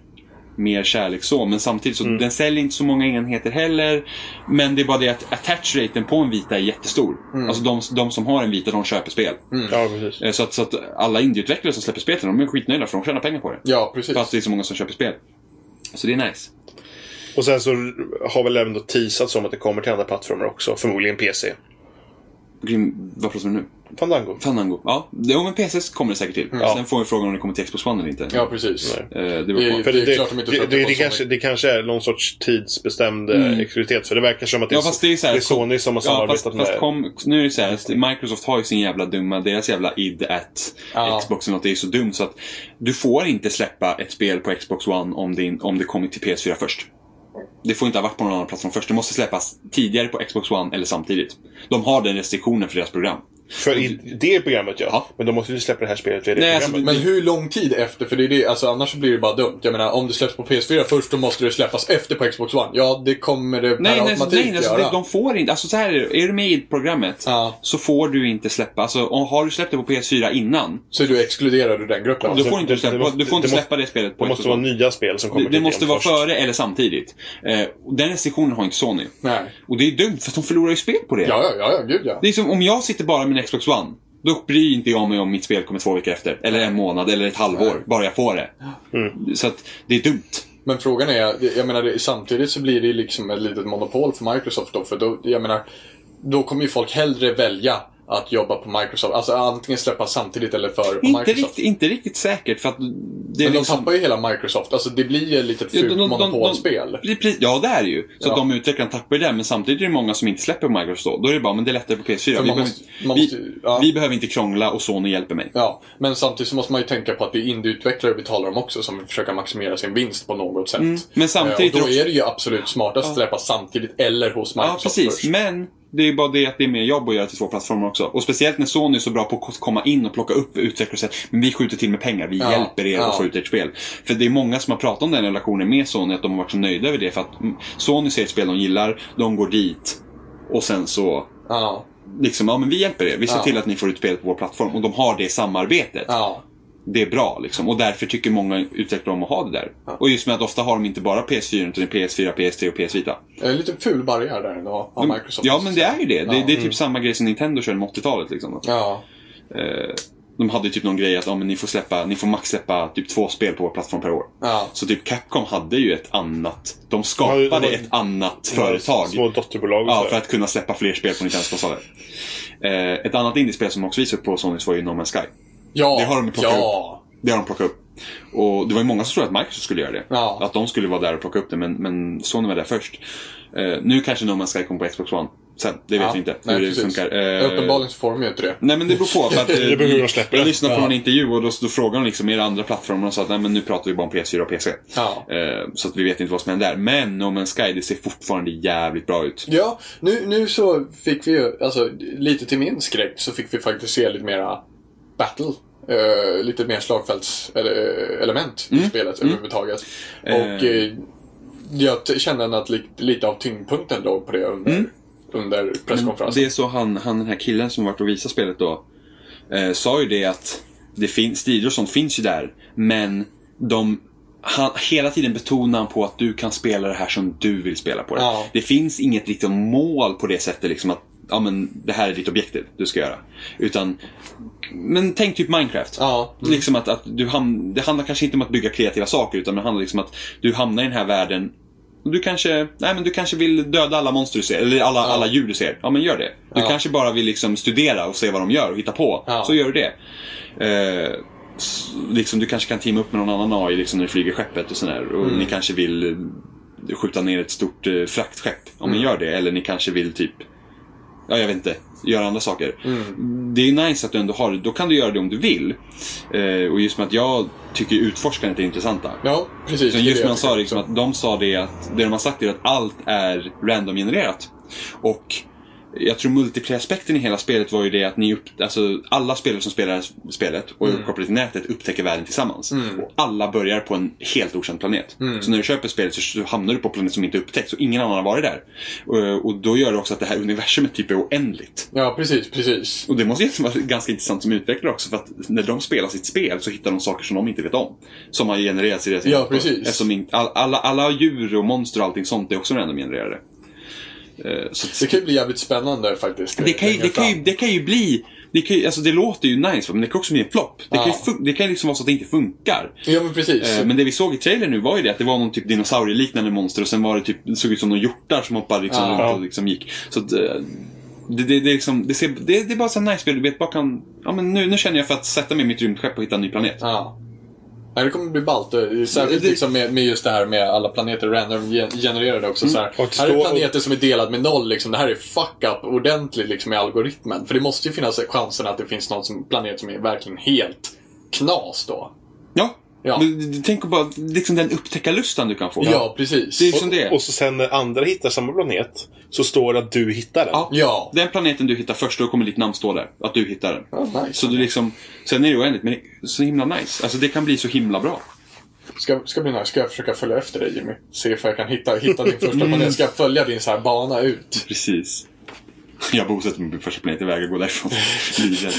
Speaker 2: mer kärlek så. Men samtidigt så den säljer inte så många enheter heller. Men det är bara det att attach-raten på en vita är jättestor. Alltså de, de som har en vita, de köper spel.
Speaker 1: ja precis.
Speaker 2: Eh, Så, att, så att alla indieutvecklare som släpper spel till dem, de är skitnöjda för de tjänar pengar på det.
Speaker 3: Ja, precis.
Speaker 2: För att det är så många som köper spel. Så det är nice.
Speaker 1: Och sen så har väl även då teasats om att det kommer till andra plattformar också. Förmodligen PC.
Speaker 2: Grym, vad pratar vi om nu?
Speaker 1: Fandango.
Speaker 2: Fandango. Ja, det, om en PC kommer det säkert till.
Speaker 1: Ja.
Speaker 2: Sen får vi frågan om det kommer till Xbox One eller inte.
Speaker 3: Ja, precis.
Speaker 1: Nej.
Speaker 2: Eh, det beror på.
Speaker 1: För
Speaker 3: Det
Speaker 1: det,
Speaker 3: är
Speaker 1: det,
Speaker 3: klart de inte
Speaker 1: det,
Speaker 3: släpper
Speaker 1: det,
Speaker 3: på Sony.
Speaker 1: kanske, det kanske är någon sorts tidsbestämd
Speaker 2: Mm.
Speaker 1: mm. exklusivitet. För det verkar som att det är,
Speaker 2: Ja, fast det är så här-
Speaker 1: det är Sony som har
Speaker 2: Ja,
Speaker 1: samarbetat
Speaker 2: fast, fast
Speaker 1: med...
Speaker 2: kom, nu är det så här, Microsoft har ju sin jävla dumma, deras jävla id att
Speaker 3: Ja.
Speaker 2: Xbox eller något, det är så dumt så att du får inte släppa ett spel på Xbox One om det, in- om det kommit till PS4 först. Det får inte ha varit på någon annan plattform först. Det måste släppas tidigare på Xbox One eller samtidigt. De har den restriktionen för deras program.
Speaker 1: För i det programmet ja.
Speaker 2: Ja.
Speaker 1: Men då måste du släppa det här spelet via det
Speaker 2: Nej, alltså,
Speaker 1: programmet.
Speaker 3: Men hur lång tid efter? För det är det, alltså annars så blir det bara dumt. Jag menar, om det släpps på PS4 först, då måste det släppas efter på Xbox One. Ja, det kommer det per
Speaker 2: Nej, nej,
Speaker 3: automatik
Speaker 2: nej alltså,
Speaker 3: göra.
Speaker 2: det, de får inte. Alltså så här är det. Är du med i programmet
Speaker 3: Ja.
Speaker 2: så får du inte släppa. Alltså, om, har du släppt det på PS4 innan,
Speaker 3: Så är du exkluderad ur den gruppen.
Speaker 2: då
Speaker 3: Alltså.
Speaker 2: får du inte,
Speaker 1: det- det
Speaker 2: släppa,
Speaker 1: måste-
Speaker 2: du får inte
Speaker 1: det måste-
Speaker 2: släppa det spelet på
Speaker 1: Det
Speaker 2: Xbox
Speaker 1: måste vara
Speaker 2: One.
Speaker 1: nya spel som kommer
Speaker 2: Det, det
Speaker 1: dit
Speaker 2: måste
Speaker 1: igen
Speaker 2: vara
Speaker 1: först.
Speaker 2: före eller samtidigt. Eh, och den restriktionen har inte Sony.
Speaker 3: Nej.
Speaker 2: Och det är dumt, för att de förlorar ju spel på det.
Speaker 3: Ja, ja, ja, ja, gud ja.
Speaker 2: Det är som om jag sitter bara med min Xbox One. Då bryr inte jag mig om mitt spel kommer två veckor efter. Eller en månad, eller ett halvår. Bara jag får det. Så att, det är dumt.
Speaker 3: Men frågan är, jag menar det, samtidigt så blir det liksom ett litet monopol för Microsoft då. För då, jag menar, då kommer ju folk hellre välja att jobba på Microsoft. Alltså antingen släppa samtidigt eller före på
Speaker 2: Inte
Speaker 3: Microsoft.
Speaker 2: riktigt, inte riktigt säkert, för att det är
Speaker 3: Men de
Speaker 2: liksom...
Speaker 3: tappar ju hela Microsoft. Alltså det blir ju ett litet
Speaker 2: Ja, de-
Speaker 3: fult
Speaker 2: de- de-
Speaker 3: monopolspel.
Speaker 2: de- precis, Ja, det är det ju. Så
Speaker 3: Ja.
Speaker 2: att de utvecklarna tappar ju det, men samtidigt är det många som inte släpper på Microsoft då. Då är det bara, men det är lättare på PS4.
Speaker 3: För
Speaker 2: Vi,
Speaker 3: man
Speaker 2: behöver,
Speaker 3: måste- man
Speaker 2: vi,
Speaker 3: måste- ja.
Speaker 2: vi behöver inte krångla och Sony hjälper mig.
Speaker 3: Ja, men samtidigt så måste man ju tänka på att det är indieutvecklare vi talar om också som vill försöka maximera sin vinst på något sätt.
Speaker 2: men Mm. samtidigt
Speaker 3: Eh, och då
Speaker 2: också-
Speaker 3: är det ju absolut smartast att släppa samtidigt eller hos
Speaker 2: Ja,
Speaker 3: Microsoft
Speaker 2: precis.
Speaker 3: först.
Speaker 2: Men det är bara det att det är mer jobb att göra till två plattformar också. Och speciellt när Sony är så bra på att komma in och plocka upp utvecklare och säga men vi skjuter till med pengar, vi
Speaker 3: Ja,
Speaker 2: hjälper er
Speaker 3: ja.
Speaker 2: att få ut ert spel. För det är många som har pratat om den relationen med Sony, att de har varit så nöjda över det. För att mm, Sony ser ett spel de gillar, de går dit och sen så
Speaker 3: Ja,
Speaker 2: liksom, ja men vi hjälper er. Vi ser
Speaker 3: Ja.
Speaker 2: till att ni får ut spel på vår plattform. Och de har det samarbetet.
Speaker 3: ja.
Speaker 2: Det är bra liksom. Och därför tycker många utvecklare om att ha det där. Och just med att ofta har de inte bara PS4 utan det är PS4, PS3 och PS Vita.
Speaker 3: En liten Eh, ful barriär där ändå av
Speaker 2: Mm.
Speaker 3: Microsoft.
Speaker 2: Ja men det är ju det. Det,
Speaker 3: Ja.
Speaker 2: det är typ samma grej som Nintendo körde med 80-talet liksom.
Speaker 3: Ja.
Speaker 2: Eh, De hade ju typ någon grej att ja, men ni, får släppa, ni får max släppa typ två spel på vår plattform per år.
Speaker 3: Ja.
Speaker 2: Så typ Capcom hade ju ett annat, de skapade
Speaker 1: Ja, det var-
Speaker 2: ett annat
Speaker 1: Ja,
Speaker 2: företag.
Speaker 1: Små dotterbolag och
Speaker 2: Ja,
Speaker 1: sådär.
Speaker 2: för att kunna släppa fler spel på Nintendos konsoler. Eh, ett annat indiespel som också visades på Sonys var ju No Man's Sky.
Speaker 3: Ja.
Speaker 2: Det har de ju plockat
Speaker 3: ja.
Speaker 2: Det har de plockat upp. Och det var ju många som trodde att Microsoft skulle göra det.
Speaker 3: Ja.
Speaker 2: Att de skulle vara där och plocka upp det, men, men Sony var där först. Eh, nu kanske No Man's Sky kommer på Xbox One. Sen, det vet
Speaker 3: ja.
Speaker 2: vi inte
Speaker 3: Nej,
Speaker 2: hur det
Speaker 3: precis.
Speaker 2: funkar. Eh,
Speaker 3: Uppenbarligen så får de ju inte det.
Speaker 2: Nej men det beror på. För att, eh,
Speaker 1: beror hur de släpper
Speaker 2: jag
Speaker 1: det.
Speaker 2: lyssnade på
Speaker 3: Ja.
Speaker 2: en intervju och då, då frågade de liksom, är det andra plattformar? Och sa att nej men nu pratar vi bara om PS4 och PC.
Speaker 3: Ja.
Speaker 2: Eh, så att vi vet inte vad som händer där. Men No Man's Sky, det ser fortfarande jävligt bra ut.
Speaker 3: Ja, nu, nu så fick vi ju, alltså lite till min skräck, så fick vi faktiskt se lite mera battle. eh, lite mer slagfältselement i spelet överhuvudtaget. Och
Speaker 2: Mm. Eh.
Speaker 3: eh, jag t- kände ändå att li- lite av tyngdpunkten låg på det under, under presskonferensen.
Speaker 2: Mm. Det är så han, han, den här killen som varit och visat spelet då, eh, sa ju det att det finns, strider och sånt finns ju där, men de han, hela tiden betonar han på att du kan spela det här som du vill spela på det.
Speaker 3: Ja.
Speaker 2: Det finns inget riktigt mål på det sättet, liksom att ja, men, det här är ditt objektiv du ska göra. Utan, men tänk typ Minecraft.
Speaker 3: Ja.
Speaker 2: Liksom att, att du ham- det handlar kanske inte om att bygga kreativa saker, utan det handlar liksom att du hamnar i den här världen Du kanske, nej, men du kanske vill döda alla monster du ser, eller alla, alla djur du ser. Ja, men gör det. Du
Speaker 4: Ja.
Speaker 2: kanske bara vill liksom studera och se vad de gör och hitta på.
Speaker 4: Ja.
Speaker 2: Så gör du det. Eh, s- liksom, du kanske kan teama upp med någon annan AI liksom, när du flyger skeppet och sådär. Och ni kanske vill eh, skjuta ner ett stort eh, fraktskepp. Ja, men gör det. Eller ni kanske vill typ ja, jag vet inte, göra andra saker. Det är nice att du ändå har det. Då kan du göra det om du vill. Eh, och just med att jag tycker utforskandet är intressanta.
Speaker 4: Ja, precis.
Speaker 2: Sen
Speaker 4: det är
Speaker 2: just
Speaker 4: det
Speaker 2: man
Speaker 4: jag
Speaker 2: sa
Speaker 4: tycker
Speaker 2: liksom
Speaker 4: också.
Speaker 2: att de sa det att det de har sagt är att allt är randomgenererat. Och jag tror multiplayer-aspekten i hela spelet var ju det att ni upp, alltså, alla spelare som spelar spelet och är uppkopplade till nätet upptäcker världen tillsammans. Och alla börjar på en helt okänd planet. Så när du köper spelet så- så hamnar du på en planet som inte är upptäckt, så ingen annan har varit där. Och, och då gör det också att det här universumet typ är oändligt.
Speaker 4: Ja, precis, precis.
Speaker 2: Och det måste ju vara ganska intressant som utvecklare också för att när de spelar sitt spel så hittar de saker som de inte vet om. Som har genererats i deras
Speaker 4: Ja,
Speaker 2: hjärnor.
Speaker 4: precis.
Speaker 2: Eftersom in- all, alla, alla djur och monster och allting sånt är också randomgenererade. Eh, Så att-
Speaker 4: Det kan ju bli jävligt spännande faktiskt.
Speaker 2: det kan, ju,
Speaker 4: längre
Speaker 2: det, kan ju,
Speaker 4: fram.
Speaker 2: det kan ju bli... Det, kan ju, alltså det låter ju nice, men det kan också bli en flopp. Det, kan ju
Speaker 4: Ja.
Speaker 2: fun- det kan ju liksom vara så att det inte funkar.
Speaker 4: Ja, men precis.
Speaker 2: Eh, Men det vi såg i trailern nu var ju det att det var någon typ dinosaurieliknande monster och sen var det typ, det såg ut som några hjortar som hoppade liksom
Speaker 4: Ja.
Speaker 2: runt och liksom gick. Så att, eh, det, det, det, är liksom, det, ser, det, det är bara så här nice spel. Du vet, bara kan, ja, men nu, nu känner jag för att sätta mig i mitt rymdskepp och hitta en ny planet.
Speaker 4: Ja. Nej, det kommer bli ballt. Särskilt
Speaker 2: Det-
Speaker 4: liksom med, med just det här med alla planeter random gen- genererade också. Så
Speaker 2: Mm.
Speaker 4: här.
Speaker 1: Och att
Speaker 4: här är
Speaker 1: stå-
Speaker 4: planeter som är delad med noll. Liksom. Det här är fuck up ordentligt liksom, i algoritmen. För det måste ju finnas chansen att det finns någon som, planet som är verkligen helt knas då.
Speaker 2: Ja.
Speaker 4: Ja.
Speaker 2: Men, d- tänk bara liksom den upptäckarlustan du kan få.
Speaker 4: Ja, precis.
Speaker 2: Det är liksom det.
Speaker 1: Och, och så sen när andra hittar samma planet så står det att du hittar den.
Speaker 2: Ja.
Speaker 4: Ja.
Speaker 2: Den planeten du hittar först, då kommer ditt namn stå där. Att du hittar den.
Speaker 4: Ja, nice.
Speaker 2: Så du liksom, sen är det oändligt, men det är så himla nice. Alltså det kan bli så himla bra.
Speaker 4: Ska, ska bli nice. Ska jag försöka följa efter dig Jimmy? Se ifall jag kan hitta, hitta din
Speaker 2: Mm.
Speaker 4: första planet. Ska jag följa din så här bana ut?
Speaker 2: Precis. Jag bosätter mig på första planet iväg och går därifrån. Livrädd.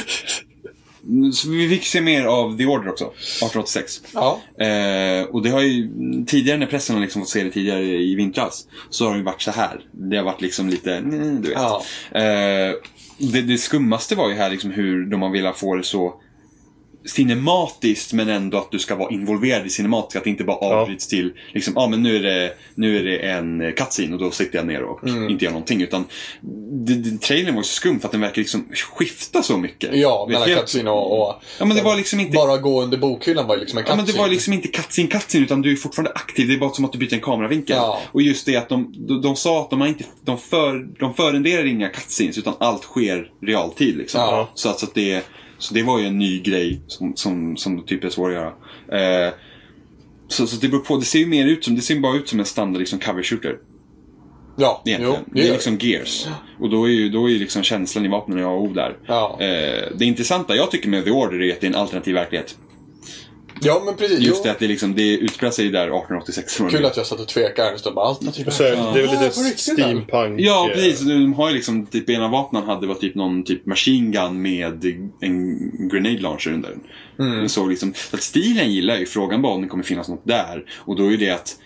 Speaker 2: Så vi fick se mer av The Order också, 1886.
Speaker 4: Ja.
Speaker 2: Eh, och det har ju tidigare när pressen har liksom fått se det tidigare i vintras. Så har det ju varit så här. Det har varit liksom lite, mm, du vet.
Speaker 4: Ja.
Speaker 2: Eh, det, det skummaste var ju här liksom hur de har velat få det så cinematiskt men ändå att du ska vara involverad i cinematiskt. Att det inte bara avbryts till liksom, ah, men nu är det, nu är det en cutscene och då sitter jag ner och
Speaker 4: Mm.
Speaker 2: inte gör någonting. Utan det, det, trailern var ju så skum för att den verkar liksom skifta så mycket.
Speaker 4: Ja,
Speaker 2: Vet,
Speaker 4: mellan
Speaker 2: helt-
Speaker 4: cutscene och, och...
Speaker 2: Ja, men det var liksom inte
Speaker 4: Bara gå under bokhyllan var ju liksom en
Speaker 2: Ja, men det var
Speaker 4: cutscene.
Speaker 2: liksom inte cutscene cutscene utan du är fortfarande aktiv. Det är bara som att du byter en kameravinkel.
Speaker 4: Ja.
Speaker 2: Och just det att de, de, de sa att de, har inte, de, för, de förenderar inga cutscenes utan allt sker realtid. Liksom.
Speaker 4: Ja.
Speaker 2: Så, att, så, att det, så det var ju en ny grej som, som, som typ är svår att göra. Eh, så, så det beror på. Det ser ju mer ut som, det ser ju bara ut som en standard liksom, cover shooter.
Speaker 4: Ja, jo,
Speaker 2: Egentligen. det
Speaker 4: gör
Speaker 2: är liksom Gears. Och då är ju, då är ju liksom känslan i vapnen och A och O där.
Speaker 4: Ja.
Speaker 2: Eh, det intressanta jag tycker med The Order är att det är en alternativ verklighet.
Speaker 4: Ja, men precis.
Speaker 2: Just
Speaker 4: jo.
Speaker 2: det att det, liksom, det utspelar sig där 1886. tror jag.
Speaker 4: Kul att jag satt och tvekade en stund. Bara,
Speaker 2: typ.
Speaker 4: alternativ.
Speaker 1: Och så är, Det är väl
Speaker 4: Ja,
Speaker 1: lite
Speaker 4: på riktigt,
Speaker 1: steampunk.
Speaker 2: Ja,
Speaker 4: Mm.
Speaker 1: eh,
Speaker 2: precis. De har ju liksom, typ, ena vapnen hade var typ någon typ machine gun med en grenade launcher under den. Mm. Så liksom, så att stilen gillar jag ju. Frågan bara om det kommer finnas något där. Och då är ju det att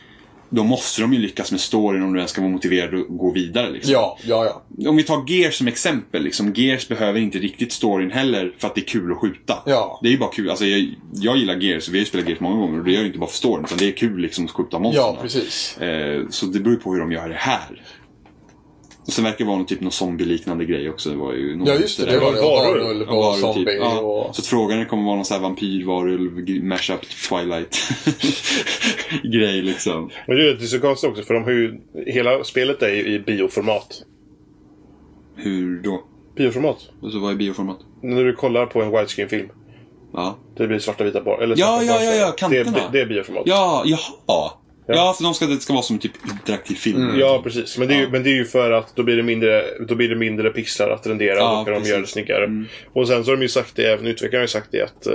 Speaker 2: då måste de ju lyckas med storyn om du ens ska vara motiverad att gå vidare. Liksom.
Speaker 4: Ja, ja, ja.
Speaker 2: Om vi tar Gears som exempel. Liksom, Gears behöver inte riktigt storyn heller för att det är kul att skjuta.
Speaker 4: Ja.
Speaker 2: Det är ju bara kul. Alltså, jag, jag gillar Gears, vi har ju spelat Gears många gånger och det gör jag inte bara för storyn. Utan det är kul liksom, att skjuta monster.
Speaker 4: Ja, precis.
Speaker 2: Eh, så det beror ju på hur de gör det här. Och sen verkar det vara någon typ någon zombie-liknande grej också. Det var ju någon
Speaker 4: Ja, just det. Det var det.
Speaker 1: varor.
Speaker 4: Varulv
Speaker 2: Ja, varulv
Speaker 4: och
Speaker 2: typ.
Speaker 4: zombie
Speaker 2: Ja,
Speaker 4: och...
Speaker 2: Så att frågan är, kommer vara någon sån här vampyr, varulv, g- mashup, twilight grej liksom.
Speaker 1: Men det är ju så konstigt också för de har ju, hela spelet är ju i bioformat.
Speaker 2: Hur då?
Speaker 1: Bioformat.
Speaker 2: Och så vad är bioformat?
Speaker 1: När du kollar på en widescreen-film.
Speaker 2: Ja.
Speaker 1: Det blir svarta vita bar. Eller
Speaker 2: Ja,
Speaker 1: svarta
Speaker 2: ja,
Speaker 1: barn.
Speaker 2: ja, ja,
Speaker 1: Det,
Speaker 2: kanterna.
Speaker 1: är- det är bioformat.
Speaker 2: Ja, jaha. Ja, för de ska, det ska vara som typ interaktiv film.
Speaker 4: Mm.
Speaker 1: Ja, precis. Men det, är ju, men det är ju för att då blir det mindre, då blir det mindre pixlar att rendera
Speaker 2: Ja,
Speaker 1: och då kan de
Speaker 2: precis. Mm.
Speaker 1: göra det snyggare. Och sen så har de ju sagt det, även utvecklarna har ju sagt det, att eh,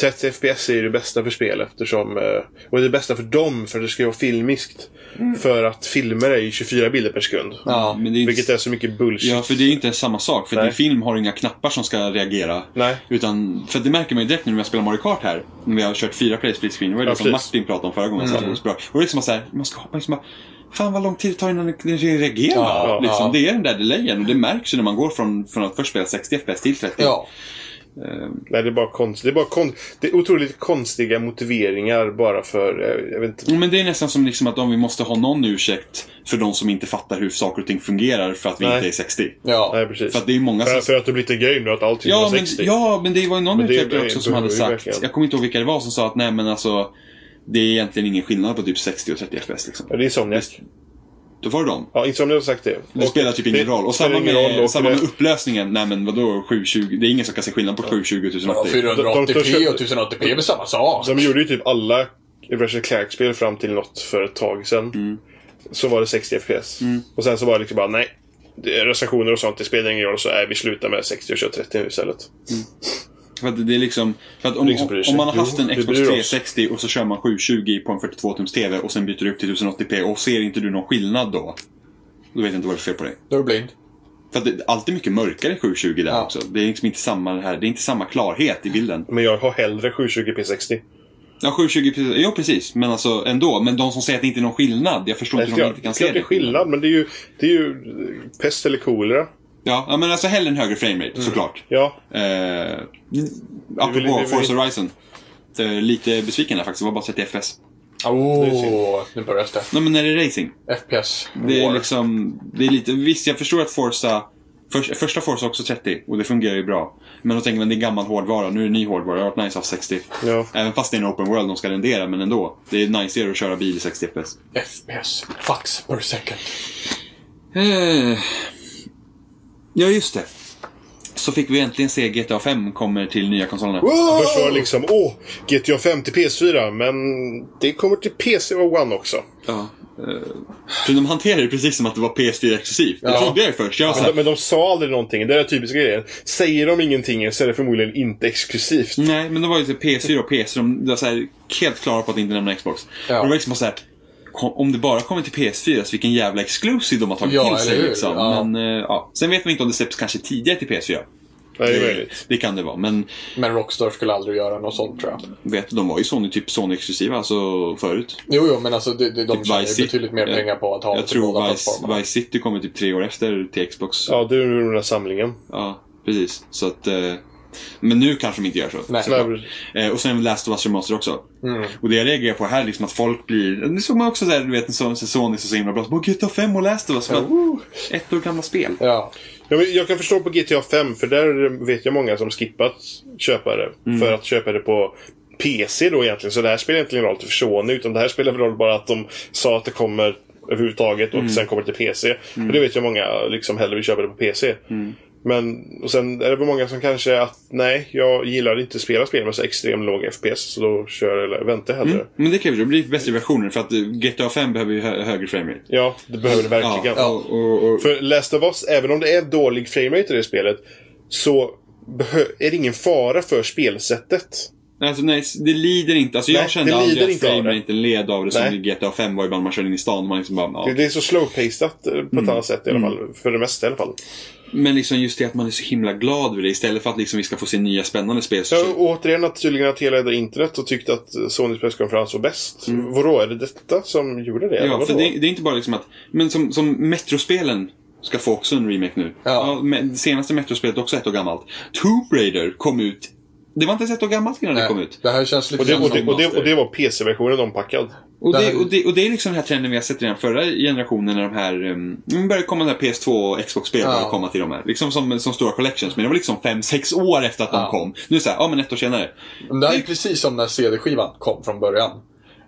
Speaker 1: 30 FPS är ju det bästa för spel eftersom... eh, och det bästa för dem för att det ska vara filmiskt.
Speaker 2: Mm.
Speaker 1: För att filmer är ju 24 bilder per sekund.
Speaker 4: Ja.
Speaker 2: Men det är inte-
Speaker 1: Vilket är så mycket bullshit.
Speaker 2: Ja, för det är ju inte samma sak. För
Speaker 1: Nej.
Speaker 2: din film har inga knappar som ska reagera.
Speaker 1: Nej.
Speaker 2: Utan, för det märker man ju direkt nu när jag spelar Mario Kart här. När vi har kört fyra play split screen. Det var ju
Speaker 1: Ja,
Speaker 2: det som
Speaker 1: precis.
Speaker 2: Martin pratade om förra gången. Mm. Så bra. Och det är liksom så här, man ska hoppa liksom bara, Fan vad lång tid det tar innan den reagerar.
Speaker 4: Ja,
Speaker 2: liksom.
Speaker 4: ja.
Speaker 2: Det är den där delayen och det märks ju när man går från, från att först spela 60 FPS till 30.
Speaker 4: Ja.
Speaker 2: Ehm,
Speaker 1: Nej, det är bara konst. Det är bara kon... Det är otroligt konstiga motiveringar bara för... eh, Jag vet inte.
Speaker 2: Men det är nästan som liksom att om vi måste ha någon ursäkt för de som inte fattar hur saker och ting fungerar för att vi
Speaker 1: Nej.
Speaker 2: inte är 60.
Speaker 4: Ja.
Speaker 1: Nej, precis.
Speaker 2: För att det är många
Speaker 1: För,
Speaker 2: som...
Speaker 1: för att det blir lite gay nu att allting
Speaker 2: Ja
Speaker 1: var
Speaker 2: men,
Speaker 1: 60.
Speaker 2: ja, men det var ju någon
Speaker 1: Men det-
Speaker 2: utvecklare
Speaker 1: det
Speaker 2: också som hade
Speaker 1: behöver vi
Speaker 2: sagt,
Speaker 1: verkligen.
Speaker 2: jag kommer inte ihåg vilka det var, som sa att nej men alltså det är egentligen ingen skillnad på typ 60 och 30 FPS liksom.
Speaker 1: Ja, det är Insomniac.
Speaker 2: Då var det dem.
Speaker 1: Ja, Insomniac har sagt det.
Speaker 2: Det spelar typ ingen roll. Och samma med, samma med upplösningen, nej men vadå 720? Det är ingen som kan se skillnad på 720 och
Speaker 4: Ja,
Speaker 2: 1080.
Speaker 4: 480p och 1080p är väl samma sak?
Speaker 1: De gjorde ju typ alla Ratchet Clank-spel fram till något för ett tag sedan.
Speaker 2: Mm.
Speaker 1: Så var det 60 FPS. Och sen så var det liksom bara, nej. det är Recensioner och sånt, det spelar ingen roll. Så är vi slutar med 60 och kör 30 nu istället.
Speaker 2: För att det är liksom, för att om,
Speaker 1: Liksom bryr sig.
Speaker 2: om man har haft en
Speaker 1: Jo, vi
Speaker 2: Xbox
Speaker 1: bryr oss.
Speaker 2: 360 och så kör man 720 på en 42-tums TV och sen byter du upp till 1080p och ser inte du någon skillnad då? Då vet jag inte vad det är för fel på dig.
Speaker 4: Då är du blind.
Speaker 2: För att det, allt är mycket mörkare i 720 där
Speaker 4: Ja.
Speaker 2: också. Det är liksom inte samma, det här, det är inte samma klarhet i bilden.
Speaker 1: Men jag har hellre 720p60.
Speaker 2: Ja, 720 precis. Jo, precis. Men alltså ändå. Men de som säger att det inte är någon skillnad. Jag förstår
Speaker 1: Nej,
Speaker 2: inte hur de
Speaker 1: klart,
Speaker 2: inte kan
Speaker 1: klart
Speaker 2: se
Speaker 1: det är
Speaker 2: det.
Speaker 1: skillnad, men det är ju, det är ju eh, pest eller kolera.
Speaker 2: Ja, ja, men alltså hellre en högre framerate,
Speaker 1: Mm.
Speaker 2: såklart.
Speaker 1: Ja,
Speaker 2: Eh,
Speaker 1: Mm. vill- vi
Speaker 2: apropå
Speaker 1: vill-
Speaker 2: Forza Horizon. Eh, lite besviken där faktiskt. Det var bara 30 FPS.
Speaker 4: Åh, nu börjar det.
Speaker 2: Nej, men när det är racing.
Speaker 4: FPS.
Speaker 2: Det är
Speaker 4: War.
Speaker 2: liksom, det är lite, visst jag förstår att Forza, för, första Forza har också 30 och det fungerar ju bra. Men då tänker man det är gammal hårdvara, nu är det ny hårdvara, det har varit nice att ha 60.
Speaker 1: ja.
Speaker 2: Även fast det är en open world de ska rendera, men ändå. Det är niceare att köra bil i 60 FPS.
Speaker 4: FPS. Fax per second.
Speaker 2: Eh, Ja, just det. Så fick vi äntligen se GTA 5 kommer till nya konsolerna.
Speaker 1: Först var det liksom, åh, GTA 5 till PS4, men det kommer till PC och One också.
Speaker 2: Ja. eh, För de hanterar det precis som att det var PS4-exklusivt. Det
Speaker 4: Ja.
Speaker 2: trodde jag ju först. Jag var
Speaker 1: Men
Speaker 2: såhär,
Speaker 1: de, men de sa aldrig någonting. Det är den typiska grejen. Säger de ingenting så är det förmodligen inte exklusivt.
Speaker 2: Nej, men det var ju typ PS4 och PS. De var så här, helt klara på att inte nämna Xbox.
Speaker 4: Ja.
Speaker 2: Och det var liksom bara så här, kom, om det bara kommer till PS4, så vilken jävla exclusive de har tagit
Speaker 4: Ja,
Speaker 2: till sig.
Speaker 4: eller hur?
Speaker 2: Liksom.
Speaker 4: Ja.
Speaker 2: Men, eh, ja. Sen vet man inte om det släpps kanske tidigare till PS4.
Speaker 1: Nej, det är möjligt.
Speaker 2: Det kan det vara, men
Speaker 4: Men Rockstar skulle aldrig göra något sånt tror jag.
Speaker 2: vet, du, de var ju Sony, typ Sony-exklusiva alltså, förut.
Speaker 4: Jo, jo, men alltså de, de, de
Speaker 2: Typ
Speaker 4: tjänar
Speaker 2: Vice
Speaker 4: ju
Speaker 2: City.
Speaker 4: betydligt mer
Speaker 2: Jag-
Speaker 4: pengar på att ha
Speaker 2: Jag
Speaker 4: det på båda
Speaker 2: tror Vice,
Speaker 4: plattformarna.
Speaker 2: Vice City kommer typ tre år efter till Xbox. Ja,
Speaker 1: Ja, det är den här samlingen.
Speaker 2: precis. Så att, eh, men nu kanske de inte gör så.
Speaker 4: Nej.
Speaker 1: Den här-
Speaker 2: Eh, och sen Last of Us Remaster också.
Speaker 1: Mm.
Speaker 2: Och det jag reagerar på här är liksom att folk blir... Det såg man också där, du vet, en sån Sony som så himla bra. Bara GTA 5 och Last of Us. Bara,
Speaker 1: Oh.
Speaker 2: Ett år gamla spel.
Speaker 4: Ja.
Speaker 1: Ja, men jag kan förstå på GTA 5, för där vet jag många som skippat köpare. För att köpa det på PC då egentligen. Så det här spelar egentligen roll för Sony. Utan det här spelar väl roll bara att de sa att det kommer överhuvudtaget och sen kommer det till PC. Och det vet jag många liksom hellre vill köpa det på PC. Men och sen är det väl många som kanske att nej, jag gillar inte att spela spel med så extremt låg FPS. Så då kör jag eller väntar hellre.
Speaker 2: Men det kräver det. Det blir bättre versioner för att eh, GTA 5 behöver ju hö- högre framerate.
Speaker 1: Ja, det behöver det verkligen.
Speaker 2: och, och, och,
Speaker 1: För Last of Us, även om det är dålig framerate i det spelet, så behö- är det ingen fara för spelsättet.
Speaker 2: alltså, nej, det lider inte. Alltså, jag
Speaker 1: Nej,
Speaker 2: kände
Speaker 1: det
Speaker 2: aldrig
Speaker 1: lider
Speaker 2: att
Speaker 1: inte av det.
Speaker 2: framerate led av det som
Speaker 1: Nej.
Speaker 2: i GTA 5 var ibland man körde in i stan och man liksom bara... Ja.
Speaker 1: Det- Det är så slow-paceat eh, på ett annat sätt i alla fall. För det mesta i alla fall.
Speaker 2: Men liksom just det att man är så himla glad över det istället för att liksom vi ska få se nya spännande spel. Så,
Speaker 1: Jag, återigen att tydligen att hela internet och tyckte att eh, Sonys presskonferens var bäst. Vadå, är det detta som gjorde Mm. det? eller
Speaker 2: Ja,
Speaker 1: vadå?
Speaker 2: för det, det är inte bara liksom att... Men som, som Metrospelen ska få också en remake nu.
Speaker 4: Ja.
Speaker 2: men det senaste Metrospelet är också ett år gammalt. Tomb Raider kom ut... Det var inte ens ett år gammalt innan det kom ut.
Speaker 4: Det här känns lite
Speaker 1: och, det,
Speaker 4: grann
Speaker 1: och, det,
Speaker 4: som
Speaker 1: och, det,
Speaker 4: Master.
Speaker 1: och det var PC-versionen ompackad.
Speaker 2: Och
Speaker 4: Det
Speaker 2: det,
Speaker 4: här-
Speaker 2: och, det, och det är liksom den här trenden vi har sett redan förra generationen när de här... Um, började komma de här PS2 och Xbox-spel
Speaker 4: Ja.
Speaker 2: började komma till de här. Liksom som, som stora collections. Men det var liksom 5-6 år efter att
Speaker 4: Ja.
Speaker 2: de kom. Nu är det såhär, ja men ett år senare.
Speaker 4: Men det här är precis som när CD-skivan kom från början.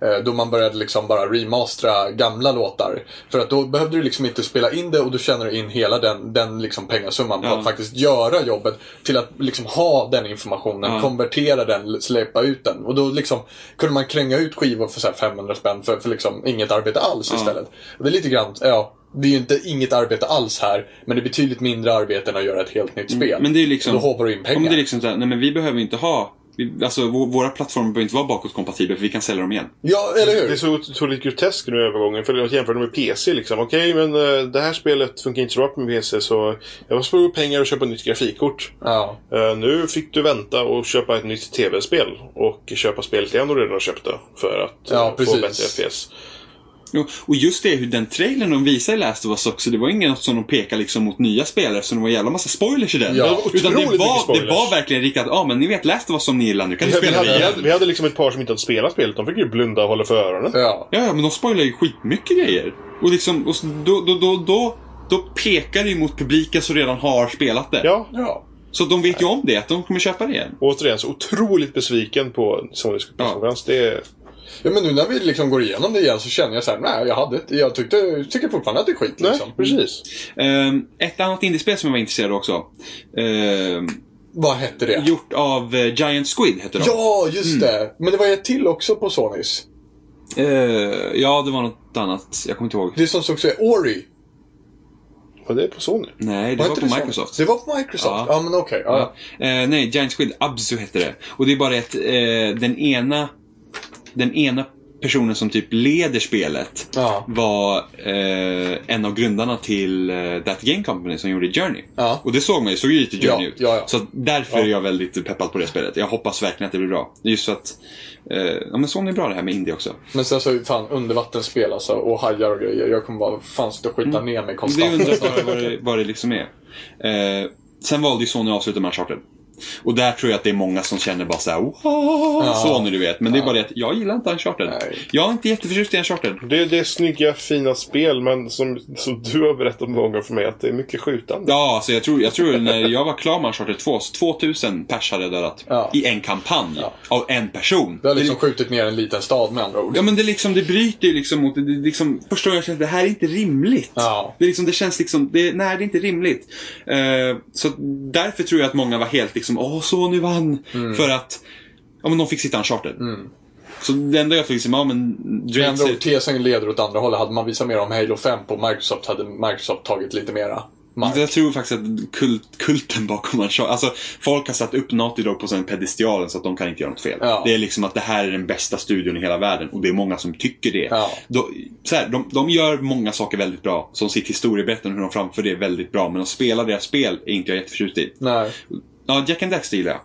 Speaker 4: Eh, Då man började liksom bara remastera gamla låtar. För att då behövde du liksom inte spela in det och du tjänade in hela den, den liksom pengasumman på
Speaker 2: Ja.
Speaker 4: att faktiskt göra jobbet. Till att liksom ha den informationen,
Speaker 2: Ja.
Speaker 4: konvertera den, släppa ut den. Och då liksom kunde man kränga ut skivor för så här 500 spänn för, för liksom inget arbete alls istället. Och det är lite grann, ja. Det är ju inte inget arbete alls här, men det är betydligt mindre arbete än att göra ett helt nytt spel.
Speaker 2: Men det är liksom...
Speaker 4: Då hoppar du in
Speaker 2: Ja, men
Speaker 4: pengar.
Speaker 2: det är liksom såhär, nej men vi behöver inte ha... Vi, alltså vår, våra plattformar behöver inte vara bakåtkompatibla för vi kan sälja dem igen.
Speaker 4: Ja, eller hur?
Speaker 1: Det är så otroligt grotesk nu övergången. För jag jämförde med PC liksom. Okej, men eh, det här spelet funkar inte så bra på min PC så jag måste spara upp pengar och köpa ett nytt grafikkort.
Speaker 4: Ja.
Speaker 1: Eh, nu fick du vänta och köpa ett nytt tv-spel och köpa spelet igen du redan har köpt det för att eh,
Speaker 4: Ja,
Speaker 1: få
Speaker 4: precis.
Speaker 1: bättre FPS.
Speaker 2: Jo, och just det, hur den trailern de visade i Last of Us också, det var inget som de pekade liksom mot nya spelare, så det var en jävla massa spoilers i den.
Speaker 3: Ja,
Speaker 2: Utan det
Speaker 1: otroligt mycket
Speaker 2: var, det
Speaker 1: spoilers.
Speaker 2: var verkligen riktat, ja ah, men ni vet Last of Us som ni gillar, nu kan ni
Speaker 1: Vi
Speaker 2: spela det
Speaker 1: hade,
Speaker 2: igen.
Speaker 1: vi hade liksom ett par som inte hade spelat spelet. De fick ju blunda och hålla för öronen.
Speaker 3: Ja.
Speaker 2: Ja, ja, men de spoilar ju skitmycket grejer. Och liksom, och s- då, då, då, då, då pekar det ju mot publiken som redan har spelat det.
Speaker 1: Ja,
Speaker 3: Ja.
Speaker 2: Så de vet ju om det, att de kommer köpa det igen.
Speaker 1: återigen så otroligt besviken på Sonys presskonferens. Det,
Speaker 3: Ja, men nu när vi liksom går igenom det igen så känner jag så här, nej, jag hade inte- jag tyckte, tycker fortfarande att det är skit
Speaker 1: nej,
Speaker 3: liksom.
Speaker 1: precis.
Speaker 2: Ehm, ett annat indiespel som jag var intresserad av också. Ehm,
Speaker 3: Vad hette det?
Speaker 2: gjort av eh, Giant Squid, heter de.
Speaker 3: Ja, just
Speaker 2: Mm.
Speaker 3: det. Men det var ett till också på Sonys.
Speaker 2: Ehm, ja, det var något annat. Jag kommer inte ihåg.
Speaker 3: Det som såg så Ori.
Speaker 1: Och det är på Sony.
Speaker 2: Nej, det
Speaker 3: Var
Speaker 2: var,
Speaker 3: inte
Speaker 2: på
Speaker 3: Sony?
Speaker 2: Microsoft.
Speaker 3: Det var på Microsoft?
Speaker 2: Ja.
Speaker 3: Ja, men okej. ja.
Speaker 2: Ja. Eh, nej, Giant Squid Abzu hette det. Och det är bara ett, eh, den ena den ena personen som typ leder spelet
Speaker 3: Ja.
Speaker 2: var eh, en av grundarna till eh, That Game Company som gjorde Journey.
Speaker 3: Ja.
Speaker 2: Och det såg man ju, såg ju lite Journey
Speaker 3: Ja,
Speaker 2: ut.
Speaker 3: ja, ja.
Speaker 2: Så att därför är jag väldigt peppad på det spelet. Jag hoppas verkligen att det blir bra. Just för att, eh, ja men Sony är bra det här med indie också.
Speaker 3: Men sen så fan undervattensspel alltså och hajar och grejer. Jag kommer bara fan sitta och skita ner mig
Speaker 2: Mm. Det
Speaker 3: konstant.
Speaker 2: är undrar bara vad det, vad det liksom är. Eh, sen valde ju Sony att avsluta med Uncharted. Och där tror jag att det är många som känner bara såhär, wow, Sony du vet. Men det är bara det att jag gillar inte Uncharted.
Speaker 3: Nej.
Speaker 2: Jag är inte jätteförtjust i Uncharted.
Speaker 1: Det, det är snygga, fina spel, men som, som du har berättat många gånger för mig, att det är mycket skjutande.
Speaker 2: Ja, alltså jag tror, jag tror när jag var klar med Uncharted 2, så 2000 pers hade jag dödat.
Speaker 3: Ja.
Speaker 2: I en kampanj. Av en person.
Speaker 3: Du har liksom skjutit ner en liten stad med andra ord.
Speaker 2: Ja men det liksom, det bryter ju liksom mot, det, det liksom, första gången jag kände att det här är inte rimligt.
Speaker 3: Ja.
Speaker 2: Det, är liksom, det känns liksom, det, nej det är inte rimligt. Eh, så därför tror jag att många var helt liksom, åh så nu vann. För att, ja men de fick sitta uncharted. Så det enda jag fick liksom, ja men
Speaker 3: Med
Speaker 2: Drake
Speaker 3: andra
Speaker 2: ser,
Speaker 3: ord, tesen leder åt andra hållet. Hade man visat mer om Halo 5 på Microsoft hade Microsoft tagit lite mera mark.
Speaker 2: Alltså, jag tror faktiskt att kult, kulten bakom Uncharted, alltså folk har satt upp Naughty Dog på sin pedestialen så att de kan inte göra något fel.
Speaker 3: Ja.
Speaker 2: Det är liksom att det här är den bästa studion i hela världen och det är många som tycker det.
Speaker 3: Ja.
Speaker 2: De, så här, de, de gör många saker väldigt bra, som sitt historieberättande och hur de framför det är väldigt bra, men att spela deras spel är inte jag jätteförtjust i.
Speaker 3: Nej,
Speaker 2: Ja, Jack and Daxter gillar jag.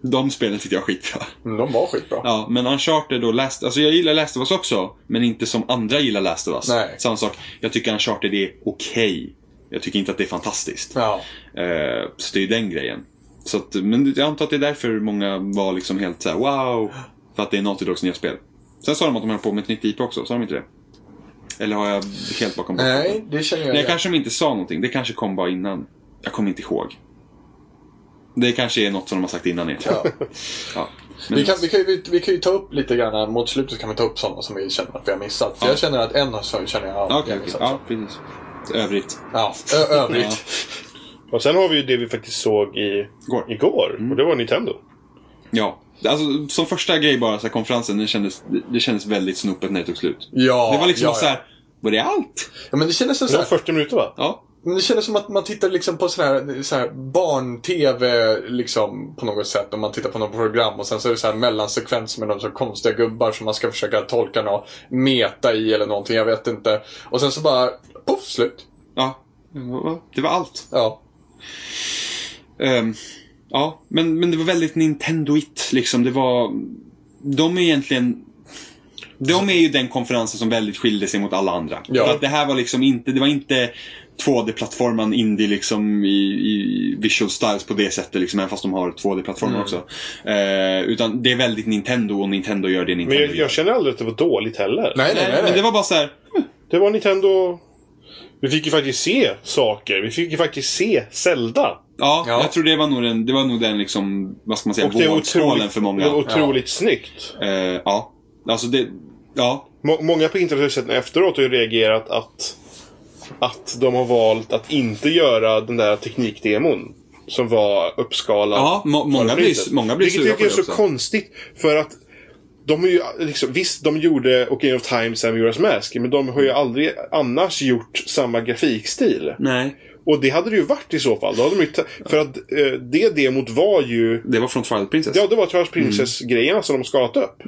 Speaker 2: De spelen tyckte jag var skitbra.
Speaker 3: men de var skitbra.
Speaker 2: Ja, men Uncharted och Last... Alltså jag gillar Last of Us också, men inte som andra gillar Last of Us.
Speaker 3: Nej.
Speaker 2: Samma sak, jag tycker Uncharted är okej. Jag tycker inte att det är fantastiskt.
Speaker 3: Ja.
Speaker 2: Eh, så det är ju den grejen. Så att, men jag antar att det är därför många var liksom helt såhär wow. För att det är Naughty Dogs nya spel. Sen sa de att de höll på med ett nytt IP också, sa de inte det? Eller har jag helt bakom bordet?
Speaker 3: Nej, det känner jag
Speaker 2: Nej,
Speaker 3: igen.
Speaker 2: kanske de inte sa någonting. Det kanske kom bara innan. Jag kommer inte ihåg. Det kanske är något som de har sagt innan egentligen.
Speaker 3: Ja.
Speaker 2: Ja.
Speaker 3: Vi kan, vi, kan, ju- vi, vi kan ju ta upp lite grann här mot slutet kan vi ta upp sådana som vi känner att vi har missat. För
Speaker 2: Ja.
Speaker 3: jag känner att en sån känner jag att
Speaker 2: Okej,
Speaker 3: vi har
Speaker 2: okej.
Speaker 3: missat.
Speaker 2: Ja, precis. Övrigt.
Speaker 3: Ja. Ö- övrigt.
Speaker 1: Och sen har vi ju det vi faktiskt såg i,
Speaker 2: Går.
Speaker 1: igår.
Speaker 2: Mm.
Speaker 1: Och det var Nintendo.
Speaker 2: Ja. Alltså, som första grej bara, så här, konferensen, det kändes, det, det kändes väldigt snopet när det tog slut.
Speaker 3: Ja,
Speaker 2: det var liksom
Speaker 3: ja,
Speaker 2: så här, var det allt?
Speaker 3: ja. men det kändes
Speaker 1: Det
Speaker 3: så
Speaker 1: var
Speaker 3: här,
Speaker 1: 40 minuter va?
Speaker 2: Ja.
Speaker 3: men det kändes som att man tittar liksom på sån här, så här barn-tv liksom på något sätt. Om man tittar på något program och sen så är det så här mellansekvenser med de så konstiga gubbar som man ska försöka tolka något meta i eller någonting. Jag vet inte. Och sen så bara, poff, slut.
Speaker 2: Ja. Ja, Det var allt.
Speaker 3: Ja.
Speaker 2: Ehm, ja, men, men det var väldigt Nintendoigt liksom. Det var... De är egentligen... De är ju den konferensen som väldigt skilde sig mot alla andra.
Speaker 3: Ja.
Speaker 2: För att det här var liksom inte, det var inte 2D-plattformen indie liksom i, i visual styles på det sättet liksom, även fast de har 2D-plattformar
Speaker 1: Mm.
Speaker 2: också. Eh, utan det är väldigt Nintendo och Nintendo gör det
Speaker 1: Men
Speaker 2: Nintendo
Speaker 1: jag,
Speaker 2: gör. Eh,
Speaker 1: jag känner aldrig att det var dåligt heller.
Speaker 3: Nej, nej, nej.
Speaker 2: Men det
Speaker 3: nej.
Speaker 2: var bara så här.
Speaker 1: Det var Nintendo... Vi fick ju faktiskt se saker. Vi fick ju faktiskt se Zelda.
Speaker 2: Ja,
Speaker 3: Ja.
Speaker 2: jag tror det var nog den, det var nog den liksom, vad ska man säga,
Speaker 1: Och det är
Speaker 2: vågskålen
Speaker 1: otroligt,
Speaker 2: för många.
Speaker 1: det är otroligt snyggt.
Speaker 2: Eh, ja, alltså det, ja,
Speaker 1: Må- Många på internet har sett den efteråt har ju reagerat att, att de har valt att inte göra den där teknikdemon. Som var uppskalad.
Speaker 2: Ja, må- många
Speaker 1: förra
Speaker 2: blir-
Speaker 1: priset.
Speaker 2: många blir
Speaker 1: Vilket
Speaker 2: sura
Speaker 1: jag
Speaker 2: på
Speaker 1: tycker är
Speaker 2: det
Speaker 1: så
Speaker 2: också.
Speaker 1: konstigt. För att de är ju, liksom, visst, de gjorde Ocarina of Time, Samuras Mask. Men de har ju aldrig annars gjort samma grafikstil.
Speaker 2: nej.
Speaker 1: Och det hade det ju varit i så fall. Då hade de ju ta- för att eh, det demot var ju...
Speaker 2: Det var från Twilight Princess.
Speaker 1: Ja, det var Charles
Speaker 2: Mm.
Speaker 1: Princess-grejerna som de skalat upp.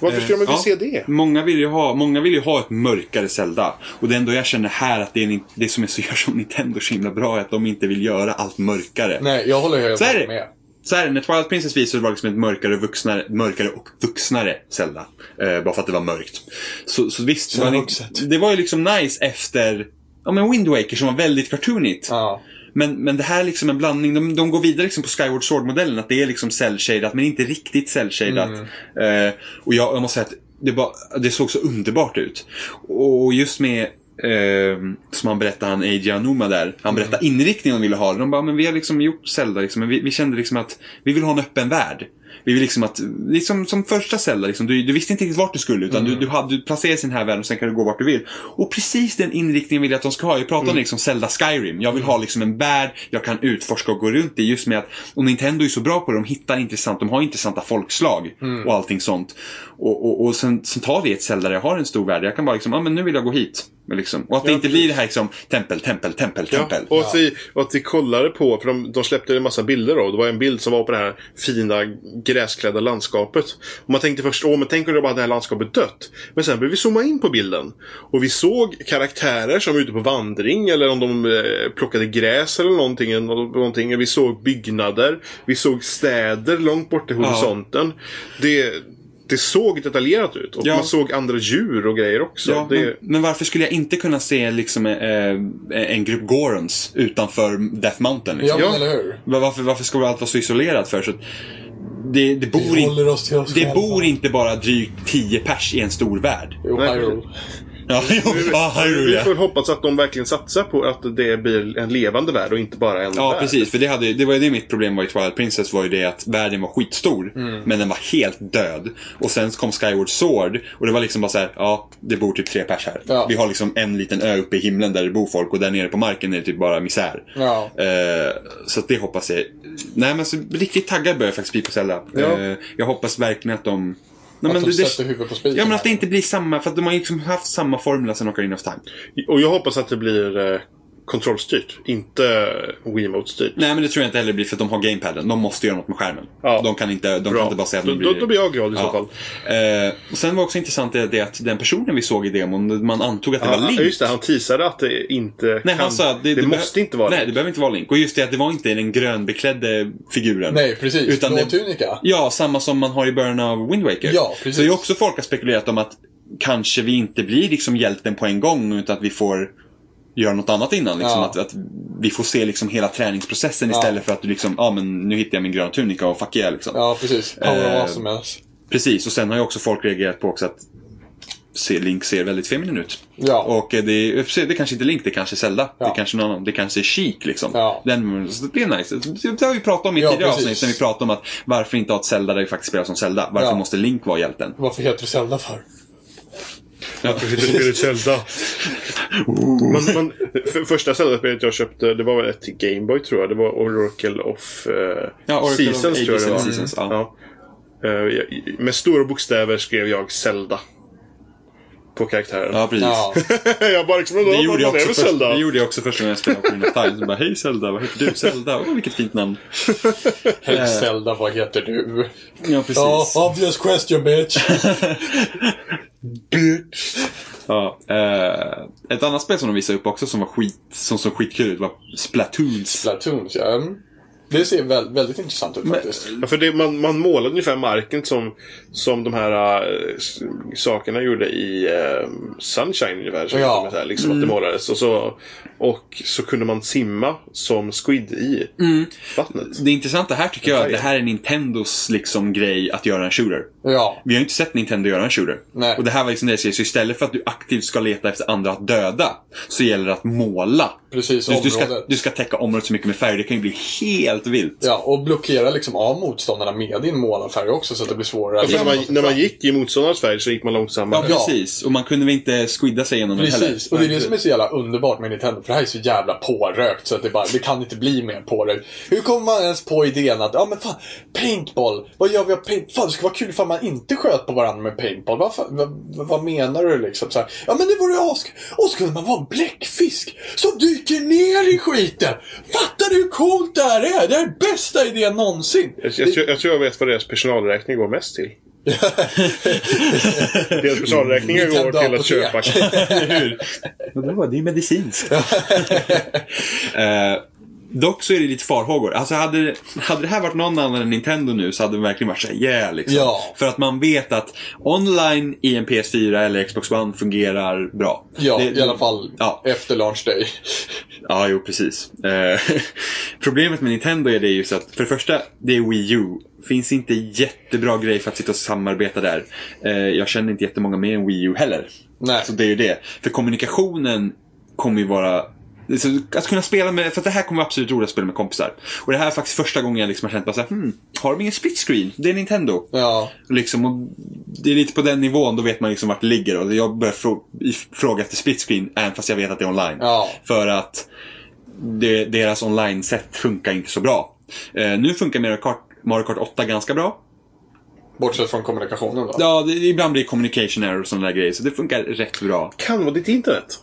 Speaker 1: Varför skulle man
Speaker 2: Eh,
Speaker 1: vilja
Speaker 2: ja.
Speaker 1: se det?
Speaker 2: Många vill, ju ha, många vill ju ha ett mörkare Zelda. Och det är ändå jag känner här att det, är, ni- det som är så gör som Nintendo så himla bra är att de inte vill göra allt mörkare.
Speaker 3: nej, jag håller helt
Speaker 2: Så är det.
Speaker 3: med.
Speaker 2: Så här, när Twilight Princess visades var det liksom ett mörkare, vuxnare, mörkare och vuxnare Zelda. Eh, bara för att det var mörkt. Så, så visst,
Speaker 4: Så
Speaker 2: var det,
Speaker 4: vuxet.
Speaker 2: det var ju liksom nice efter ja, men Wind Waker som var väldigt cartoonigt.
Speaker 4: Ja.
Speaker 2: Men, men det här är liksom en blandning. De, de går vidare liksom på Skyward Sword-modellen. Att det är liksom cell-shadat men inte riktigt cell-shadat. Eh, och jag, jag måste säga att det, bara, det såg så underbart ut. Och just med eh, som han berättade, han Eiji Anuma där. Han berättade inriktningen de ville ha. De bara, men vi har liksom gjort Zelda liksom. Men vi, vi kände liksom att vi vill ha en öppen värld. Vi vill liksom att, liksom som första Zelda, liksom, du, du visste inte riktigt vart du skulle utan
Speaker 1: Mm.
Speaker 2: du, du, hade, du placerades i den här världen och sen kan du gå vart du vill. Och precis den inriktningen vill jag att de ska ha. Jag pratar
Speaker 1: Mm.
Speaker 2: om liksom Zelda Skyrim. Jag vill ha liksom en värld jag kan utforska och gå runt i just med att, och Nintendo är så bra på det, de hittar intressant, de har intressanta folkslag
Speaker 1: Mm.
Speaker 2: och allting sånt. Och, och, och sen, sen tar vi ett Zelda där jag har en stor värld, jag kan bara liksom, ja ah, men nu vill jag gå hit. Men Liksom. Och att det
Speaker 1: Ja,
Speaker 2: inte blir det här liksom, tempel, tempel, tempel,
Speaker 1: Ja,
Speaker 2: tempel.
Speaker 1: och, att vi, och att vi kollade på, för de, de släppte en massa bilder då. Det var en bild som var på det här fina gräsklädda landskapet. Och man tänkte först, åh men tänk om det bara hade det här landskapet dött. Men sen började vi zooma in på bilden. Och vi såg karaktärer som var ute på vandring eller om de eh, plockade gräs eller någonting, eller nå- någonting. Vi såg byggnader. Vi såg städer långt bort i horisonten. Det, det såg detaljerat ut. Och
Speaker 2: Ja.
Speaker 1: man såg andra djur och grejer också.
Speaker 2: Ja,
Speaker 1: det,
Speaker 2: men, men varför skulle jag inte kunna se liksom, eh, en grupp Gorons utanför Death Mountain? Liksom?
Speaker 4: Ja, men
Speaker 1: Ja.
Speaker 4: eller hur?
Speaker 2: Var- Varför, varför ska allt vara så isolerat för? Så att det, det, bor
Speaker 4: Vi håller
Speaker 2: in,
Speaker 4: oss till oss
Speaker 2: det
Speaker 4: själva.
Speaker 2: bor inte bara drygt 10 pers i en stor värld.
Speaker 4: Jo,
Speaker 1: Nej,
Speaker 4: Hyrule.
Speaker 2: Ja, jo, ja,
Speaker 1: Vi
Speaker 2: Hyrule,
Speaker 1: får
Speaker 2: ja.
Speaker 1: väl hoppas att de verkligen satsar på att det blir en levande värld och inte bara en
Speaker 2: Ja,
Speaker 1: värld.
Speaker 2: precis. För det, hade, det var ju det mitt problem var i Twilight Princess var ju det att världen var skitstor,
Speaker 4: Mm.
Speaker 2: men den var helt död. Och sen kom Skyward Sword och det var liksom bara så här, ja, det bor typ tre pers här.
Speaker 4: Ja.
Speaker 2: Vi har liksom en liten ö uppe i himlen där det bor folk och där nere på marken är det typ bara misär.
Speaker 4: Ja.
Speaker 2: Eh, så att det hoppas jag. Nej men så riktigt taggad börjar jag faktiskt bli på Zelda.
Speaker 1: Ja.
Speaker 2: Eh, jag hoppas verkligen att de... Nej,
Speaker 4: Att
Speaker 2: men
Speaker 4: de
Speaker 2: det- det-
Speaker 4: sätter huvudet på spiken.
Speaker 2: Ja men att det
Speaker 4: här.
Speaker 2: inte blir samma, för att de har ju liksom haft samma formula sen Ocarina of Time.
Speaker 1: Och jag hoppas att det blir eh, kontrollstyrt, inte Wiimote-styrt.
Speaker 2: Nej men det tror jag inte heller blir för att de har gamepaden. De måste göra något med skärmen.
Speaker 1: Ja.
Speaker 2: De kan inte, de kan
Speaker 1: Bra.
Speaker 2: inte bara säga att
Speaker 1: då,
Speaker 2: nu blir
Speaker 1: då, då blir jag glad i så
Speaker 2: Ja.
Speaker 1: fall.
Speaker 2: Eh, och sen var också intressant det, det att den personen vi såg i demon, man antog att det var
Speaker 1: Ja,
Speaker 2: Link.
Speaker 1: just det, han teasade att det inte
Speaker 2: Nej,
Speaker 1: kan...
Speaker 2: han sa att det,
Speaker 1: det,
Speaker 2: behö-
Speaker 1: måste inte vara
Speaker 2: Nej,
Speaker 1: det.
Speaker 2: det behöver inte vara Link. Och just det att det var inte den grönbeklädde figuren.
Speaker 4: Nej, precis.
Speaker 2: Utan
Speaker 4: Blå
Speaker 2: det-
Speaker 4: tunika.
Speaker 2: Ja, samma som man har i början av Wind Waker.
Speaker 4: Ja, precis.
Speaker 2: Så det är också folk har spekulerat om att kanske vi inte blir liksom hjälten på en gång utan att vi får göra något annat innan. Liksom,
Speaker 4: Ja.
Speaker 2: att, att vi får se liksom hela träningsprocessen
Speaker 4: Ja.
Speaker 2: istället för att du liksom, ja ah, men nu hittar jag min gröna tunika och fuck yeah liksom.
Speaker 4: Ja, precis. Power
Speaker 2: Eh,
Speaker 4: of awesomeness.
Speaker 2: Precis, och sen har ju också folk reagerat på också att se- Link ser väldigt feminin ut.
Speaker 4: Ja.
Speaker 2: Och eh, det är, i och för sig, det är kanske inte Link, det är kanske är Zelda. Det är kanske någon annan. Det kanske är Chic liksom.
Speaker 4: Ja.
Speaker 2: Den, så det är nice. Det det har vi pratat om i
Speaker 4: Ja,
Speaker 2: tidigare
Speaker 4: precis.
Speaker 2: avsnitt. När vi pratade om att varför inte ha ett Zelda där vi faktiskt spelar som Zelda. Varför
Speaker 4: Ja.
Speaker 2: måste Link vara hjälten?
Speaker 4: Varför heter du Zelda för?
Speaker 1: Det är Zelda.
Speaker 2: Mm.
Speaker 1: man, man, för, första Zelda-spelet jag köpte, det var väl ett till Gameboy tror jag. Det var Oracle of, eh,
Speaker 2: Ja, Oracle of
Speaker 1: Seasons
Speaker 2: Ages
Speaker 1: tror jag det
Speaker 2: and
Speaker 1: var. Mm.
Speaker 2: Seasons, ja.
Speaker 1: Ja. Eh, jag- med stora bokstäver skrev jag Zelda. På karaktären.
Speaker 2: Ja, precis.
Speaker 4: Ja.
Speaker 1: jag bara liksom,
Speaker 2: Det gjorde, jag
Speaker 1: jag
Speaker 2: också
Speaker 1: väl
Speaker 2: först,
Speaker 1: Zelda.
Speaker 2: det gjorde jag också först när jag spelade Ocarina of Time. Så bara, hej Zelda, vad heter du? Zelda, åh vilket fint namn.
Speaker 4: Hej Zelda, vad heter du?
Speaker 2: Ja, Eh. precis.
Speaker 4: Ja, obvious question bitch.
Speaker 2: Ja, eh, ett annat spel som de visade upp också som var skit, som såg skitkul ut var Splatoons.
Speaker 4: Platoons, ja. Mm. Det ser väl, väldigt intressant ut faktiskt.
Speaker 1: Ja, för det, man, man målade ungefär marken som, som de här äh, s- sakerna gjorde i äh, Sunshine ungefär. Så
Speaker 4: Ja.
Speaker 1: ja. så här, liksom, att det målades. Och så, och så kunde man simma som Squid i vattnet.
Speaker 2: Det intressanta här tycker jag är att det här är Nintendos liksom grej att göra en shooter.
Speaker 4: Ja,
Speaker 2: Vi har ju inte sett Nintendo göra en shooter.
Speaker 4: Nej.
Speaker 2: Och det här var liksom det jag säger, så istället för att du aktivt ska leta efter andra att döda, så gäller det att måla.
Speaker 4: precis.
Speaker 2: Du, du, ska,
Speaker 4: området.
Speaker 2: du ska täcka området så mycket med färg, det kan ju bli helt vilt.
Speaker 4: Ja, och blockera liksom av motståndarna med din målarfärg också så att det blir svårare.
Speaker 1: Och
Speaker 4: att
Speaker 1: för när,
Speaker 4: komma
Speaker 1: man,
Speaker 4: fram.
Speaker 1: när man gick i motståndarens färg så gick man långsammare.
Speaker 2: Ja, precis. Och man kunde väl inte squidda sig igenom den heller.
Speaker 4: Precis, och det är det som är så jävla underbart med Nintendo, för det här är så jävla pårökt så att det, bara, det kan inte bli mer pårökt. Hur kommer man ens på idén att, ja men fan, paintball, vad gör vi av paint? Fan, det skulle vara kul ifall man inte sköt på varandra med paintball. Vad, fan, vad, vad- vad menar du liksom? Så här, ja men det vore ask... Och så kunde man vara en bläckfisk som dyker ner i skiten! Fattar du hur coolt det här är? Det här är bästa idén någonsin!
Speaker 1: Jag, jag, tror- jag tror jag vet vad deras personalräkning går mest till. deras personalräkningar
Speaker 4: Nintendo
Speaker 1: går till att köpa
Speaker 4: apotek.
Speaker 2: Vadå, det är ju medicinskt. Eh, Dock så är det lite farhågor. Alltså hade, det- hade det här varit någon annan än Nintendo nu så hade det verkligen varit såhär yeah liksom.
Speaker 4: Ja.
Speaker 2: För att man vet att online i en PS4 eller Xbox One fungerar bra.
Speaker 4: Ja,
Speaker 2: Det-
Speaker 4: i alla fall
Speaker 2: Ja.
Speaker 4: efter launch day.
Speaker 2: Ja, jo precis. Eh, Problemet med Nintendo är det ju så att för det första, det är Wii U. Finns inte jättebra grej för att sitta och samarbeta där. Eh, Jag känner inte jättemånga med en Wii U heller.
Speaker 4: Nej.
Speaker 2: Så det är ju det. För kommunikationen kommer ju vara... så Att kunna spela med, för att det här kommer vara absolut roligt att spela med kompisar. Och det här är faktiskt första gången jag liksom har känt bara såhär, hmm, har de ingen split screen? Det är Nintendo.
Speaker 4: Ja.
Speaker 2: Liksom, och det är lite på den nivån, då vet man liksom vart det ligger. Och jag börjar frå- if- fråga efter split screen, även fast jag vet att det är online.
Speaker 4: Ja.
Speaker 2: För att det, deras online-sätt funkar inte så bra. Eh, nu funkar Mario Kart, Mario Kart 8 ganska bra.
Speaker 4: Bortsett från kommunikationen då.
Speaker 2: Ja, det, ibland blir det communication error och sådana där grejer, så det funkar rätt bra.
Speaker 1: Kan vara ditt internet.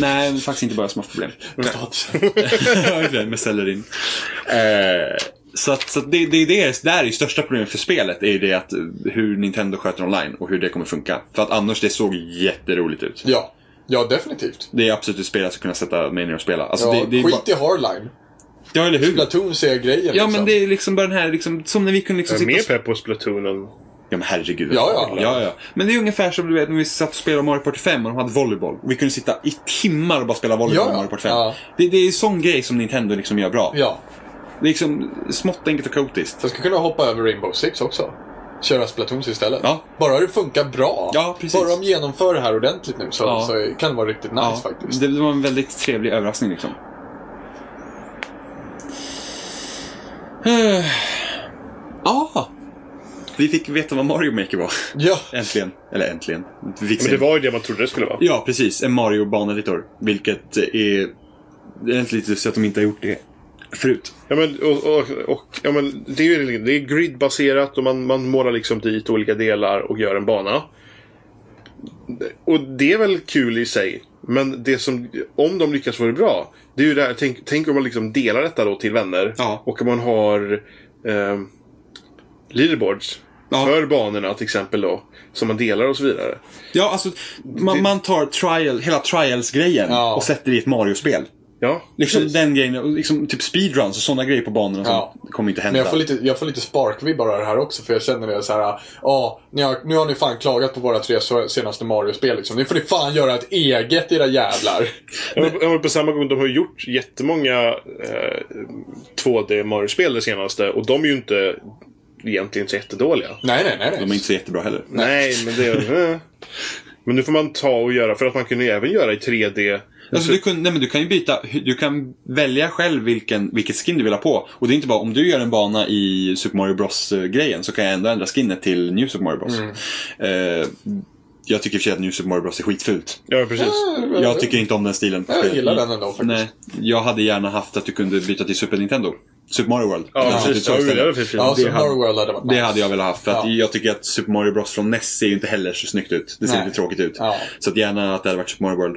Speaker 2: Nej, det är faktiskt inte bara som har problem. med sellerin. Eh, så att, så att det, det, är det, det här är ju största problemet för spelet. är ju det att eh, hur Nintendo sköter online och hur det kommer funka. För att annars, det såg jätteroligt ut.
Speaker 4: Ja. Ja, definitivt.
Speaker 2: Det är absolut ett spel jag skulle kunna sätta mig ner och spela. Alltså,
Speaker 4: Ja,
Speaker 2: det, det är
Speaker 4: skit
Speaker 2: bara,
Speaker 4: i hardline.
Speaker 2: ja, eller hur?
Speaker 4: Platoon ser grejen
Speaker 2: Ja,
Speaker 4: liksom.
Speaker 2: men det är liksom bara den här, liksom, som när vi kunde liksom
Speaker 1: Jag är
Speaker 2: sitta och
Speaker 1: mer pepp på Splatoon än...
Speaker 2: Ja men herregud.
Speaker 4: Ja, ja.
Speaker 2: ja, ja. Men det är ungefär som du vet när vi satt och spelade Mario Party 5 och de hade volleyboll. Och vi kunde sitta i timmar och bara spela volleyboll
Speaker 4: Ja,
Speaker 2: i Mario Party 5.
Speaker 4: ja.
Speaker 2: Det, det är en sån grej som Nintendo liksom gör bra.
Speaker 4: Ja.
Speaker 2: Det är liksom smått enkelt och kaotiskt.
Speaker 4: Jag skulle kunna hoppa över Rainbow Six också. Köra Splatoons istället.
Speaker 2: Ja.
Speaker 4: Bara det funkar bra.
Speaker 2: Ja, precis.
Speaker 4: Bara de genomför det här ordentligt nu så,
Speaker 2: Ja.
Speaker 4: så kan det vara riktigt nice faktiskt.
Speaker 2: det, det var en väldigt trevlig överraskning liksom. Eh. Ah. Vi fick veta vad Mario Maker var.
Speaker 4: Ja.
Speaker 2: Äntligen. Eller äntligen. Vi fick
Speaker 1: Men
Speaker 2: se-
Speaker 1: det var ju det man trodde det skulle vara.
Speaker 2: Ja, precis. En Mario-baneditor. Vilket är... Det är inte lite så att de inte har gjort det förut.
Speaker 1: Ja, men, och, och, och, ja, men det är ju liksom, det är gridbaserat och man, man målar liksom dit olika delar och gör en bana. Och det är väl kul i sig. Men det som, om de lyckas vara bra. Det är ju det här, tänk, tänk om man liksom delar detta då till vänner.
Speaker 2: Ja.
Speaker 1: Och om man har eh, leaderboards.
Speaker 2: Ja.
Speaker 1: För banorna till exempel då. Som man delar och så vidare.
Speaker 2: Ja, alltså man, man tar trial, hela trials-grejen
Speaker 4: Ja.
Speaker 2: och sätter i ett Mario-spel.
Speaker 1: Ja,
Speaker 2: Liksom
Speaker 1: precis.
Speaker 2: den grejen, och liksom typ speedruns och sådana grejer på banorna som
Speaker 4: Ja.
Speaker 2: kommer inte hända.
Speaker 4: Men jag får lite, jag får lite sparkvibbar av det här också för jag känner det så här. Ja, ni har, nu har ni fan klagat på våra tre så- senaste Mario-spel liksom. Nu får ni fan göra ett eget era jävlar.
Speaker 1: Ja, men- ja, men på samma gång, de har ju gjort jättemånga eh, 2D Mario-spel det senaste och de är ju inte egentligen så jättedåliga.
Speaker 4: Nej, nej, nej. nej.
Speaker 2: De är inte så jättebra heller.
Speaker 1: Nej, men det... Eh. Men nu får man ta och göra, för att man kunde ju även göra i 3D.
Speaker 2: Alltså, du, kun, nej, men du kan ju byta, du kan välja själv vilken, vilket skin du vill ha på. Och det är inte bara, om du gör en bana i Super Mario Bros-grejen så kan jag ändå ändra skinnet till New Super Mario Bros.
Speaker 4: Mm.
Speaker 2: Eh, jag tycker i och för sig att New Super Mario Bros är skitfult.
Speaker 1: Ja, precis.
Speaker 2: Jag tycker inte om den stilen. på
Speaker 4: Jag
Speaker 2: spel.
Speaker 4: gillar den ändå faktiskt.
Speaker 2: Nej, jag hade gärna haft att du kunde byta till Super Nintendo. Super Mario World. Den
Speaker 1: Ja,
Speaker 2: hade du
Speaker 1: precis. Ja,
Speaker 2: tagit
Speaker 1: det är
Speaker 2: istället.
Speaker 1: för fint.
Speaker 4: Ja,
Speaker 1: Det
Speaker 4: så
Speaker 1: är han.
Speaker 4: Mario World hade varit
Speaker 2: Det
Speaker 4: nice.
Speaker 2: hade jag velat haft. För att
Speaker 4: Ja.
Speaker 2: jag tycker att Super Mario Bros från NES ser ju inte heller så snyggt ut. Det ser
Speaker 4: Nej.
Speaker 2: lite tråkigt ut.
Speaker 4: Ja.
Speaker 2: Så att gärna att det hade varit Super Mario World.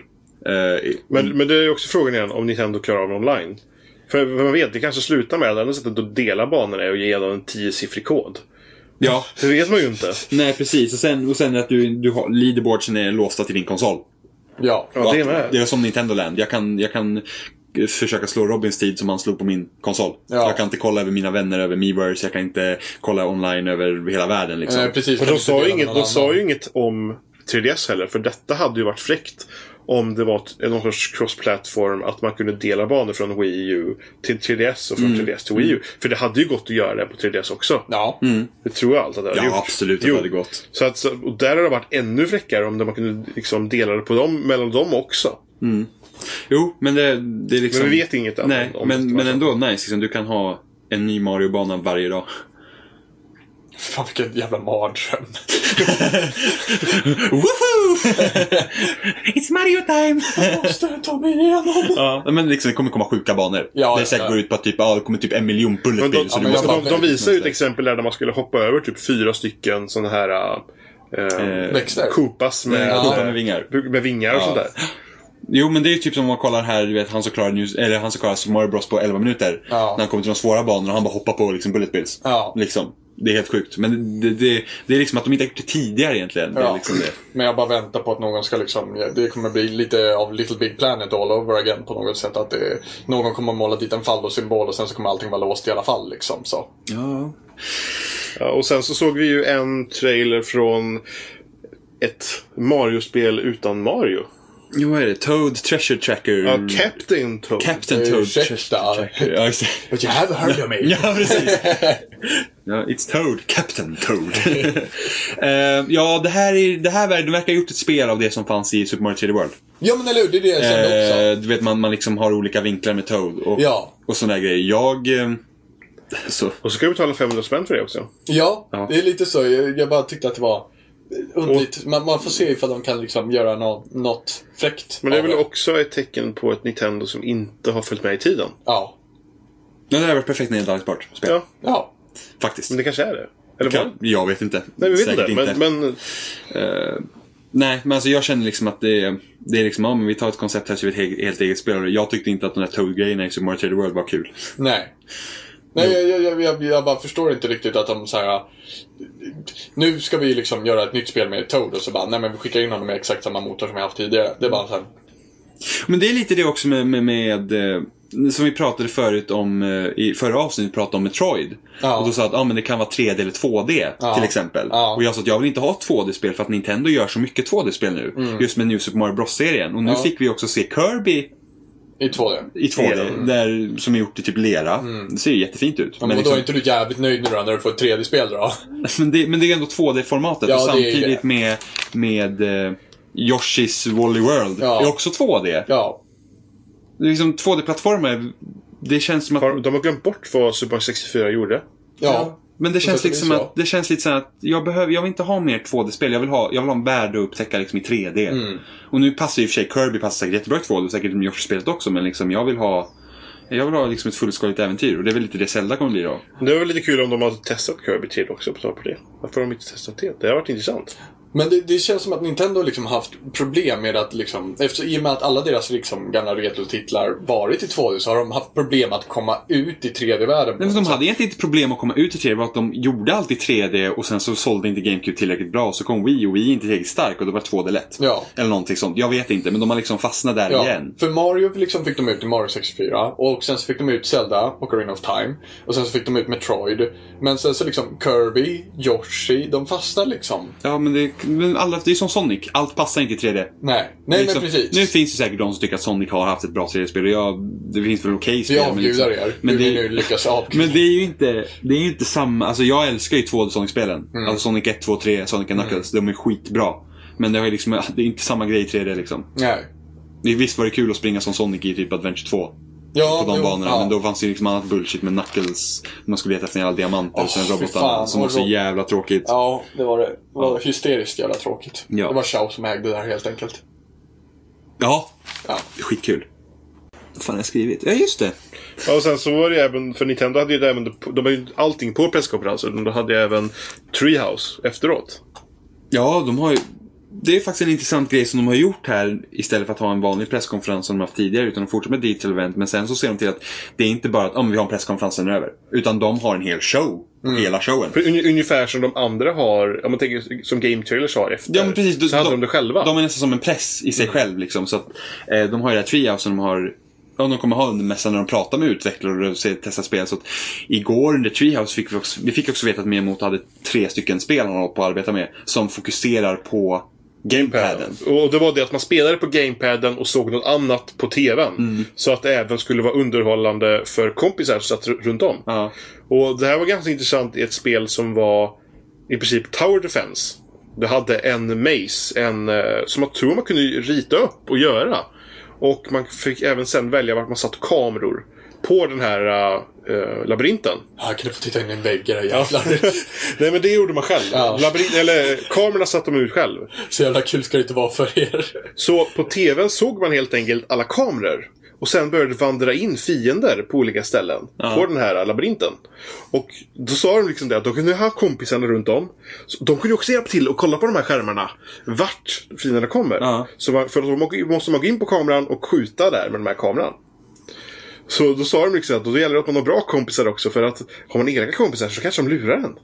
Speaker 2: Eh,
Speaker 1: Men, men det är ju också frågan igen om Nintendo klarar av online. För vem vet, det kanske slutar med att enda sättet att dela banorna är att ge dem en 10-siffrig kod.
Speaker 2: ja,
Speaker 1: Det vet man ju inte.
Speaker 2: nej precis. Och sen, och sen att du, du har, leaderboardsen är låsta till din konsol.
Speaker 4: Ja.
Speaker 1: Ja, det är
Speaker 2: Att-
Speaker 1: med.
Speaker 2: är som Nintendo Land. Jag kan, jag kan eh, försöka slå Robins tid som han slog på min konsol.
Speaker 4: Ja.
Speaker 2: Jag kan inte kolla över mina vänner över Miiverse. Jag kan inte kolla online över hela världen liksom.
Speaker 4: Eh, precis,
Speaker 1: Och
Speaker 4: kan
Speaker 1: de
Speaker 4: inte
Speaker 1: sa,
Speaker 4: dela
Speaker 1: ju
Speaker 4: med
Speaker 1: inget,
Speaker 4: någon
Speaker 1: de
Speaker 4: annan.
Speaker 1: sa ju inget om 3DS heller, för detta hade ju varit fräckt om det var ett- någon sorts cross-platform, att man kunde dela banor från Wii U till 3DS och från 3DS till Wii U. För det hade ju gått att göra det på 3DS också.
Speaker 4: Ja.
Speaker 1: Det tror jag allt att det hade
Speaker 2: Ja,
Speaker 1: gjort.
Speaker 2: absolut att
Speaker 1: Jo.
Speaker 2: det hade gått.
Speaker 1: Så att, så- och där har det varit ännu fräckare om det- man kunde liksom dela det på dem, mellan dem också.
Speaker 2: Jo, men det, det är liksom...
Speaker 1: Men vi vet inget än
Speaker 2: Nej,
Speaker 1: om- om det
Speaker 2: men,
Speaker 1: ska
Speaker 2: men
Speaker 1: vara
Speaker 2: ändå nice. Liksom, du kan ha en ny Mario-bana varje dag.
Speaker 4: Fan vilken jävla mardröm.
Speaker 2: Woohoo! It's Mario time!
Speaker 4: Måste jag ta mig igenom?
Speaker 2: ja, men liksom, det kommer komma sjuka banor.
Speaker 4: Ja,
Speaker 2: det är säkert
Speaker 4: ja.
Speaker 2: går ut på att typ, ja, det kommer typ en miljon bullet
Speaker 1: Men de,
Speaker 2: bills. så
Speaker 1: de,
Speaker 4: men
Speaker 2: du måste...
Speaker 4: jag-
Speaker 1: de, de visar ju ett exempel där man skulle hoppa över typ fyra stycken sådana här eh,
Speaker 4: Växter.
Speaker 1: Koopas med,
Speaker 2: Ja,
Speaker 4: Koopas
Speaker 2: med vingar.
Speaker 1: med vingar och sånt där.
Speaker 2: Jo, men det är ju typ som om man kollar här, du vet, han som klarar, news, eller han som klarar Super Mario Bros på 11 minuter.
Speaker 4: Ja.
Speaker 2: När han kommer till de svåra banorna och han bara hoppar på liksom, bullet bills.
Speaker 4: Ja.
Speaker 2: Liksom. Det är helt sjukt. Men det, det, det är liksom att de inte har gjort det tidigare egentligen. Det är
Speaker 3: Ja.
Speaker 2: liksom det.
Speaker 3: Men jag bara väntar på att någon ska liksom, det kommer bli lite av Little Big Planet all over again på något sätt. Att det, någon kommer måla dit en fallosymbol och sen så kommer allting vara låst i alla fall liksom. Så.
Speaker 2: Ja.
Speaker 1: Ja, och sen så såg vi ju en trailer från ett Mario-spel utan Mario.
Speaker 2: Jo, vad är det? Toad Treasure Tracker.
Speaker 1: Ja, Captain Toad.
Speaker 2: Captain Toad
Speaker 3: Ursäkta.
Speaker 2: Treasure Tracker. Ja, exakt.
Speaker 3: But you have heard of me.
Speaker 2: Ja, precis. ja, it's Toad. Captain Toad. Eh, ja, det här, är, det här ver- de verkar ha gjort ett spel av det som fanns i Super Mario 3D World.
Speaker 3: Ja men eller hur, det är det jag kände också.
Speaker 2: Eh, du vet, man, man liksom har olika vinklar med Toad och,
Speaker 3: Ja.
Speaker 2: och sådana grejer. Jag... eh, så,
Speaker 1: Och så ska vi betala 500 spänn för det också.
Speaker 3: Ja,
Speaker 2: Ja.
Speaker 3: det är lite så. Jag, jag bara tyckte att det var underligt. Man, man får se ifall de kan liksom göra nå- något fräckt.
Speaker 1: Men det är
Speaker 3: av
Speaker 1: väl också ett tecken på ett Nintendo som inte har följt med i tiden.
Speaker 3: Ja.
Speaker 2: det här var ett perfekt nedladdningsbart spel.
Speaker 1: Ja,
Speaker 3: Ja.
Speaker 2: Faktiskt.
Speaker 1: men det kanske är det. Eller vad?
Speaker 2: Kan- Jag vet inte.
Speaker 1: Nej, vi vet
Speaker 2: Säkert
Speaker 1: inte. Men, men
Speaker 2: Eh, nej, men alltså jag känner liksom att det är, det är liksom, ja men vi tar ett koncept här så vi ett he- helt eget spel. Jag tyckte inte att de där Toad-grejerna i Super Mario 3D World var kul.
Speaker 3: Nej. Nej, jag, jag, jag, jag, jag bara förstår inte riktigt att de så här. Nu ska vi liksom göra ett nytt spel med Toad och så bara, nej men vi skickar in honom med exakt samma motor som vi haft tidigare. Det är bara så här,
Speaker 2: Men det är lite det också med, med, med eh, som vi pratade förut om, eh, i förra avsnittet pratade om Metroid.
Speaker 3: Ja.
Speaker 2: Och då sa att ah, men det kan vara 3D eller 2D
Speaker 3: Ja.
Speaker 2: till exempel.
Speaker 3: Ja.
Speaker 2: Och jag sa att jag vill inte ha 2D-spel för att Nintendo gör så mycket 2D-spel nu. Just med New Super Mario Bros-serien. Och nu
Speaker 3: Mm. Ja.
Speaker 2: fick vi också se Kirby
Speaker 3: i 2D.
Speaker 2: i 2D,
Speaker 1: Mm.
Speaker 2: där, som är gjort i typ lera. Det ser ju jättefint ut.
Speaker 3: Mm.
Speaker 2: liksom-
Speaker 3: Men, då är inte du jävligt nöjd nu då när du får ett 3D-spel då?
Speaker 2: Men det, men det är ändå 2D-formatet
Speaker 3: Ja,
Speaker 2: och
Speaker 3: det är ju
Speaker 2: samtidigt
Speaker 3: det.
Speaker 2: med, med eh, Yoshis Wally World.
Speaker 3: Ja.
Speaker 2: är också 2D.
Speaker 3: Ja.
Speaker 2: Det är liksom 2D-plattformar, det känns som att...
Speaker 1: har, de har glömt bort vad Super Mario 64 gjorde.
Speaker 3: Ja.
Speaker 2: Men det känns
Speaker 3: sätt och
Speaker 2: liksom
Speaker 3: vis, ja.
Speaker 2: att, det känns lite så här att jag, behöver, jag vill inte ha mer 2D-spel. Jag vill ha, jag vill ha en värld att upptäcka liksom i 3D. Och nu passar ju i och för sig Kirby passar säkert jättebra i 2D och säkert i Yoshi-spelet också men liksom jag vill ha jag vill ha liksom ett fullskaligt äventyr och det är väl lite det Zelda kommer bli då.
Speaker 1: Det var väl lite kul om de hade testat Kirby till också, på tal på det. Varför har de inte testat det? Det har varit intressant.
Speaker 3: Men det, det känns som att Nintendo liksom haft problem med att liksom, efter, i och med att alla deras liksom gamla retrotitlar varit i 2D så har de haft problem att komma ut i 3D-världen.
Speaker 2: Nej, men de hade egentligen inte problem att komma ut i 3D, det var att de gjorde allt i 3D och sen så sålde inte GameCube tillräckligt bra och så kom Wii och Wii inte tillräckligt stark och då var 2D lätt.
Speaker 3: Ja.
Speaker 2: Eller någonting sånt. Jag vet inte, men de har liksom fastnat där
Speaker 3: Ja,
Speaker 2: igen.
Speaker 3: för Mario liksom fick de ut i Mario 64 och sen så fick de ut Zelda och Ocarina of Time. Och sen så fick de ut Metroid. Men sen så liksom Kirby, Yoshi, de fastnar liksom.
Speaker 2: Ja, men det, men alla, det är som Sonic, allt passar inte i 3D.
Speaker 3: Nej, nej
Speaker 2: Liksom,
Speaker 3: men precis.
Speaker 2: Nu finns det säkert de som tycker att Sonic har haft ett bra 3D-spel och jag, det finns väl okej spel.
Speaker 3: Vi
Speaker 2: men
Speaker 3: avgudar
Speaker 2: liksom-
Speaker 3: er.
Speaker 2: Men
Speaker 3: hur
Speaker 2: det,
Speaker 3: ni nu lyckas avguda.
Speaker 2: Men det är ju inte, det är ju inte samma, alltså jag älskar ju 2D Sonic-spelen.
Speaker 3: Mm.
Speaker 2: Alltså Sonic 1, 2, 3, Sonic and Knuckles, de är skitbra. Men det, har ju liksom, det är inte samma grej i 3D liksom.
Speaker 3: Nej.
Speaker 2: Det- Visst var det kul att springa som Sonic i typ Adventure 2.
Speaker 3: Ja,
Speaker 2: på de
Speaker 3: jo,
Speaker 2: banorna.
Speaker 3: ja.
Speaker 2: Men då fanns det ju liksom annat bullshit med Knuckles. Man skulle leta efter alla diamanter och sen
Speaker 3: Åh, fy
Speaker 2: robotarna.
Speaker 3: fan,
Speaker 2: Som
Speaker 3: vad
Speaker 2: också är
Speaker 3: roligt.
Speaker 2: jävla tråkigt.
Speaker 3: Ja, det var det. Det var hysteriskt jävla tråkigt.
Speaker 2: Ja.
Speaker 3: Det var Shao som ägde det här helt enkelt.
Speaker 2: Ja,
Speaker 3: Ja.
Speaker 2: skitkul. Vad fan har jag skrivit? Ja, just det.
Speaker 1: Ja, och sen så var det ju även, för Nintendo hade ju det även, de hade ju allting på presskonferensen. De hade ju även Treehouse efteråt.
Speaker 2: Ja, de har ju... Det är faktiskt en intressant grej som de har gjort här istället för att ha en vanlig presskonferens som de haft tidigare utan de fortsätter med detail event men sen så ser de till att det är inte bara att om vi har en presskonferens sen är det över. Utan de har en hel show.
Speaker 1: Mm.
Speaker 2: Hela showen.
Speaker 1: För un, ungefär som de andra har, om man tänker som Game Trailers har efter.
Speaker 2: Ja, men precis.
Speaker 1: så hade de, det själva. Mm.
Speaker 2: De är nästan som en press i sig själv. Liksom, så att, eh, de har ju det här Treehouse som de har Ja, de kommer ha under mässan när de pratar med utvecklare och ser- testar spel. Så att igår under Treehouse fick vi också, vi fick också veta att Miyamoto hade tre stycken spel han håller på att arbeta med. Som fokuserar på gamepaden.
Speaker 1: Och det var det att man spelade på gamepaden och såg något annat på tvn.
Speaker 2: Mm.
Speaker 1: Så att det även skulle vara underhållande för kompisar som satt r- runt om.
Speaker 2: Ja.
Speaker 1: Och det här var ganska intressant i ett spel som var i princip Tower Defense. Det hade en maze, en, eh, som jag tror man kunde rita upp och göra. Och man fick även sen välja vart man satt kameror. På den här eh, labyrinten.
Speaker 3: Jag kunde få titta in i en vägg i det här jävlar.
Speaker 1: Nej men det gjorde man själv.
Speaker 3: Ja.
Speaker 1: Labyrint, eller kamerorna satte man ut själv.
Speaker 3: Så jävla kul ska det inte vara för er.
Speaker 1: Så på tvn såg man helt enkelt alla kameror. Och sen började det vandra in fiender på olika ställen. På den här labyrinten. Och då sa de liksom det att de kunde ha kompisarna runt om. Så de kunde också hjälpa till och kolla på de här skärmarna. Vart fienderna kommer.
Speaker 2: Ja.
Speaker 1: Så man, för att då måste man gå in på kameran och skjuta där med den här kameran. Så då sa de liksom att då gäller det att man har bra kompisar också. För att har man elaka kompisar så kanske de lurar en.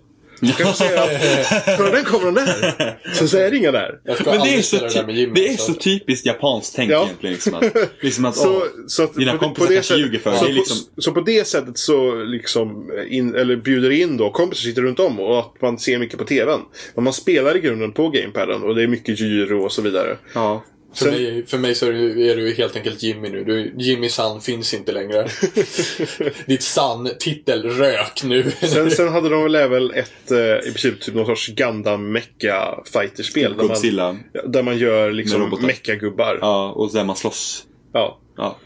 Speaker 1: Kan du säga att "Hör, den kommer den där. Så, så är det inga där.
Speaker 3: Jag ska
Speaker 2: Men det är,
Speaker 3: aldrig
Speaker 2: så
Speaker 3: spela det där med Jimmy.
Speaker 2: ty- det är
Speaker 3: så
Speaker 2: så typiskt japanskt tänk
Speaker 1: Ja.
Speaker 2: egentligen. Liksom att, liksom att
Speaker 1: Så,
Speaker 2: åh,
Speaker 1: så att
Speaker 2: dina kompisar kanske ljuger för dig.
Speaker 1: så,
Speaker 2: Det är liksom-
Speaker 1: på, så på det sättet så liksom in, eller bjuder in då kompisar sitter runt om och att man ser mycket på TVn. Men man spelar i grunden på gamepaden och det är mycket gyro och så vidare.
Speaker 2: ja.
Speaker 3: för, mig, för mig så är du, är du helt enkelt Jimmy nu. Du, Jimmy San finns inte längre. Ditt San-titel rök nu.
Speaker 1: Sen, sen hade de väl även ett eh, i princip typ någon sorts gundam mecha fighterspel där man,
Speaker 2: Typ Godzilla.
Speaker 1: där man gör
Speaker 2: Med
Speaker 1: liksom
Speaker 2: robotar.
Speaker 1: mecha-gubbar.
Speaker 2: Ja, och där man slåss.
Speaker 1: Ja.
Speaker 2: Ja.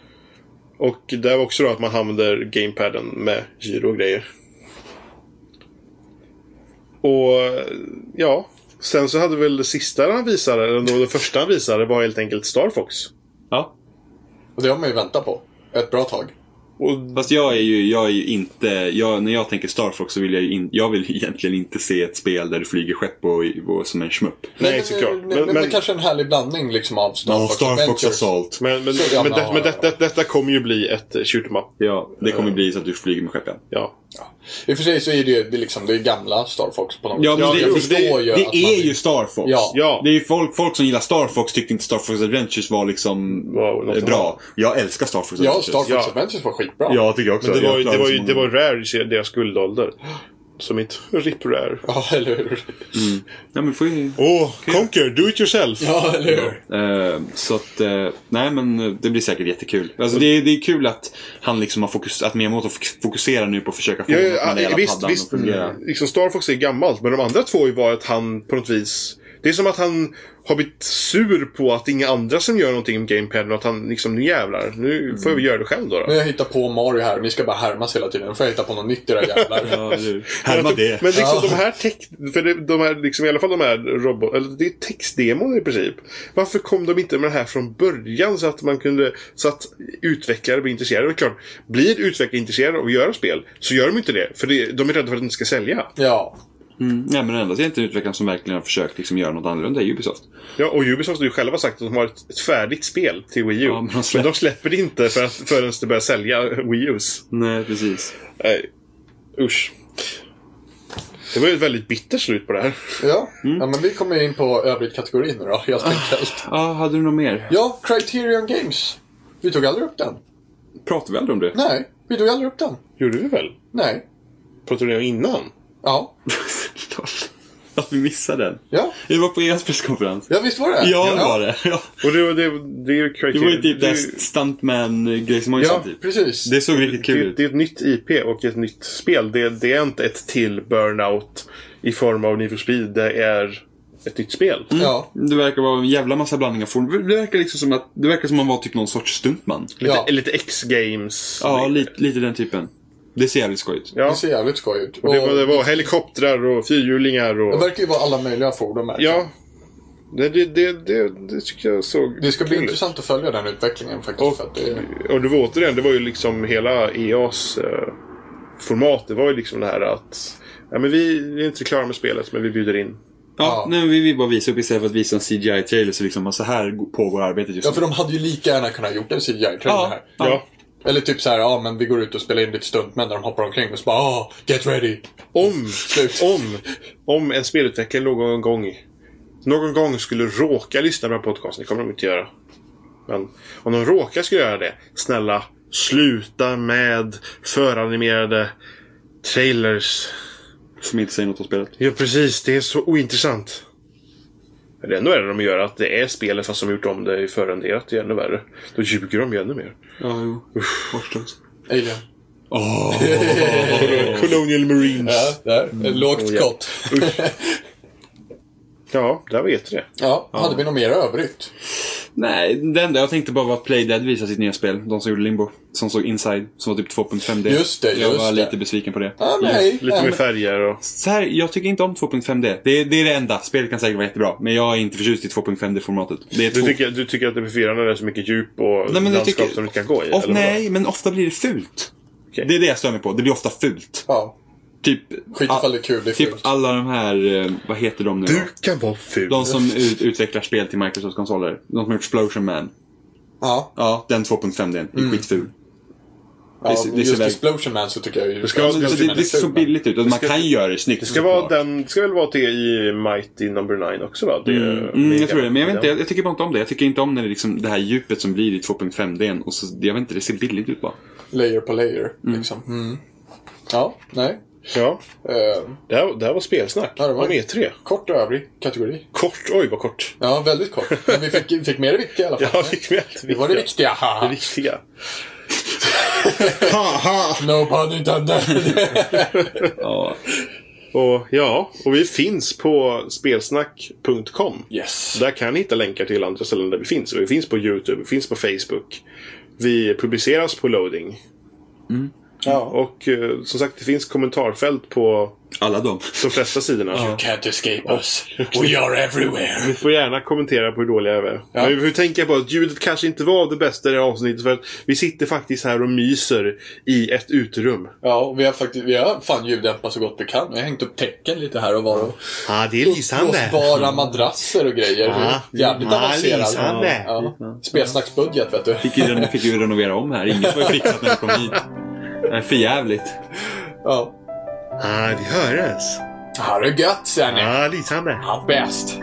Speaker 1: Och där var också då att man använder gamepaden med gyro och grejer. Och ja, sen så hade väl det sista han visade, eller då det första han visade var helt enkelt Star Fox.
Speaker 2: ja.
Speaker 3: Och det har man ju väntat på. Ett bra tag.
Speaker 1: Och
Speaker 2: Fast jag är ju, jag är ju inte, jag, när jag tänker Star Fox så vill jag ju in, jag vill egentligen inte se ett spel där du flyger skepp och, och som en schmupp.
Speaker 1: Nej,
Speaker 3: men,
Speaker 1: såklart.
Speaker 3: Men,
Speaker 1: Men-
Speaker 3: men,
Speaker 1: men-
Speaker 3: det kanske är en härlig blandning liksom av Star
Speaker 2: Ja,
Speaker 3: Fox
Speaker 2: Star Fox alltså.
Speaker 3: Adventures.
Speaker 2: Assault.
Speaker 1: men, men,
Speaker 3: Så
Speaker 1: men,
Speaker 3: gamla
Speaker 1: det, men det,
Speaker 3: har
Speaker 1: det, detta kommer ju bli ett eh, shoot 'em up.
Speaker 2: Ja, det kommer
Speaker 3: Eh.
Speaker 2: bli så att du flyger med skeppen.
Speaker 1: Ja.
Speaker 3: I och för sig så är det ju det är liksom, det är gamla Star Fox på något
Speaker 2: Ja, men
Speaker 3: sätt.
Speaker 2: det,
Speaker 3: jag
Speaker 1: det-
Speaker 3: förstår ju
Speaker 2: det
Speaker 3: att man
Speaker 2: är
Speaker 3: vill-
Speaker 2: ju Star Fox.
Speaker 3: Ja.
Speaker 1: Ja.
Speaker 2: Det är ju folk, folk som gillar Star Fox tyckte inte Star Fox Adventures var liksom
Speaker 1: Wow, något
Speaker 2: eh, bra. Jag älskar Star Fox
Speaker 3: Ja,
Speaker 2: Adventures.
Speaker 3: Star Fox
Speaker 1: Ja.
Speaker 3: Adventures var skitbra.
Speaker 2: Ja, tycker jag också.
Speaker 1: Men det
Speaker 2: Jag
Speaker 1: var ju, det
Speaker 2: klarar
Speaker 1: var ju,
Speaker 2: som-
Speaker 1: det var rare i deras guldålder. Som inte RIP rare.
Speaker 3: Ja, eller hur?
Speaker 2: Ja, men får ju...
Speaker 1: Åh, oh, Conquer, do it yourself!
Speaker 3: Ja, eller hur?
Speaker 2: Eh, så att, eh, nej men eh, det blir säkert jättekul. Alltså det, är- det är kul att han liksom har fokus, att Miyamoto fok- fokuserar nu på att försöka få
Speaker 1: Ja,
Speaker 2: ja, Mm.
Speaker 1: ja,
Speaker 2: den där
Speaker 1: ja,
Speaker 2: jävla
Speaker 1: visst,
Speaker 2: paddan
Speaker 1: visst.
Speaker 2: att fungera.
Speaker 1: Liksom Star Fox är gammalt, men de andra två var att han på något vis... Det är som att han har blivit sur på att det är inga andra som gör någonting med gamepaden och att han liksom, nu jävlar, nu får jag väl göra det själv då. då.
Speaker 2: Mm.
Speaker 3: Nu har jag hittat på Mario här och ni ska bara härmas hela tiden. Nu får jag hitta på något nytt era jävlar.
Speaker 2: Ja, eller hur? Härma det.
Speaker 1: Men liksom
Speaker 3: Ja.
Speaker 1: de här text... För det, de här, liksom, i alla fall de här robot... Eller det är textdemon i princip. Varför kom de inte med det här från början så att man kunde... Så att utvecklare blir intresserade. Det är klart, blir utvecklare intresserade av att göra spel så gör de inte det. För det, de är rädda för att de inte ska sälja.
Speaker 3: Ja.
Speaker 2: Mm, nej men den enda egentligen utvecklaren som verkligen har försökt liksom göra något annorlunda är Ubisoft.
Speaker 1: Ja, och Ubisoft har ju själva sagt att de har ett, ett färdigt spel till Wii U.
Speaker 2: Ja,
Speaker 1: men,
Speaker 2: men
Speaker 1: de
Speaker 2: de släpp-
Speaker 1: släpper det inte för att, förrän det börjar sälja Wii Us.
Speaker 2: Nej, precis.
Speaker 1: Nej, usch. Det var ju ett väldigt bittert slut på det här.
Speaker 3: Ja. ja, men vi kommer in på övrigt kategorin nu då, helt enkelt.
Speaker 2: Ja, hade du något mer?
Speaker 3: Ja, Criterion Games. Vi tog aldrig upp den.
Speaker 2: Pratade vi aldrig om det?
Speaker 3: Nej, vi tog aldrig upp den.
Speaker 1: Gjorde vi väl?
Speaker 3: Nej.
Speaker 1: Pratade vi om innan?
Speaker 3: Ja.
Speaker 2: Att vi missade den.
Speaker 3: Ja,
Speaker 2: Det var på EAs presskonferens.
Speaker 3: ja visst var det?
Speaker 2: Ja, det var det. Ja.
Speaker 1: Och det, var- det, det är ju
Speaker 2: Det
Speaker 1: Criterion.
Speaker 2: var ju typ
Speaker 1: det,
Speaker 2: det
Speaker 1: är-
Speaker 2: här stuntman-grej som man ju
Speaker 3: Ja,
Speaker 2: sa typ.
Speaker 3: precis.
Speaker 2: Det såg riktigt kul
Speaker 1: det,
Speaker 2: ut.
Speaker 1: det är ett nytt IP och ett nytt spel. Det, det är inte ett till Burnout i form av Need for Speed. Det är ett nytt spel.
Speaker 2: Mm.
Speaker 3: Mm. Ja.
Speaker 2: Det verkar vara en jävla massa blandningar. form. Det verkar liksom som att det verkar som att man var typ någon sorts stuntman.
Speaker 3: Ja.
Speaker 1: Lite, lite X-Games.
Speaker 2: Ja, lite, lite den typen. Det ser jävligt skoj ut.
Speaker 1: Ja.
Speaker 3: Det ser jävligt skoj ut.
Speaker 1: Och
Speaker 3: Och
Speaker 1: det, var, det var helikoptrar och fyrhjulingar och...
Speaker 3: det verkar ju vara alla möjliga fordon här.
Speaker 1: Ja. Det, det, det, det, det tycker jag såg
Speaker 3: Det ska bli
Speaker 1: kul ut.
Speaker 3: intressant att följa den utvecklingen faktiskt.
Speaker 1: Och,
Speaker 3: för att det...
Speaker 1: och det var återigen, det var ju liksom hela EAs eh, format. Det var ju liksom det här att ja, men vi, vi är inte klara med spelet, men vi bjuder in.
Speaker 2: Ja,
Speaker 3: Ja.
Speaker 2: nu vill vi bara visa upp istället för att visa en CGI-trailer så liksom, så här pågår arbetet just
Speaker 3: Ja,
Speaker 2: nu.
Speaker 3: för de hade ju lika gärna kunnat gjort en CGI-trailer
Speaker 2: Ja,
Speaker 3: här.
Speaker 2: ja.
Speaker 1: Ja.
Speaker 3: Eller typ så här, ja men vi går ut och spelar in lite stuntmän när de hoppar omkring och så bara ah, get ready.
Speaker 1: Om,
Speaker 3: Slut.
Speaker 1: om, om en spelutvecklare någon gång någon gång skulle råka lyssna på den här podcasten, det kommer de inte göra. Men om de råkar skulle göra det, snälla sluta med föranimerade trailers.
Speaker 2: Som inte säger något om spelet.
Speaker 1: Ja, precis. Det är så ointressant. Men Det är ännu värre de gör att det är spelet fast de gjort om det i förrenderat. Det är ännu värre. Då ljuger de ju ännu mer.
Speaker 2: Ja, jo. Vårdslöst.
Speaker 3: Alien.
Speaker 2: Åh! Eh,
Speaker 1: Colonial
Speaker 3: Ja,
Speaker 1: Marines.
Speaker 3: där. Lågt
Speaker 1: ja.
Speaker 3: skott.
Speaker 1: Ja, där vet du det.
Speaker 3: Ja, hade vi något mer övrigt?
Speaker 2: Nej, det enda jag tänkte bara var att Playdead visade sitt nya spel. De som gjorde Limbo. Som såg Inside. Som var typ 2.5D.
Speaker 3: Just det,
Speaker 2: Jag
Speaker 3: just
Speaker 2: var
Speaker 3: det.
Speaker 2: lite besviken på det.
Speaker 3: Ah, nej.
Speaker 1: Lite
Speaker 3: nej,
Speaker 1: mer
Speaker 3: men-
Speaker 1: färger och...
Speaker 2: Så här, jag tycker inte om 2.5D. Det, är- det är det enda. Spelet kan säkert vara jättebra. Men jag är inte förtjust i 2.5D-formatet. Det är
Speaker 1: Du
Speaker 2: två-
Speaker 1: tycker, du tycker att det förvirrande är så mycket djup och
Speaker 2: Nej, men jag
Speaker 1: landskap
Speaker 2: tycker...
Speaker 1: som du inte kan gå i?
Speaker 2: Of,
Speaker 1: eller vadå?
Speaker 2: nej, men ofta blir det fult.
Speaker 1: Okej.
Speaker 2: Det är det jag stör mig på. Det blir ofta fult.
Speaker 3: Ja,
Speaker 2: Typ...
Speaker 3: skit ifall det är kul, det är
Speaker 2: Typ
Speaker 3: fult.
Speaker 2: alla de här, eh, vad heter de nu då?
Speaker 1: Du kan vara ful.
Speaker 2: De som ut, utvecklar spel till Microsofts konsoler. De som har gjort Explosion Man.
Speaker 3: Ja,
Speaker 2: Ja, den 2.5 den är skitful.
Speaker 3: Ja,
Speaker 2: det, det ser
Speaker 3: just
Speaker 2: väl...
Speaker 3: Explosion Man så tycker jag ju... Det
Speaker 1: ska-
Speaker 2: Så det, det ser så billigt ut och man
Speaker 1: ska-
Speaker 2: kan göra det snyggt.
Speaker 1: Det ska, vara den, det ska väl vara det i Mighty Number 9 också va? Det,
Speaker 2: Mm, jag tror det. Men jag, vet inte,
Speaker 1: det.
Speaker 2: jag, jag tycker bara inte om det. Jag tycker inte om när det, liksom, det här djupet som blir i 2.5D. Och så, jag vet inte, det ser billigt ut bara.
Speaker 3: Layer på layer, liksom. Mm. Ja, nej.
Speaker 1: Ja,
Speaker 3: Eh,
Speaker 1: det här, det här var spelsnack
Speaker 3: Ja, det var
Speaker 1: om
Speaker 3: det.
Speaker 1: E3.
Speaker 3: kort och övrig kategori.
Speaker 1: Kort, oj vad kort.
Speaker 3: Ja, väldigt kort. Men vi fick, vi fick med det viktiga i alla fall.
Speaker 1: Ja, fick med allt
Speaker 3: Det var det viktiga.
Speaker 1: Det
Speaker 3: haha.
Speaker 1: viktiga. ha, ha.
Speaker 3: No pun intended.
Speaker 2: Ja.
Speaker 1: Och, ja, och vi finns på spelsnack.com.
Speaker 3: yes.
Speaker 1: Där kan ni hitta länkar till andra ställen där vi finns. Och vi finns på YouTube, vi finns på Facebook. Vi publiceras på Loading. Mm.
Speaker 3: Ja.
Speaker 1: Och eh, som sagt, det finns kommentarfält på
Speaker 2: Alla de.
Speaker 1: de flesta sidorna.
Speaker 3: Can't escape us. We are everywhere.
Speaker 1: Ni får gärna kommentera på hur dåliga vi är.
Speaker 3: Ja.
Speaker 1: Men vi får tänka på att ljudet kanske inte var det bästa i det här avsnittet. För att vi sitter faktiskt här och myser i ett uterum.
Speaker 3: Ja, och vi har faktiskt, vi har fan ljuddämpat så gott vi kan. Vi har hängt upp tecken lite här och var. Och
Speaker 1: Ja, det är
Speaker 3: blåsbara madrasser och grejer.
Speaker 1: Ja.
Speaker 3: Jävligt
Speaker 1: Ja,
Speaker 3: avancerat.
Speaker 1: lysande.
Speaker 3: Ja. Spelsnacksbudget, vet du.
Speaker 2: Fick ju, fick ju renovera om här. Inget var ju fixat när vi kom hit. Det är för jävligt.
Speaker 3: Ja.
Speaker 1: Ja, vi hörs.
Speaker 3: Ha det gött, Sanny.
Speaker 1: Ja, lysande.
Speaker 3: Ja, bäst.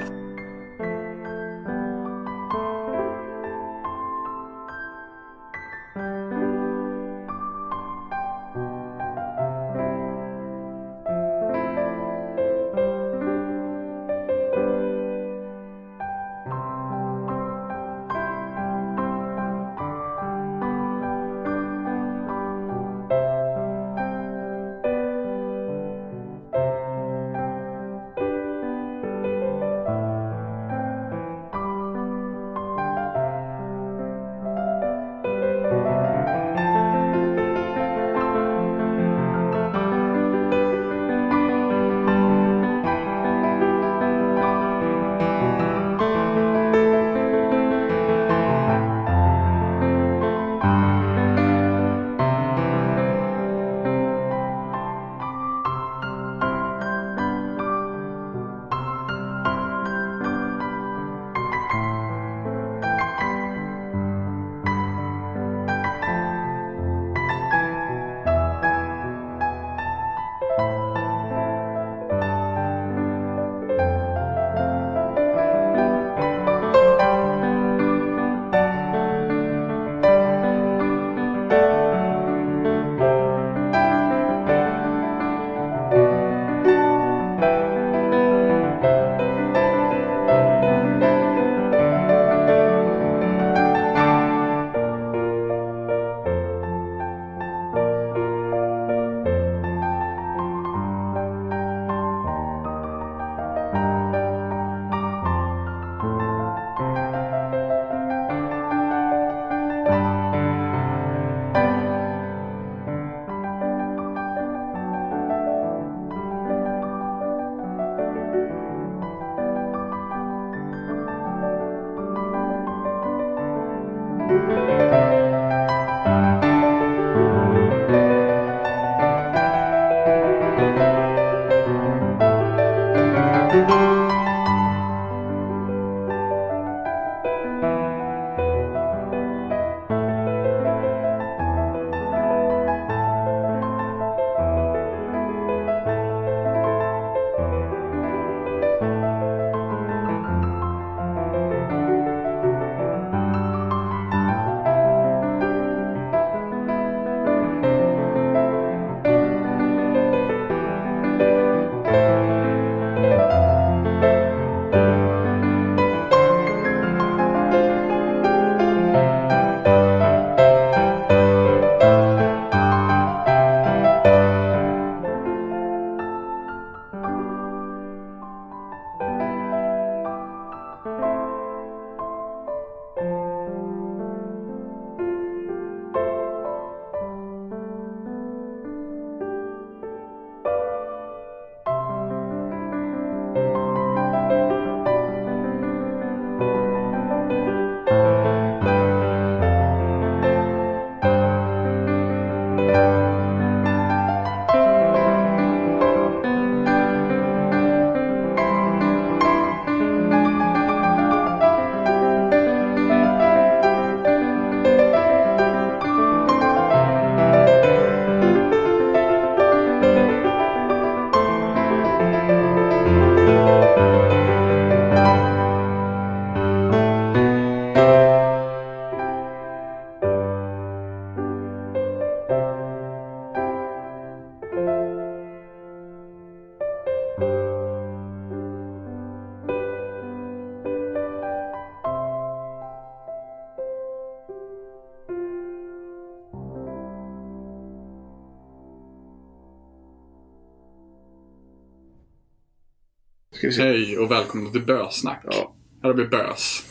Speaker 1: Ska vi se.
Speaker 3: Hej och välkomna till Bösnack.
Speaker 1: Ja.
Speaker 3: Här har vi bös.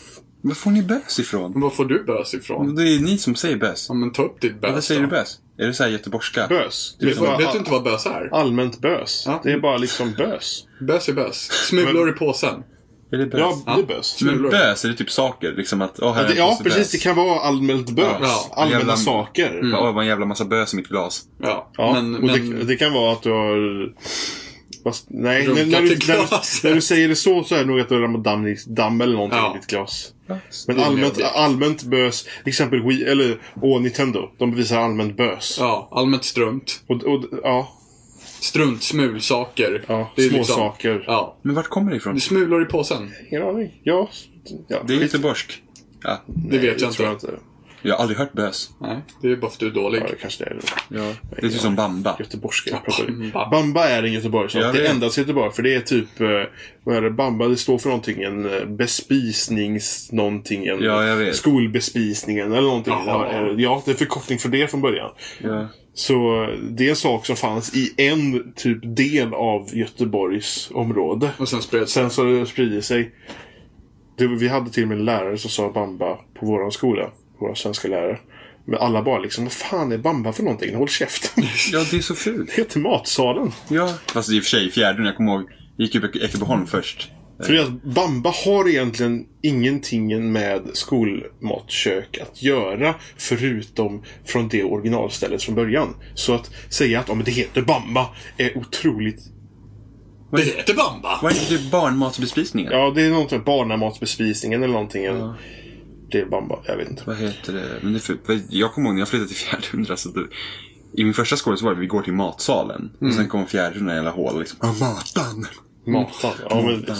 Speaker 2: Var får ni bös ifrån?
Speaker 3: Men var får du bös
Speaker 1: Mm.
Speaker 3: ifrån?
Speaker 2: Det är ni som säger bös.
Speaker 3: Ja, men ta upp ditt bös
Speaker 2: Varför säger
Speaker 3: då.
Speaker 2: du bös? Är det så här göteborgska?
Speaker 1: Bös. Det är
Speaker 3: Vet,
Speaker 1: bara
Speaker 3: vet du inte vad bös är?
Speaker 1: allmänt bös.
Speaker 3: Ja.
Speaker 1: Det är bara liksom bös.
Speaker 3: Bös är bös. Smulor i påsen.
Speaker 2: Är det bös?
Speaker 1: Ja, det är
Speaker 3: Ja.
Speaker 1: bös.
Speaker 2: men
Speaker 3: smulor.
Speaker 2: bös, är det typ saker? Liksom att, åh, här
Speaker 1: Ja, det,
Speaker 2: är en
Speaker 1: ja
Speaker 2: påse
Speaker 1: precis.
Speaker 2: bös.
Speaker 1: Det kan vara allmänt bös.
Speaker 3: Ja.
Speaker 1: Allmänna
Speaker 2: Jävla-
Speaker 1: saker.
Speaker 2: Ja, Åh, det var en jävla massa bös i mitt glas.
Speaker 3: Ja,
Speaker 1: Ja,
Speaker 3: men...
Speaker 1: och
Speaker 3: men
Speaker 1: det, det kan vara att du har... Fast, nej, när,
Speaker 3: Runkat
Speaker 1: när, du,
Speaker 3: i
Speaker 1: när,
Speaker 3: glaset.
Speaker 1: du, när du säger det så så är det nog att du har ramlat damm, i- damm eller någonting
Speaker 3: Ja.
Speaker 1: i ditt glas.
Speaker 2: Men,
Speaker 1: Men
Speaker 3: Det är mer
Speaker 1: allmänt,
Speaker 3: det.
Speaker 1: allmänt bös, till exempel Wii, eller åh, Nintendo. De visar allmänt bös.
Speaker 3: ja, allmänt strunt.
Speaker 1: Och, och, ja,
Speaker 3: Strunt, smulsaker.
Speaker 1: ja,
Speaker 3: Det är
Speaker 1: små
Speaker 3: liksom-
Speaker 1: saker.
Speaker 3: Ja.
Speaker 2: vart kommer det ifrån?
Speaker 3: Smulor i påsen.
Speaker 1: Ingen aning. Ja, ja
Speaker 2: Det är
Speaker 1: skit.
Speaker 2: göteborgsk. Ja.
Speaker 3: Det vet jag
Speaker 1: tror
Speaker 3: inte.
Speaker 1: jag inte.
Speaker 2: Jag har aldrig hört bös.
Speaker 3: Nej, det är bara för att du är
Speaker 1: Ja,
Speaker 3: dålig.
Speaker 1: det kanske det är.
Speaker 2: Ja. Det är typ som bamba.
Speaker 1: Göteborgska. Jag pratar ju.
Speaker 3: Bamba.
Speaker 1: Bamba är en göteborgsak.
Speaker 2: Ja,
Speaker 1: det
Speaker 2: det är-
Speaker 1: endast i Göteborg. För det är typ... eh, Vad är det? Bamba, det står för någonting. En eh, bespisnings... Någonting. En
Speaker 2: Ja, jag vet.
Speaker 1: Skolbespisningen eller någonting.
Speaker 3: Jaha.
Speaker 1: Ja, eh, ja, det är förkortning för det från början.
Speaker 2: Ja.
Speaker 1: Så eh, det är en sak som fanns i en typ del av Göteborgs område.
Speaker 3: Och sen spreds
Speaker 1: Sen så har det spridit sig. Det, vi hade till och med en lärare som sa bamba på vår skola. Våra svenska lärare. Men alla bara liksom, vad fan är bamba för någonting? Håll käften.
Speaker 2: ja, det är så fult.
Speaker 1: Det heter matsalen.
Speaker 2: Ja. Fast i och för sig, i fjärden, jag kommer ihåg, gick ju på Ekebyholm först.
Speaker 1: För det är att bamba har egentligen ingenting med skolmatkök att göra. Förutom från det originalstället från början. Så att säga att "Ja, men det heter bamba är otroligt...
Speaker 3: Det heter Bamba!
Speaker 2: Var inte det barnmatsbespisningen?
Speaker 1: Ja, det är någonting med barnamatsbespisningen eller någonting. Det är bamba, jag vet inte.
Speaker 2: Vad heter det? Men det är fult. Vad- Jag kommer ihåg när jag flyttade till Fjärdhundra. Så det, I min första skola så var det vi går till matsalen. Och sen kom Fjärdhundra i hela hål. Liksom. Ah, matan!
Speaker 1: Matan. Ja, men, ja,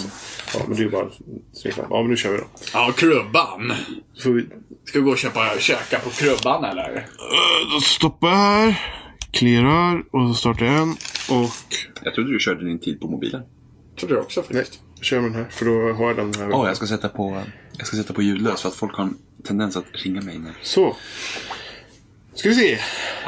Speaker 1: men det är ju bara... Ja, men nu kör vi då.
Speaker 3: Ja, Krubban.
Speaker 1: Får vi...
Speaker 3: Ska vi gå och köpa, käka på Krubban eller?
Speaker 1: Eh, Då stoppar jag här. Clearar och så startar jag en. Och...
Speaker 2: Jag trodde du körde din tid på mobilen.
Speaker 3: Trodde jag också
Speaker 1: Nej,
Speaker 3: faktiskt.
Speaker 1: jag kör med den här för då har jag den här.
Speaker 2: Åh, jag ska sätta på, jag ska sätta på ljudlös för att folk har en tendens att ringa mig när
Speaker 1: Så. Ska vi se.